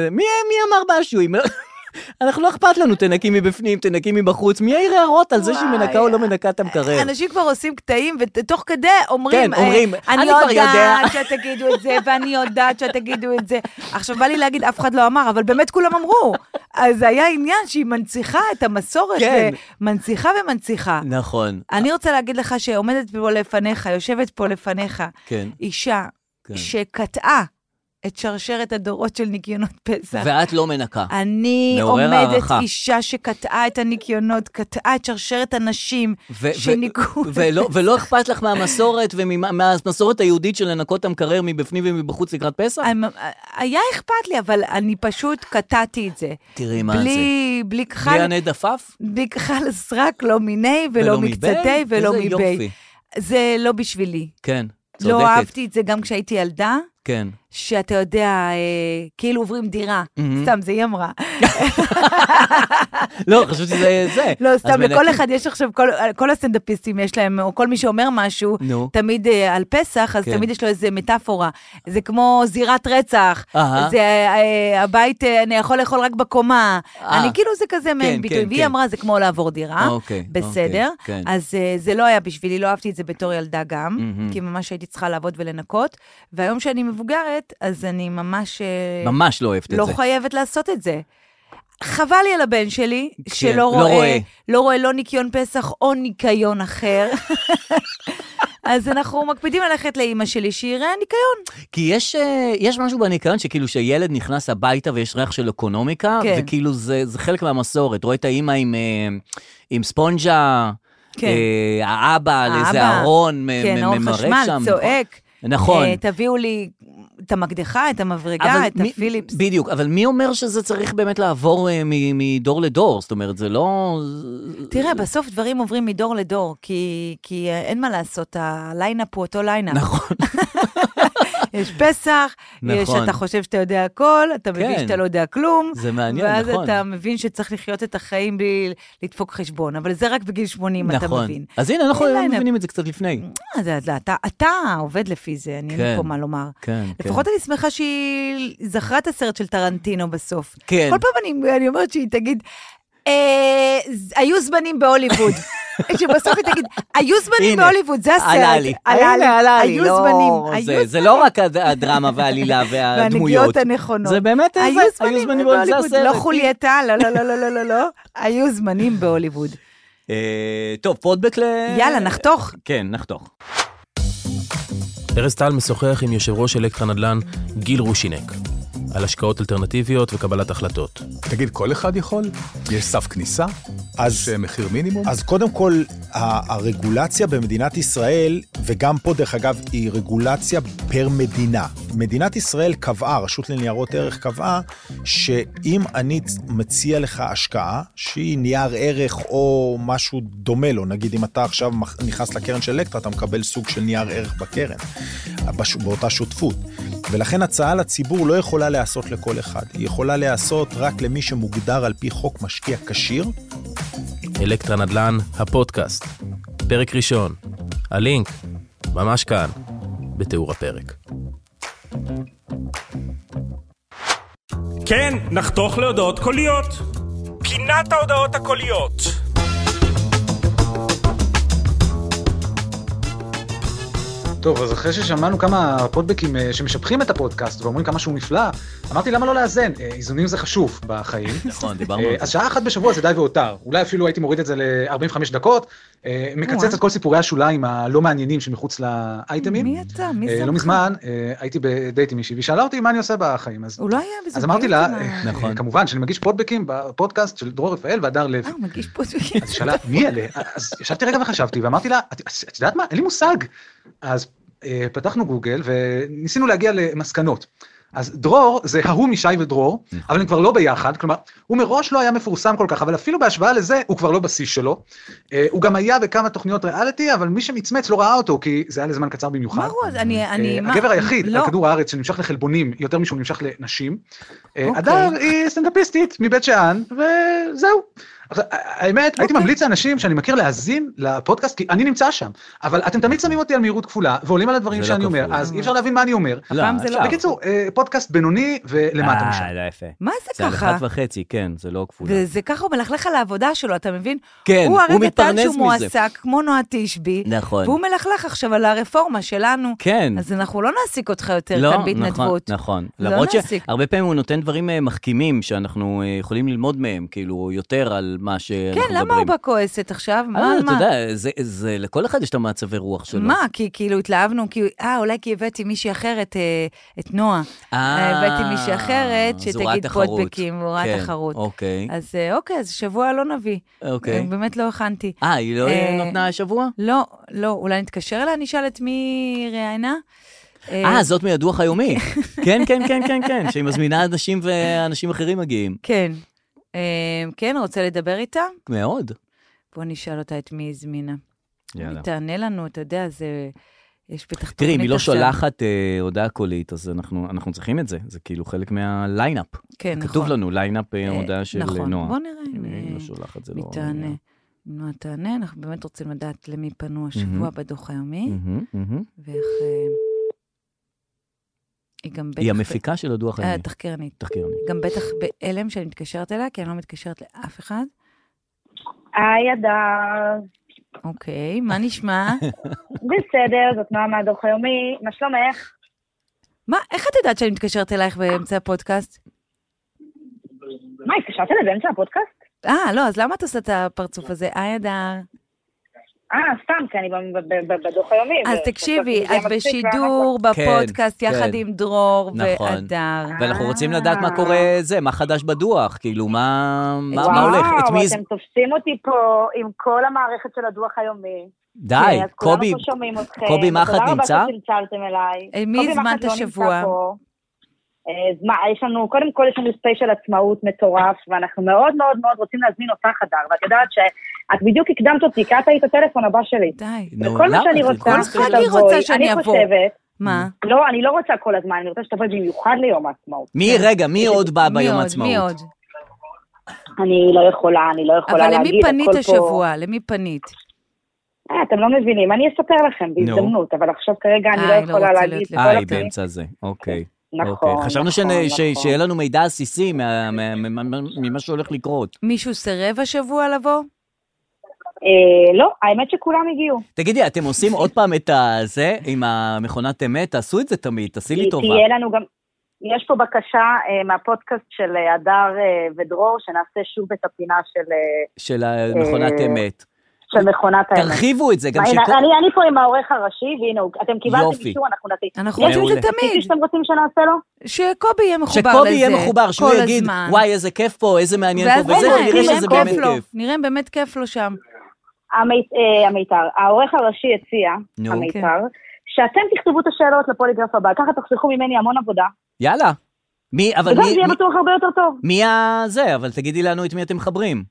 Speaker 3: מי אמר משהו? אם- אנחנו לא אכפת לנו, תנקי מבפנים, תנקי מבחוץ, מי יעיר הערות על זה שהיא
Speaker 4: וואי.
Speaker 3: מנקה או לא מנקה את המקרר?
Speaker 4: אנשים כבר עושים קטעים, ותוך כדי אומרים,
Speaker 3: כן, אומרים,
Speaker 4: "אה, אני
Speaker 3: אני כבר יודע."
Speaker 4: יודעת שתגידו את זה, ואני יודעת שתגידו את זה. עכשיו, בא לי להגיד, אף אחד לא אמר, אבל באמת כולם אמרו. אז זה היה עניין שהיא מנציחה את המסורת,
Speaker 3: כן.
Speaker 4: ומנציחה ומנציחה.
Speaker 3: נכון,
Speaker 4: אני רוצה להגיד לך שעומדת פה לפניך, יושבת פה לפניך,
Speaker 3: כן.
Speaker 4: אישה
Speaker 3: כן.
Speaker 4: שקטעה את שרשרת הדורות של ניקיונות פסח.
Speaker 3: ואת לא מנקה.
Speaker 4: אה, אני
Speaker 3: מעורר
Speaker 4: עומדת
Speaker 3: הערכה.
Speaker 4: אישה שקטעה את הניקיונות, קטעה את שרשרת הנשים
Speaker 3: ו- ו-
Speaker 4: שניקו.
Speaker 3: ולא, ולא אכפת לך מהמסורת ומהמסורת היהודית של לנקות את המקרר מבפנים ומבחוץ לקראת פסח?
Speaker 4: אה, היה אכפת לי, אבל אני פשוט קטעתי את זה.
Speaker 3: תראי מה
Speaker 4: בלי, זה. בלי
Speaker 3: בלי
Speaker 4: כחל,
Speaker 3: הנדפף?
Speaker 4: בלי כחל סרק, לא מיני ולא
Speaker 3: מבית?
Speaker 4: מקצתי ולא
Speaker 3: איזה
Speaker 4: מביי.
Speaker 3: יופי.
Speaker 4: זה לא בשבילי.
Speaker 3: כן, צודקת.
Speaker 4: לא אהבתי את זה גם כשהייתי ילדה.
Speaker 3: כן.
Speaker 4: שאתה יודע, אה, כאילו עוברים דירה.
Speaker 3: מהמם.
Speaker 4: סתם, זה היא אמרה.
Speaker 3: לא, חשבתי שזה זה.
Speaker 4: לא,
Speaker 3: אז
Speaker 4: סתם, לכל
Speaker 3: מנקים.
Speaker 4: אחד יש עכשיו, כל- כל הסטנדאפיסטים יש להם, או כל מי שאומר משהו,
Speaker 3: נו.
Speaker 4: תמיד אה, על פסח, אז
Speaker 3: כן.
Speaker 4: תמיד יש לו איזה מטאפורה. זה כמו זירת רצח,
Speaker 3: אהה.
Speaker 4: זה אה, הבית, אה, אני יכול לאכול רק בקומה.
Speaker 3: אה.
Speaker 4: אני כאילו, זה כזה מעין
Speaker 3: כן,
Speaker 4: ביטוי.
Speaker 3: כן,
Speaker 4: והיא
Speaker 3: כן.
Speaker 4: אמרה, זה כמו לעבור דירה.
Speaker 3: אוקיי,
Speaker 4: בסדר.
Speaker 3: אוקיי, כן.
Speaker 4: אז אה, זה לא היה בשבילי, לא אהבתי את זה בתור ילדה גם,
Speaker 3: מהמם.
Speaker 4: כי ממש הייתי צריכה לעבוד ולנקות. והיום שאני מבוגרת, אז אני ממש... אה,
Speaker 3: ממש לא אוהבת את
Speaker 4: לא
Speaker 3: זה.
Speaker 4: חייבת לעשות את זה. חבל לי על הבן שלי, שלא
Speaker 3: לא
Speaker 4: רואה,
Speaker 3: רואה.
Speaker 4: לא רואה לא ניקיון פסח או ניקיון אחר. אז אנחנו מקפידים ללכת לאימא שלי, שיראה ניקיון.
Speaker 3: כי יש, אה, יש משהו בניקיון שכאילו שילד נכנס הביתה ויש ריח של אקונומיקה,
Speaker 4: כן.
Speaker 3: וכאילו זה, זה חלק מהמסורת. רואה את האימא עם, אה, עם ספונג'ה,
Speaker 4: כן.
Speaker 3: אה, האבא על איזה
Speaker 4: האבא,
Speaker 3: ארון, מ-
Speaker 4: כן,
Speaker 3: מ-
Speaker 4: אור
Speaker 3: ממרק
Speaker 4: חשמל,
Speaker 3: שם.
Speaker 4: צועק.
Speaker 3: נכון.
Speaker 4: אה, תביאו לי את המקדחה, את המברגה,
Speaker 3: אבל
Speaker 4: את
Speaker 3: מי-
Speaker 4: הפיליפס.
Speaker 3: בדיוק, אבל מי אומר שזה צריך באמת לעבור אה, מ- מדור לדור? זאת אומרת, זה לא...
Speaker 4: תראה, בסוף דברים עוברים מדור לדור, כי, כי אה, אין מה לעשות, הליינאפ הוא אותו ליינאפ.
Speaker 3: נכון.
Speaker 4: יש פסח, יש
Speaker 3: נכון.
Speaker 4: אתה חושב שאתה יודע הכל, אתה
Speaker 3: כן.
Speaker 4: מבין שאתה לא יודע כלום.
Speaker 3: זה מעניין,
Speaker 4: ואז
Speaker 3: נכון.
Speaker 4: אתה מבין שצריך לחיות את החיים בלי לדפוק חשבון, אבל זה רק בגיל 80 אתה
Speaker 3: נכון.
Speaker 4: מבין.
Speaker 3: אז הנה, אנחנו
Speaker 4: אין ליינאפ.
Speaker 3: מבינים את זה קצת לפני.
Speaker 4: אה, זה- זה- אתה- אתה עובד לפי זה, אני אין לי
Speaker 3: כן.
Speaker 4: פה מה לומר.
Speaker 3: כן, כן.
Speaker 4: לפחות אני שמחה שהיא זכרה את הסרט של טרנטינו בסוף.
Speaker 3: כן.
Speaker 4: כל פעם אני- אני אומרת שהיא תגיד, "אה, ז- היו זמנים בהוליווד. שבסוף היא תגיד, היו זמנים
Speaker 3: הנה,
Speaker 4: בהוליווד, זה הסרט.
Speaker 3: עלה לי.
Speaker 4: עלה לי,
Speaker 3: הנה, עלה לי.
Speaker 4: היו
Speaker 3: לא,
Speaker 4: זמנים,
Speaker 3: זה-
Speaker 4: היו
Speaker 3: זה לא רק הד- הדרמה והעלילה והדמויות.
Speaker 4: והנגיעות הנכונות.
Speaker 3: זה באמת
Speaker 4: היו
Speaker 3: זה,
Speaker 4: זמנים
Speaker 3: בהוליווד, זה
Speaker 4: בהוליווד,
Speaker 3: הסרט.
Speaker 4: לא חולייתה, לא, לא, לא, לא, לא, לא, לא. היו זמנים בהוליווד.
Speaker 3: אה, טוב, פודבק ל...
Speaker 4: יאללה, נחתוך.
Speaker 3: כן, נחתוך.
Speaker 1: ארז טל משוחח עם יושב ראש אלקטרה נדל"ן גיל רושינק על השקעות אלטרנטיביות וקבלת החלטות.
Speaker 6: תגיד, כל אחד יכול? יש סף כניסה? יש
Speaker 7: אז,
Speaker 6: אה, מחיר מינימום?
Speaker 7: אז קודם כל, ה- הרגולציה במדינת ישראל, וגם פה דרך אגב, היא רגולציה פר מדינה. מדינת ישראל קבעה, הרשות לניירות ערך קבעה, שאם אני צ- מציע לך השקעה, שהיא נייר ערך או משהו דומה לו, נגיד אם אתה עכשיו מח- נכנס לקרן של אלקטרה, אתה מקבל סוג של נייר ערך בקרן, בש- באותה שותפות. ולכן הצעה לציבור לא יכולה להיעשות לכל אחד, היא יכולה להיעשות רק למי שמוגדר על פי חוק משקיע כשיר,
Speaker 1: אלקטרה נדל"ן, הפודקאסט. פרק ראשון. הלינק, ממש כאן, בתיאור הפרק.
Speaker 2: כן, נחתוך להודעות קוליות. פינת ההודעות הקוליות.
Speaker 8: טוב, אז אחרי ששמענו כמה פודבקים אה, שמשבחים את הפודקאסט ואומרים כמה שהוא נפלא, אמרתי למה לא לאזן? אה, איזונים זה חשוב בחיים.
Speaker 3: נכון, דיברנו על
Speaker 8: אה,
Speaker 3: זה.
Speaker 8: אז שעה אחת בשבוע זה די והותר. אולי אפילו הייתי מוריד את זה ל-45 דקות, אה, מקצץ את כל סיפורי השוליים הלא מעניינים שמחוץ לאייטמים.
Speaker 4: מי אתה? מי
Speaker 8: אה,
Speaker 4: שמך?
Speaker 8: לא מזמן אה, הייתי בדייט עם מישהי, והיא שאלה אותי מה אני עושה בחיים. אז-
Speaker 4: הוא לא היה בזוגיות.
Speaker 8: אז אמרתי לה,
Speaker 4: עם ה-
Speaker 8: אה,
Speaker 3: נכון.
Speaker 8: אה, כמובן שאני מגיש פודבקים בפודקאסט של דרור רפאל והדר לוי.
Speaker 4: אה, הוא מגיש פה זוגיות.
Speaker 8: אז היא שאלה, מי אלה? אז ישבתי רגע וחשבתי, ואמרתי לה, את, את יודעת מה? אין לי מושג. אז אה, פתחנו גוגל וניסינו להגיע למסקנות. אז דרור זה ההוא משי ודרור, אבל הם כבר לא ביחד, כלומר, הוא מראש לא היה מפורסם כל כך, אבל אפילו בהשוואה לזה, הוא כבר לא בשיא שלו. אה, הוא גם היה בכמה תוכניות ריאליטי, אבל מי שמצמץ לא ראה אותו, כי זה היה לזמן קצר במיוחד.
Speaker 4: מה הוא? אני, אני,
Speaker 8: אה,
Speaker 4: מה?
Speaker 8: הגבר היחיד
Speaker 4: לא.
Speaker 8: על כדור הארץ שנמשך לחלבונים יותר משהוא נמשך לנשים. אה,
Speaker 4: אוקיי.
Speaker 8: הדר היא סטנדאפיסטית מבית שאן, וזהו. עכשיו, האמת,
Speaker 4: אוקיי.
Speaker 8: הייתי ממליץ לאנשים שאני מכיר להאזין לפודקאסט, כי אני נמצא שם, אבל אתם תמיד שמים אותי על מהירות כפולה, ועולים על הדברים
Speaker 3: זה לא
Speaker 8: שאני אומר,
Speaker 3: כפול.
Speaker 8: אז אי אפשר להבין מה אני אומר.
Speaker 4: הפעם זה לא.
Speaker 3: אפשר.
Speaker 8: בקיצור, אה, פודקאסט בינוני ולמטה משם.
Speaker 3: אה, לא יפה.
Speaker 4: מה זה
Speaker 3: זה על
Speaker 4: ככה?
Speaker 3: אחת וחצי, כן, זה לא כפולה.
Speaker 4: וזה ככה, הוא מלכלך על העבודה שלו, אתה מבין?
Speaker 3: כן,
Speaker 4: הוא הרי
Speaker 3: הוא
Speaker 4: בטען
Speaker 3: מתפרנס
Speaker 4: שהוא
Speaker 3: מזה.
Speaker 4: מועסק, כמו נועה תשבי,
Speaker 3: נכון.
Speaker 4: והוא מלכלך עכשיו על הרפורמה שלנו.
Speaker 3: כן.
Speaker 4: אז אנחנו לא נעסיק אותך יותר
Speaker 3: לא,
Speaker 4: כאן בהתנדבות.
Speaker 3: נכון, נכון.
Speaker 4: לא
Speaker 3: למרות
Speaker 4: להסיק.
Speaker 3: שהרבה פעמים הוא נותן דברים אה, מחכימים שאנחנו אה, יכולים ללמוד מהם, כאילו, יותר על מה שאנחנו
Speaker 4: כן,
Speaker 3: מדברים.
Speaker 4: למה הוא בכועסת עכשיו? מה,
Speaker 3: אה,
Speaker 4: מה?
Speaker 3: אתה יודע, זה- זה, לכל אחד יש את המצבי רוח שלו.
Speaker 4: מה? כי כאילו התלהבנו, כי אה, אולי כי הבאתי מישהי אחרת, אה, את נועה.
Speaker 3: אה,
Speaker 4: הבאתי מישהי אחרת
Speaker 3: אז הוא ראה
Speaker 4: שתגיד
Speaker 3: תחרות.
Speaker 4: פודבקים, הוא ראה
Speaker 3: כן,
Speaker 4: תחרות.
Speaker 3: אוקיי,
Speaker 4: אז אה, אוקיי, אז שבוע לא נביא.
Speaker 3: אוקיי.
Speaker 4: אה, באמת לא הכנתי.
Speaker 3: אה, היא לא
Speaker 4: אה,
Speaker 3: נתנה השבוע?
Speaker 4: לא, לא, אולי נתקשר אליה, נשאל את מי היא ראיינה?
Speaker 3: אה, זאת מהדוח היומי. כן, כן, כן, כן, כן, שהיא מזמינה אנשים ואנשים אחרים מגיעים.
Speaker 4: כן. אה, כן, רוצה לדבר איתה?
Speaker 3: מאוד.
Speaker 4: בוא נשאל אותה את מי היא הזמינה.
Speaker 3: יאללה.
Speaker 4: היא תענה לנו, אתה יודע, זה... יש בטח תוכנית
Speaker 3: תראי, אם היא לא
Speaker 4: עכשיו.
Speaker 3: שולחת אה, הודעה קולית, אז אנחנו אנחנו צריכים את זה. זה כאילו חלק מהליינאפ.
Speaker 4: כן, נכון.
Speaker 3: כתוב לנו ליינאפ אה,
Speaker 4: אה,
Speaker 3: הודעה של אה,
Speaker 4: נכון,
Speaker 3: נועה.
Speaker 4: בוא נראה אם,
Speaker 3: אם היא
Speaker 4: אה,
Speaker 3: לא שולחת, זה
Speaker 4: מי
Speaker 3: לא...
Speaker 4: תענה. אם נועה תענה, אנחנו באמת רוצים לדעת למי פנו השבוע
Speaker 3: מהמם.
Speaker 4: בדוח היומי,
Speaker 3: מהמם, מהמם.
Speaker 4: ואיך... אה, היא גם בטח...
Speaker 3: היא המפיקה של הדוח
Speaker 4: אה,
Speaker 3: היומי.
Speaker 4: תחקירנית.
Speaker 3: תחקירנית.
Speaker 4: גם בטח בהלם שאני מתקשרת אליה, כי אני לא מתקשרת לאף אחד.
Speaker 9: היי, אדר.
Speaker 4: אוקיי, מה נשמע?
Speaker 9: בסדר, זאת נועה מהדוח היומי. מה שלומך?
Speaker 4: מה, איך את יודעת שאני מתקשרת אלייך באמצע הפודקאסט?
Speaker 9: מה, התקשרת אליי באמצע הפודקאסט?
Speaker 4: אה, לא, אז למה את עושה את הפרצוף הזה? היי, אדר.
Speaker 9: אה, סתם, כי אני ב- ב- ב- בדוח היומי.
Speaker 4: אז
Speaker 9: ו-
Speaker 4: תקשיבי,
Speaker 9: חשבתי שזה
Speaker 4: אז
Speaker 9: מצחיק,
Speaker 4: בשידור, בפודקאסט,
Speaker 3: כן,
Speaker 4: יחד
Speaker 3: כן.
Speaker 4: עם דרור
Speaker 3: נכון.
Speaker 4: והדר.
Speaker 9: אה.
Speaker 3: ואנחנו רוצים לדעת מה קורה זה, מה חדש בדוח, כאילו, מה מה-
Speaker 9: וואו,
Speaker 3: מה הולך, את מי זה...
Speaker 9: אתם כן, תופסים אותי פה עם כל המערכת של הדוח היומי.
Speaker 3: די,
Speaker 9: כן, אז כולנו
Speaker 3: קובי,
Speaker 9: פה שומעים אתכם.
Speaker 3: קובי מחט נמצא?
Speaker 9: תודה רבה שצלצלתם אליי.
Speaker 4: אה, מי
Speaker 9: קובי
Speaker 4: הזמנת
Speaker 9: מחט לא
Speaker 4: השבוע?
Speaker 9: נמצא פה. אה, אז מה, יש לנו, קודם כל יש לנו ספיישל עצמאות מטורף, ואנחנו מאוד מאוד מאוד רוצים להזמין אותך, הדר, ואת יודעת שאת בדיוק הקדמת אותי, כי את היית הטלפון הבא שלי.
Speaker 4: די.
Speaker 3: נו,
Speaker 9: וכל מה
Speaker 3: למה?
Speaker 9: שאני
Speaker 3: זה
Speaker 9: רוצה,
Speaker 3: כל
Speaker 9: זה
Speaker 4: אחד היא
Speaker 9: שתבואי.
Speaker 4: רוצה שאני
Speaker 9: אני
Speaker 4: אבוא.
Speaker 9: חושבת,
Speaker 4: מה?
Speaker 9: לא, אני לא רוצה כל הזמן, אני רוצה שתבואי במיוחד ליום העצמאות.
Speaker 3: מי, רגע, מי עוד בא
Speaker 4: כן. אה, מי
Speaker 3: ביום
Speaker 4: עוד?
Speaker 3: עצמאות?
Speaker 4: מי עוד?
Speaker 9: אני לא יכולה, אני לא יכולה
Speaker 4: אבל
Speaker 9: להגיד,
Speaker 4: למי פנית
Speaker 9: הכל פה-
Speaker 4: השבוע? למי פנית?
Speaker 9: אה, אתם לא מבינים, אני אספר לכם בהזדמנות, אבל עכשיו כרגע אני
Speaker 4: אה,
Speaker 9: לא
Speaker 4: היא לא
Speaker 9: יכולה
Speaker 4: רוצה
Speaker 9: להגיד.
Speaker 4: להיות
Speaker 9: לכל
Speaker 3: אה, היא
Speaker 9: הפנים.
Speaker 3: באמצע זה, אוקיי.
Speaker 9: נכון,
Speaker 3: אוקיי. חשבנו שנ-
Speaker 9: נכון,
Speaker 3: ש-
Speaker 9: נכון.
Speaker 3: שיהיה לנו מידע עסיסי מה- מה- מה- מה- ממה שהולך לקרות.
Speaker 4: מישהו סירב השבוע לבוא?
Speaker 9: אה, לא, האמת שכולם הגיעו.
Speaker 3: תגידי, אתם עושים עוד פעם את הזה עם המכונת אמת? תעשו את זה תמיד, תעשי לי טובה.
Speaker 9: תהיה לנו גם... יש פה בקשה אה, מהפודקאסט של אה, הדר אה, ודרור, שנעשה שוב את הפינה של, אה,
Speaker 3: של המכונת
Speaker 9: אה,
Speaker 3: אמת.
Speaker 9: של מכונת האמת.
Speaker 3: תרחיבו את זה, גם
Speaker 9: מה, הנה,
Speaker 3: שכל...
Speaker 9: אני, אני פה עם העורך הראשי, והנה הוא, אתם קיבלתם
Speaker 3: יופי.
Speaker 9: אישור, אנחנו נעשה.
Speaker 4: אנחנו
Speaker 9: יש
Speaker 4: רוצים את זה
Speaker 3: מעולה.
Speaker 9: מישהו
Speaker 4: תמיד.
Speaker 9: שאתם רוצים שנעשה לו?
Speaker 4: שקובי יהיה מחובר לזה.
Speaker 3: שקובי יהיה מחובר, שהוא
Speaker 4: כל
Speaker 3: יגיד,
Speaker 4: הזמן.
Speaker 3: וואי, איזה כיף פה, איזה מעניין
Speaker 4: ואז
Speaker 3: פה, וזה,
Speaker 4: נראה,
Speaker 3: נראה
Speaker 4: נראה
Speaker 3: שזה
Speaker 4: אם
Speaker 3: באמת
Speaker 4: כיף לו,
Speaker 3: כיף.
Speaker 4: נראה אם באמת כיף לו שם.
Speaker 9: המית- אה, המיתר, העורך הראשי הציע,
Speaker 3: נו.
Speaker 9: המיתר, שאתם תכתבו את השאלות לפוליגרף הבא, ככה תחסכו ממני המון עבודה,
Speaker 3: יאללה. מי, אבל
Speaker 9: וגם
Speaker 3: מי,
Speaker 9: זה יהיה
Speaker 3: מי-
Speaker 9: בטוח הרבה יותר טוב.
Speaker 3: מי הזה? אבל תגידי לנו את מי אתם מחברים.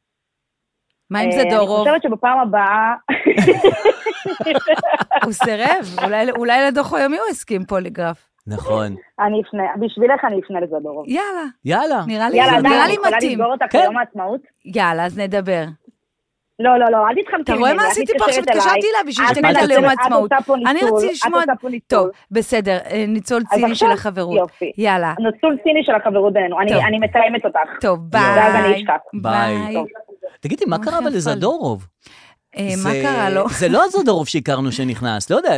Speaker 4: מה אם זה
Speaker 9: אה,
Speaker 4: דורוב?
Speaker 9: אני חושבת שבפעם הבאה,
Speaker 4: הוא סירב, אולי- אולי לדוח היומי הוא הסכים פוליגרף.
Speaker 3: נכון.
Speaker 9: אני אפנה, בשבילך אני אפנה לזה דורוב.
Speaker 4: יאללה,
Speaker 3: יאללה.
Speaker 4: נראה לי
Speaker 9: יאללה,
Speaker 3: זה
Speaker 9: עדיין
Speaker 4: נראה לי
Speaker 9: אני יכולה
Speaker 4: מתאים.
Speaker 9: לסגור אותך
Speaker 3: כן.
Speaker 9: ליום העצמאות?
Speaker 4: יאללה, אז נדבר.
Speaker 9: לא, לא, לא, אל תתחמקי ממני,
Speaker 4: אתה רואה מה עשיתי פה עכשיו? התקשרתי אליה בשביל
Speaker 9: את
Speaker 4: שתגיד על
Speaker 3: מתקשרת-
Speaker 4: יום
Speaker 9: את
Speaker 4: העצמאות.
Speaker 9: עושה פה
Speaker 4: אני
Speaker 9: ניצול,
Speaker 4: רציתי
Speaker 9: את
Speaker 4: לשמוע...
Speaker 9: עושה פה ניצול.
Speaker 4: טוב, בסדר, אה, ניצול
Speaker 9: אז
Speaker 4: ציני של
Speaker 9: עכשיו,
Speaker 4: החברות.
Speaker 9: יופי.
Speaker 4: יאללה,
Speaker 9: נוצול ציני של החברות בינינו, אני
Speaker 4: טוב.
Speaker 9: אני מתאמת אותך.
Speaker 4: טוב,
Speaker 9: ואז אני
Speaker 4: ביי.
Speaker 9: אשכח.
Speaker 3: ביי.
Speaker 9: טוב.
Speaker 3: תגידי, מה
Speaker 4: מה
Speaker 3: קרה
Speaker 4: נפל?
Speaker 3: בלזדורוב?
Speaker 4: אה, מה
Speaker 3: זה-
Speaker 4: קרה לו?
Speaker 3: זה לא הזדורוב שהכרנו שנכנס, לא יודע,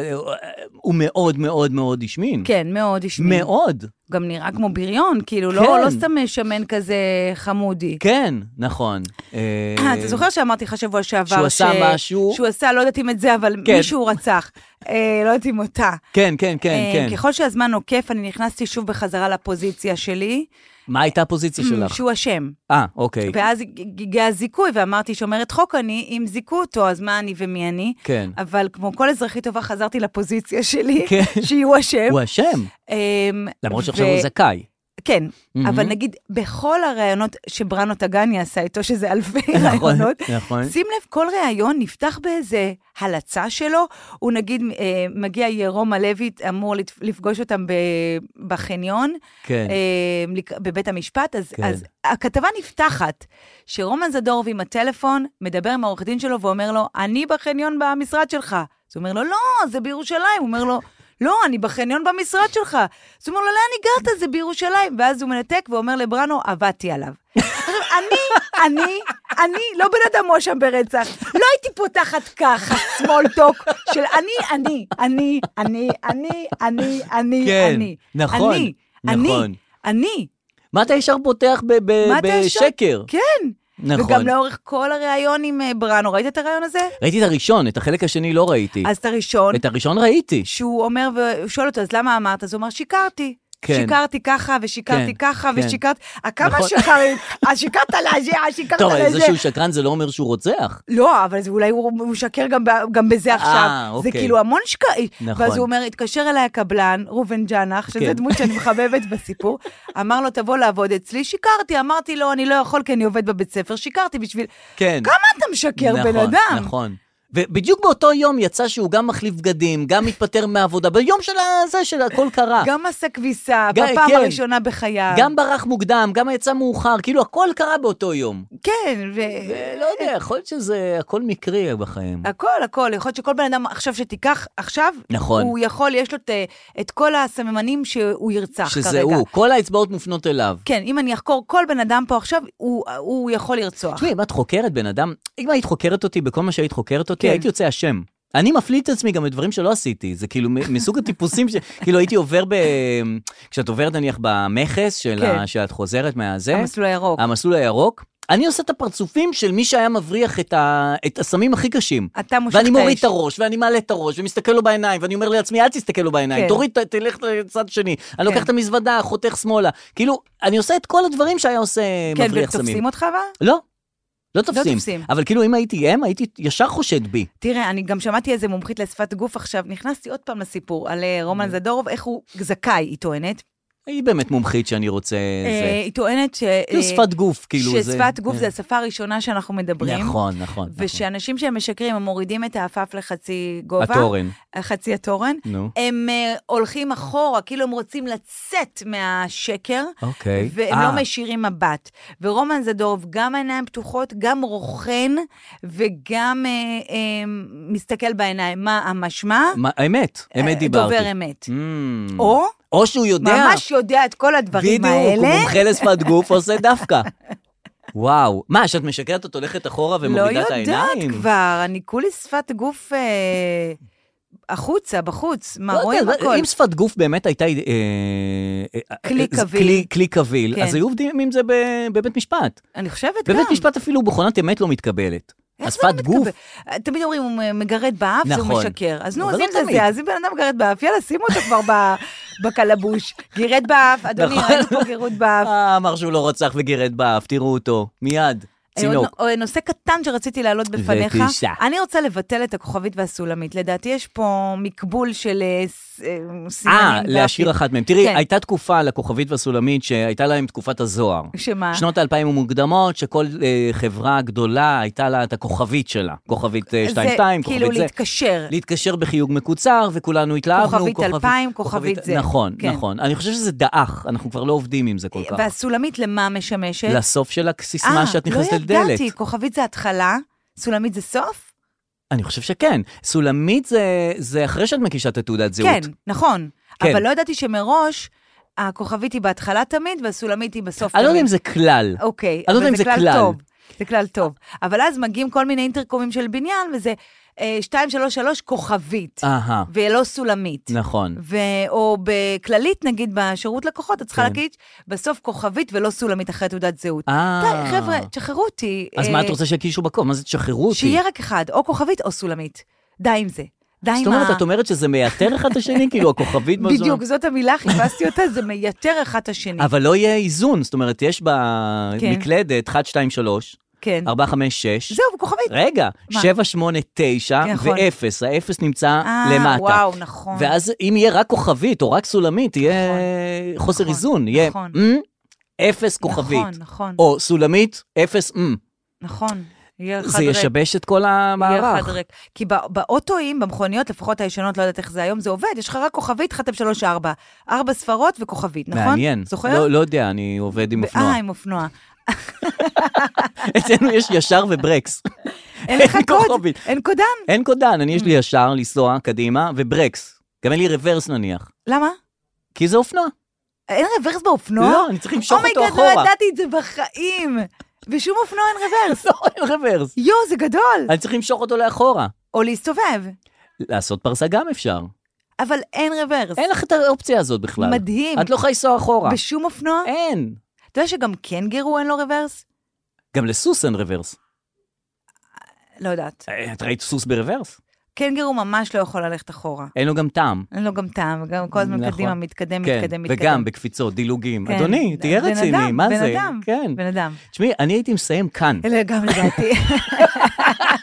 Speaker 3: הוא מאוד מאוד מאוד השמין.
Speaker 4: כן, מאוד השמיע.
Speaker 3: מאוד.
Speaker 4: גם נראה כמו בריון, כאילו, לא
Speaker 3: כן.
Speaker 4: לא סתם שמן כזה חמודי.
Speaker 3: כן, נכון. אה,
Speaker 4: אה, אתה זוכר שאמרתי לך שבוע שעבר
Speaker 3: שהוא עשה משהו?
Speaker 4: שהוא עשה, לא יודעת אם את זה, אבל
Speaker 3: כן.
Speaker 4: מישהו רצח. אה, לא יודעת אם אותה.
Speaker 3: כן, כן, כן,
Speaker 4: אה,
Speaker 3: כן.
Speaker 4: ככל שהזמן עוקף, אני נכנסתי שוב בחזרה לפוזיציה שלי,
Speaker 3: מה הייתה הפוזיציה שלך?
Speaker 4: שהוא אשם.
Speaker 3: אה, אוקיי.
Speaker 4: ואז הג- הגיע הזיכוי, ואמרתי, שומרת חוק אני, אם זיכו אותו, אז מה אני ומי אני?
Speaker 3: כן.
Speaker 4: אבל כמו כל אזרחית טובה, חזרתי לפוזיציה שלי,
Speaker 3: כן.
Speaker 4: שיהיו אשם.
Speaker 3: הוא אשם,
Speaker 4: אמ,
Speaker 3: למרות שעכשיו
Speaker 4: ו-
Speaker 3: הוא זכאי.
Speaker 4: כן,
Speaker 3: מהמם.
Speaker 4: אבל נגיד, בכל הראיונות שבראנו טגני עשה איתו, שזה אלפי ראיונות,
Speaker 3: נכון.
Speaker 4: שים לב, כל ראיון נפתח באיזה הלצה שלו. הוא נגיד, אה, מגיע ירום הלוי, אמור לת- לפגוש אותם ב- בחניון,
Speaker 3: כן.
Speaker 4: אה, לק- בבית המשפט, אז,
Speaker 3: כן.
Speaker 4: אז הכתבה נפתחת, שרומן זדורוב עם הטלפון מדבר עם העורך דין שלו ואומר לו, אני בחניון במשרד שלך. אז הוא אומר לו, לא, זה בירושלים. הוא אומר לו, לא, אני בחניון במשרד שלך. אז הוא אומר לו, לאן הגעת? זה בירושלים. ואז הוא מנתק ואומר לברנו, עבדתי עליו. עכשיו, אני, אני, אני לא בן אדם מואשם ברצח. לא הייתי פותחת ככה small talk של אני, אני, אני, אני, אני, אני, אני,
Speaker 3: כן,
Speaker 4: אני.
Speaker 3: נכון,
Speaker 4: אני, אני,
Speaker 3: נכון.
Speaker 4: אני.
Speaker 3: מה אתה ישר פותח ב- ב-
Speaker 4: מה אתה ישר-
Speaker 3: בשקר?
Speaker 4: כן.
Speaker 3: נכון.
Speaker 4: וגם לאורך כל הריאיון עם אה, בראנו, ראית את הריאיון הזה?
Speaker 3: ראיתי את הראשון, את החלק השני לא ראיתי.
Speaker 4: אז את הראשון,
Speaker 3: את הראשון ראיתי.
Speaker 4: שהוא אומר, והוא שואל אותו, אז למה אמרת? אז הוא אומר, שיקרתי.
Speaker 3: כן.
Speaker 4: שיקרתי ככה, ושיקרתי
Speaker 3: כן,
Speaker 4: ככה,
Speaker 3: כן.
Speaker 4: ושיקרתי... אה, כמה
Speaker 3: נכון.
Speaker 4: שקרים? אז שיקרת לזה, אז שיקרת
Speaker 3: טוב, אבל זה
Speaker 4: לזה.
Speaker 3: שהוא שקרן זה לא אומר שהוא רוצח.
Speaker 4: לא, אבל זה אולי הוא הוא משקר גם ב- גם בזה עכשיו. זה
Speaker 3: אוקיי.
Speaker 4: כאילו המון שקרים.
Speaker 3: נכון.
Speaker 4: ואז הוא אומר, התקשר אליי הקבלן, ראובן ג'אנח, שזו
Speaker 3: כן.
Speaker 4: דמות שאני מחבבת בסיפור, אמר לו, תבוא לעבוד אצלי. שיקרתי, אמרתי לו, אני לא יכול כי אני עובד בבית ספר, שיקרתי בשביל...
Speaker 3: כן.
Speaker 4: כמה אתה משקר, בן
Speaker 3: נכון,
Speaker 4: אדם?
Speaker 3: נכון. ובדיוק באותו יום יצא שהוא גם מחליף בגדים, גם מתפטר מהעבודה, ביום של הזה, של הכל קרה.
Speaker 4: גם עשה כביסה,
Speaker 3: גם-
Speaker 4: בפעם
Speaker 3: כן.
Speaker 4: הראשונה בחייו.
Speaker 3: גם ברח מוקדם, גם יצא מאוחר, כאילו הכל קרה באותו יום.
Speaker 4: כן, ו...
Speaker 3: לא יודע, יכול להיות שזה הכל מקרי בחיים.
Speaker 4: הכל, הכל. יכול להיות שכל בן אדם עכשיו שתיקח, עכשיו,
Speaker 3: נכון.
Speaker 4: הוא יכול, יש לו את, את כל הסממנים שהוא ירצח כרגע.
Speaker 3: שזה הוא, כל האצבעות מופנות אליו.
Speaker 4: כן, אם אני אחקור כל בן אדם פה עכשיו, הוא, הוא יכול לרצוח.
Speaker 3: תשמעי, אם את חוקרת בן אדם, אם היית חוקרת אותי בכל מה שהיית חוקרת אותי,
Speaker 4: כן.
Speaker 3: הייתי יוצא אשם. אני מפליל את עצמי גם בדברים שלא עשיתי, זה כאילו מ- מסוג הטיפוסים ש... כאילו הייתי עובר ב... כשאת עוברת נניח במכס, של
Speaker 4: כן.
Speaker 3: ה- שאת חוזרת מהזה,
Speaker 4: המסלול הירוק.
Speaker 3: המסלול הירוק, אני עושה את הפרצופים של מי שהיה מבריח את, ה... את הסמים הכי קשים.
Speaker 4: אתה מושך את האש.
Speaker 3: אה. ואני מוריד את הראש, ואני מעלה את הראש, ומסתכל לו בעיניים, ואני אומר לעצמי, אל תסתכל לו בעיניים,
Speaker 4: כן.
Speaker 3: תוריד, ת- תלך לצד שני. אני
Speaker 4: כן.
Speaker 3: לוקח את המזוודה, חותך שמאלה. כאילו, אני עושה את כל הדברים שהיה עושה
Speaker 4: כן,
Speaker 3: מבריח סמים.
Speaker 4: ותופסים אותך אבל?
Speaker 3: לא, לא תופסים.
Speaker 4: תופסים.
Speaker 3: אבל כאילו, אם הייתי הם, הייתי ישר חושד בי.
Speaker 4: תראה, אני גם שמעתי איזה מומחית לשפת גוף עכשיו, נכנסתי עוד פעם לסיפור על אה, רומן זדורוב, איך הוא זכאי, היא טוענת.
Speaker 3: היא באמת מומחית שאני רוצה...
Speaker 4: אה,
Speaker 3: זה.
Speaker 4: היא טוענת ש...
Speaker 3: כאילו
Speaker 4: אה,
Speaker 3: שפת גוף, כאילו זה...
Speaker 4: ששפת גוף זה השפה הראשונה שאנחנו מדברים.
Speaker 3: נכון, נכון.
Speaker 4: ושאנשים שהם משקרים, הם מורידים את העפעף לחצי
Speaker 3: נכון.
Speaker 4: גובה.
Speaker 3: התורן,
Speaker 4: חצי התורן.
Speaker 3: נו.
Speaker 4: הם אה, הולכים אחורה, כאילו הם רוצים לצאת מהשקר,
Speaker 3: אוקיי.
Speaker 4: והם
Speaker 3: אה.
Speaker 4: לא מישירים מבט. ורומן זדורוב, גם עיניים פתוחות, גם רוכן, וגם אה, אה, מסתכל בעיניים. מה המשמע?
Speaker 3: מה- אמת, אמת
Speaker 4: אה,
Speaker 3: דיברתי.
Speaker 4: דובר אמת.
Speaker 3: Mm.
Speaker 4: או
Speaker 3: או שהוא יודע.
Speaker 4: ממש יודע את כל הדברים
Speaker 3: בדיוק, הוא
Speaker 4: האלה.
Speaker 3: מומחה לשפת גוף עושה דווקא. וואו. מה, שאת משקרת, את הולכת אחורה
Speaker 4: לא
Speaker 3: ומורידה את
Speaker 4: יודעת
Speaker 3: העיניים?
Speaker 4: כבר, אני כולי שפת גוף אה, החוצה, בחוץ. מה,
Speaker 3: לא
Speaker 4: רואים
Speaker 3: יודע,
Speaker 4: הכל?
Speaker 3: אם שפת גוף באמת הייתה אה, אה,
Speaker 4: כלי
Speaker 3: אה,
Speaker 4: קביל.
Speaker 3: כלי- כלי קביל,
Speaker 4: כן.
Speaker 3: אז היו עובדים עם זה ב- בבית משפט.
Speaker 4: אני חושבת גם.
Speaker 3: בבית משפט אפילו בוחנת אמת לא מתקבלת.
Speaker 4: איך זה
Speaker 3: השפת
Speaker 4: לא
Speaker 3: גוף,
Speaker 4: מתקבל? תמיד אומרים, הוא מגרד באף, זה הוא
Speaker 3: נכון.
Speaker 4: משקר. אז נו,
Speaker 3: אבל
Speaker 4: אז
Speaker 3: לא
Speaker 4: אם זה
Speaker 3: תמיד.
Speaker 4: זה, אז אם בן אדם מגרד באף, יאללה, שימו אותו כבר ב- בקלבוש. גירד באף, אדוני,
Speaker 3: נכון.
Speaker 4: ראינו פה גירות באף.
Speaker 3: אה, אמר שהוא לא רצח וגירד באף, תראו אותו, מיד, צינוק.
Speaker 4: אה, עוד לא, נו- אה, נושא קטן שרציתי להעלות בפניך.
Speaker 3: בבקשה.
Speaker 4: אני רוצה לבטל את הכוכבית והסולמית. לדעתי יש פה מקבול של אה, ס- אה, סימנים.
Speaker 3: אה, להשאיר
Speaker 4: גרפיים.
Speaker 3: אחת מהם. תראי,
Speaker 4: כן.
Speaker 3: הייתה תקופה לכוכבית והסולמית שהייתה להם תקופת הזוהר.
Speaker 4: שמה?
Speaker 3: שנות האלפיים המוקדמות, שכל אה, חברה גדולה הייתה לה את הכוכבית שלה. כוכבית אה,
Speaker 4: זה
Speaker 3: 22,
Speaker 4: כאילו
Speaker 3: כוכבית זה.
Speaker 4: להתקשר.
Speaker 3: להתקשר בחיוג מקוצר, וכולנו התלהבנו.
Speaker 4: כוכבית 2000, כוכבית זה.
Speaker 3: נכון,
Speaker 4: כן.
Speaker 3: נכון. אני חושב שזה דעך, אנחנו כבר לא עובדים עם זה כל כך.
Speaker 4: והסולמית למה משמשת?
Speaker 3: לסוף של הסיסמה שאת נכנסת
Speaker 4: כן? אה,
Speaker 3: לדלת.
Speaker 4: לא ידעתי, כוכבית זה התחלה, סולמית זה סוף?
Speaker 3: אני חושב שכן. סולמית זה- זה אחרי שאת מקישה את התעודת זהות.
Speaker 4: כן, נכון.
Speaker 3: כן.
Speaker 4: אבל לא ידעתי שמראש, הכוכבית היא בהתחלה תמיד, והסולמית היא בסוף תמיד.
Speaker 3: אני לא יודע אם זה כלל.
Speaker 4: אוקיי,
Speaker 3: לא
Speaker 4: אבל
Speaker 3: יודע אם זה
Speaker 4: זה כלל
Speaker 3: כלל.
Speaker 4: טוב. זה כלל טוב. אבל אז מגיעים כל מיני אינטרקומים של בניין, וזה אה, 233 כוכבית,
Speaker 3: אהה,
Speaker 4: ולא סולמית.
Speaker 3: נכון.
Speaker 4: ו- או בכללית, נגיד, בשירות לקוחות, את צריכה
Speaker 3: כן.
Speaker 4: להגיד בסוף כוכבית ולא סולמית אחרי תעודת זהות.
Speaker 3: אה.
Speaker 4: די, חבר'ה, תשחררו אותי.
Speaker 3: אז מה
Speaker 4: אה,
Speaker 3: את רוצה שיקישו בקוף? מה זה תשחררו אותי?
Speaker 4: שיהיה רק אחד, או כוכבית או סולמית. די עם זה. די עם
Speaker 3: זאת אומרת, את אומרת שזה מייתר אחד את השני? כאילו, הכוכבית... בזו-
Speaker 4: בדיוק, זאת המילה, חיפשתי אותה, זה מייתר אחד את השני.
Speaker 3: אבל לא יהיה איזון, זאת אומרת, יש במקלדת 1, 2, 3,
Speaker 4: כן.
Speaker 3: 4, 5, 6.
Speaker 4: זהו, וכוכבית.
Speaker 3: רגע,
Speaker 4: מה?
Speaker 3: 7, 8, 9
Speaker 4: נכון.
Speaker 3: ו-0, האפס נמצא
Speaker 4: אה,
Speaker 3: למטה.
Speaker 4: וואו, נכון.
Speaker 3: ואז אם יהיה רק כוכבית או רק סולמית, יהיה חוסר
Speaker 4: נכון,
Speaker 3: איזון, יהיה
Speaker 4: נכון.
Speaker 3: "מ", אפס כוכבית.
Speaker 4: נכון, נכון,
Speaker 3: או סולמית, אפס, "מ".
Speaker 4: נכון. יהיה אחד
Speaker 3: זה
Speaker 4: ריק.
Speaker 3: ישבש את כל
Speaker 4: יהיה אחד
Speaker 3: המערך.
Speaker 4: ריק. כי בא- באוטואים, במכוניות, לפחות הישנות, לא יודעת איך זה היום, זה עובד, יש לך רק כוכבית, 1, 3, 4. ארבע ספרות וכוכבית, נכון?
Speaker 3: מעניין.
Speaker 4: זוכר?
Speaker 3: לא- לא יודע, אני עובד עם אופנוע.
Speaker 4: אה, עם אופנוע.
Speaker 3: אצלנו יש ישר וברקס.
Speaker 4: אין לך קוד? Mm.
Speaker 3: כוכבית.
Speaker 4: אין קודן?
Speaker 3: אין קודן, אני יש לי ישר לנסוע קדימה וברקס. גם אין לי רוורס נניח.
Speaker 4: למה?
Speaker 3: כי זה אופנוע.
Speaker 4: אין רוורס באופנוע?
Speaker 3: לא, אני צריך למשוך אותו
Speaker 4: אומייגד, לא
Speaker 3: אחורה.
Speaker 4: ידעתי את זה בחיים. בשום אופנוע אין רוורס.
Speaker 3: לא, אין רוורס.
Speaker 4: יואו, זה גדול.
Speaker 3: אני צריך למשוך אותו לאחורה.
Speaker 4: או להסתובב.
Speaker 3: לעשות פרסה גם אפשר.
Speaker 4: אבל אין רוורס.
Speaker 3: אין לך את האופציה הזאת בכלל.
Speaker 4: מדהים.
Speaker 3: את לא אה. יכולה לנסוע אחורה.
Speaker 4: בשום אופנוע?
Speaker 3: אין.
Speaker 4: אתה יודע שגם קנגרו אין לו רוורס?
Speaker 3: גם לסוס אין רוורס.
Speaker 4: לא יודעת.
Speaker 3: אה, את ראית סוס ברוורס?
Speaker 4: קנגרו ממש לא יכול ללכת אחורה.
Speaker 3: אין לו גם טעם.
Speaker 4: אין לו גם טעם, וגם כל הזמן
Speaker 3: נכון.
Speaker 4: קדימה, מתקדם,
Speaker 3: כן,
Speaker 4: מתקדם, מתקדם.
Speaker 3: וגם בקפיצות, דילוגים.
Speaker 4: כן.
Speaker 3: אדוני, תהיה
Speaker 4: בן
Speaker 3: רציני,
Speaker 4: אדם,
Speaker 3: מה
Speaker 4: בן
Speaker 3: זה?
Speaker 4: אדם,
Speaker 3: כן.
Speaker 4: בן אדם.
Speaker 3: תשמעי, אני הייתי מסיים כאן.
Speaker 4: אלה גם לדעתי.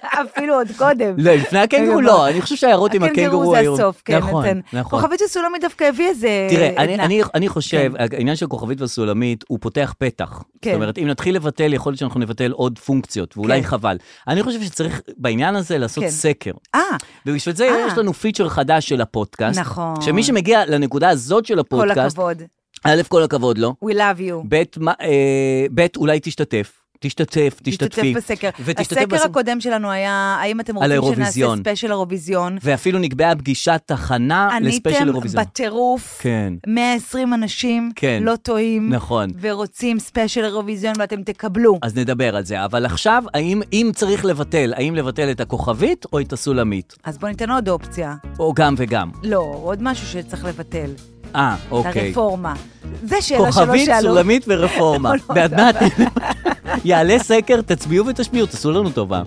Speaker 4: אפילו עוד קודם.
Speaker 3: לא, לפני הקנגורו לא, אני חושב שההערות עם הקנגורו
Speaker 4: אוקיי, זה
Speaker 3: היו...
Speaker 4: הסוף, כן,
Speaker 3: נכון,
Speaker 4: נותן.
Speaker 3: נכון.
Speaker 4: כוכבית הסולמית דווקא הביא איזה...
Speaker 3: תראה, אני,
Speaker 4: עדנה.
Speaker 3: אני, אני חושב, העניין של כוכבית והסולמית, הוא פותח פתח.
Speaker 4: כן.
Speaker 3: זאת אומרת, אם נתחיל לבטל, יכול להיות שאנחנו נבטל עוד פונקציות, ואולי
Speaker 4: כן.
Speaker 3: חבל. אני חושב שצריך בעניין הזה לעשות
Speaker 4: כן.
Speaker 3: סקר.
Speaker 4: אה,
Speaker 3: ובשביל זה
Speaker 4: אה.
Speaker 3: יש לנו פיצ'ר חדש של הפודקאסט.
Speaker 4: נכון.
Speaker 3: שמי שמגיע לנקודה הזאת של
Speaker 4: כל
Speaker 3: הפודקאסט,
Speaker 4: הכבוד.
Speaker 3: א', כל הכבוד לא? לו,
Speaker 4: We love you.
Speaker 3: ב', מה- אה, ב', אולי תשתתף. תשתתף, תשתתפי.
Speaker 4: תשתתף בסקר.
Speaker 3: ותשתתף
Speaker 4: הסקר
Speaker 3: בסקר.
Speaker 4: הקודם שלנו היה, האם אתם
Speaker 3: על
Speaker 4: רוצים שנעשה
Speaker 3: האירוויזיון.
Speaker 4: ספיישל אירוויזיון?
Speaker 3: ואפילו נקבעה פגישת תחנה לספיישל
Speaker 4: עניתם
Speaker 3: אירוויזיון.
Speaker 4: בטירוף,
Speaker 3: כן.
Speaker 4: 120 אנשים,
Speaker 3: כן.
Speaker 4: לא טועים,
Speaker 3: נכון.
Speaker 4: ורוצים ספיישל אירוויזיון ואתם תקבלו.
Speaker 3: אז נדבר על זה. אבל עכשיו, האם אם צריך לבטל, האם לבטל את הכוכבית או את הסולמית?
Speaker 4: אז בואו ניתן עוד אופציה.
Speaker 3: או גם וגם.
Speaker 4: לא, עוד משהו שצריך לבטל.
Speaker 3: אה, אוקיי.
Speaker 4: הרפורמה. זה שאלה שלא
Speaker 3: כוכבית,
Speaker 4: שאלו.
Speaker 3: סולמית ורפורמה.
Speaker 4: לא,
Speaker 3: ועד
Speaker 4: לא,
Speaker 3: מעט יעלה סקר, תצביעו ותשמיעו, תעשו לנו טובה.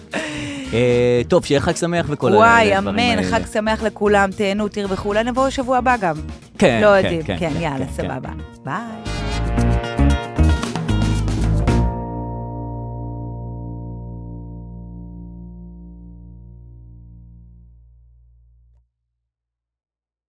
Speaker 3: אה, טוב, שיהיה חג שמח וכל
Speaker 4: וואי,
Speaker 3: הדברים
Speaker 4: אמן,
Speaker 3: האלה.
Speaker 4: חג שמח לכולם, תהנו, תרבחו, אולי נבוא שבוע הבא גם.
Speaker 3: כן,
Speaker 4: לא
Speaker 3: כן,
Speaker 4: יודעים,
Speaker 3: כן,
Speaker 4: כן,
Speaker 3: כן,
Speaker 4: יאללה,
Speaker 3: כן, כן.
Speaker 4: סבבה. ביי.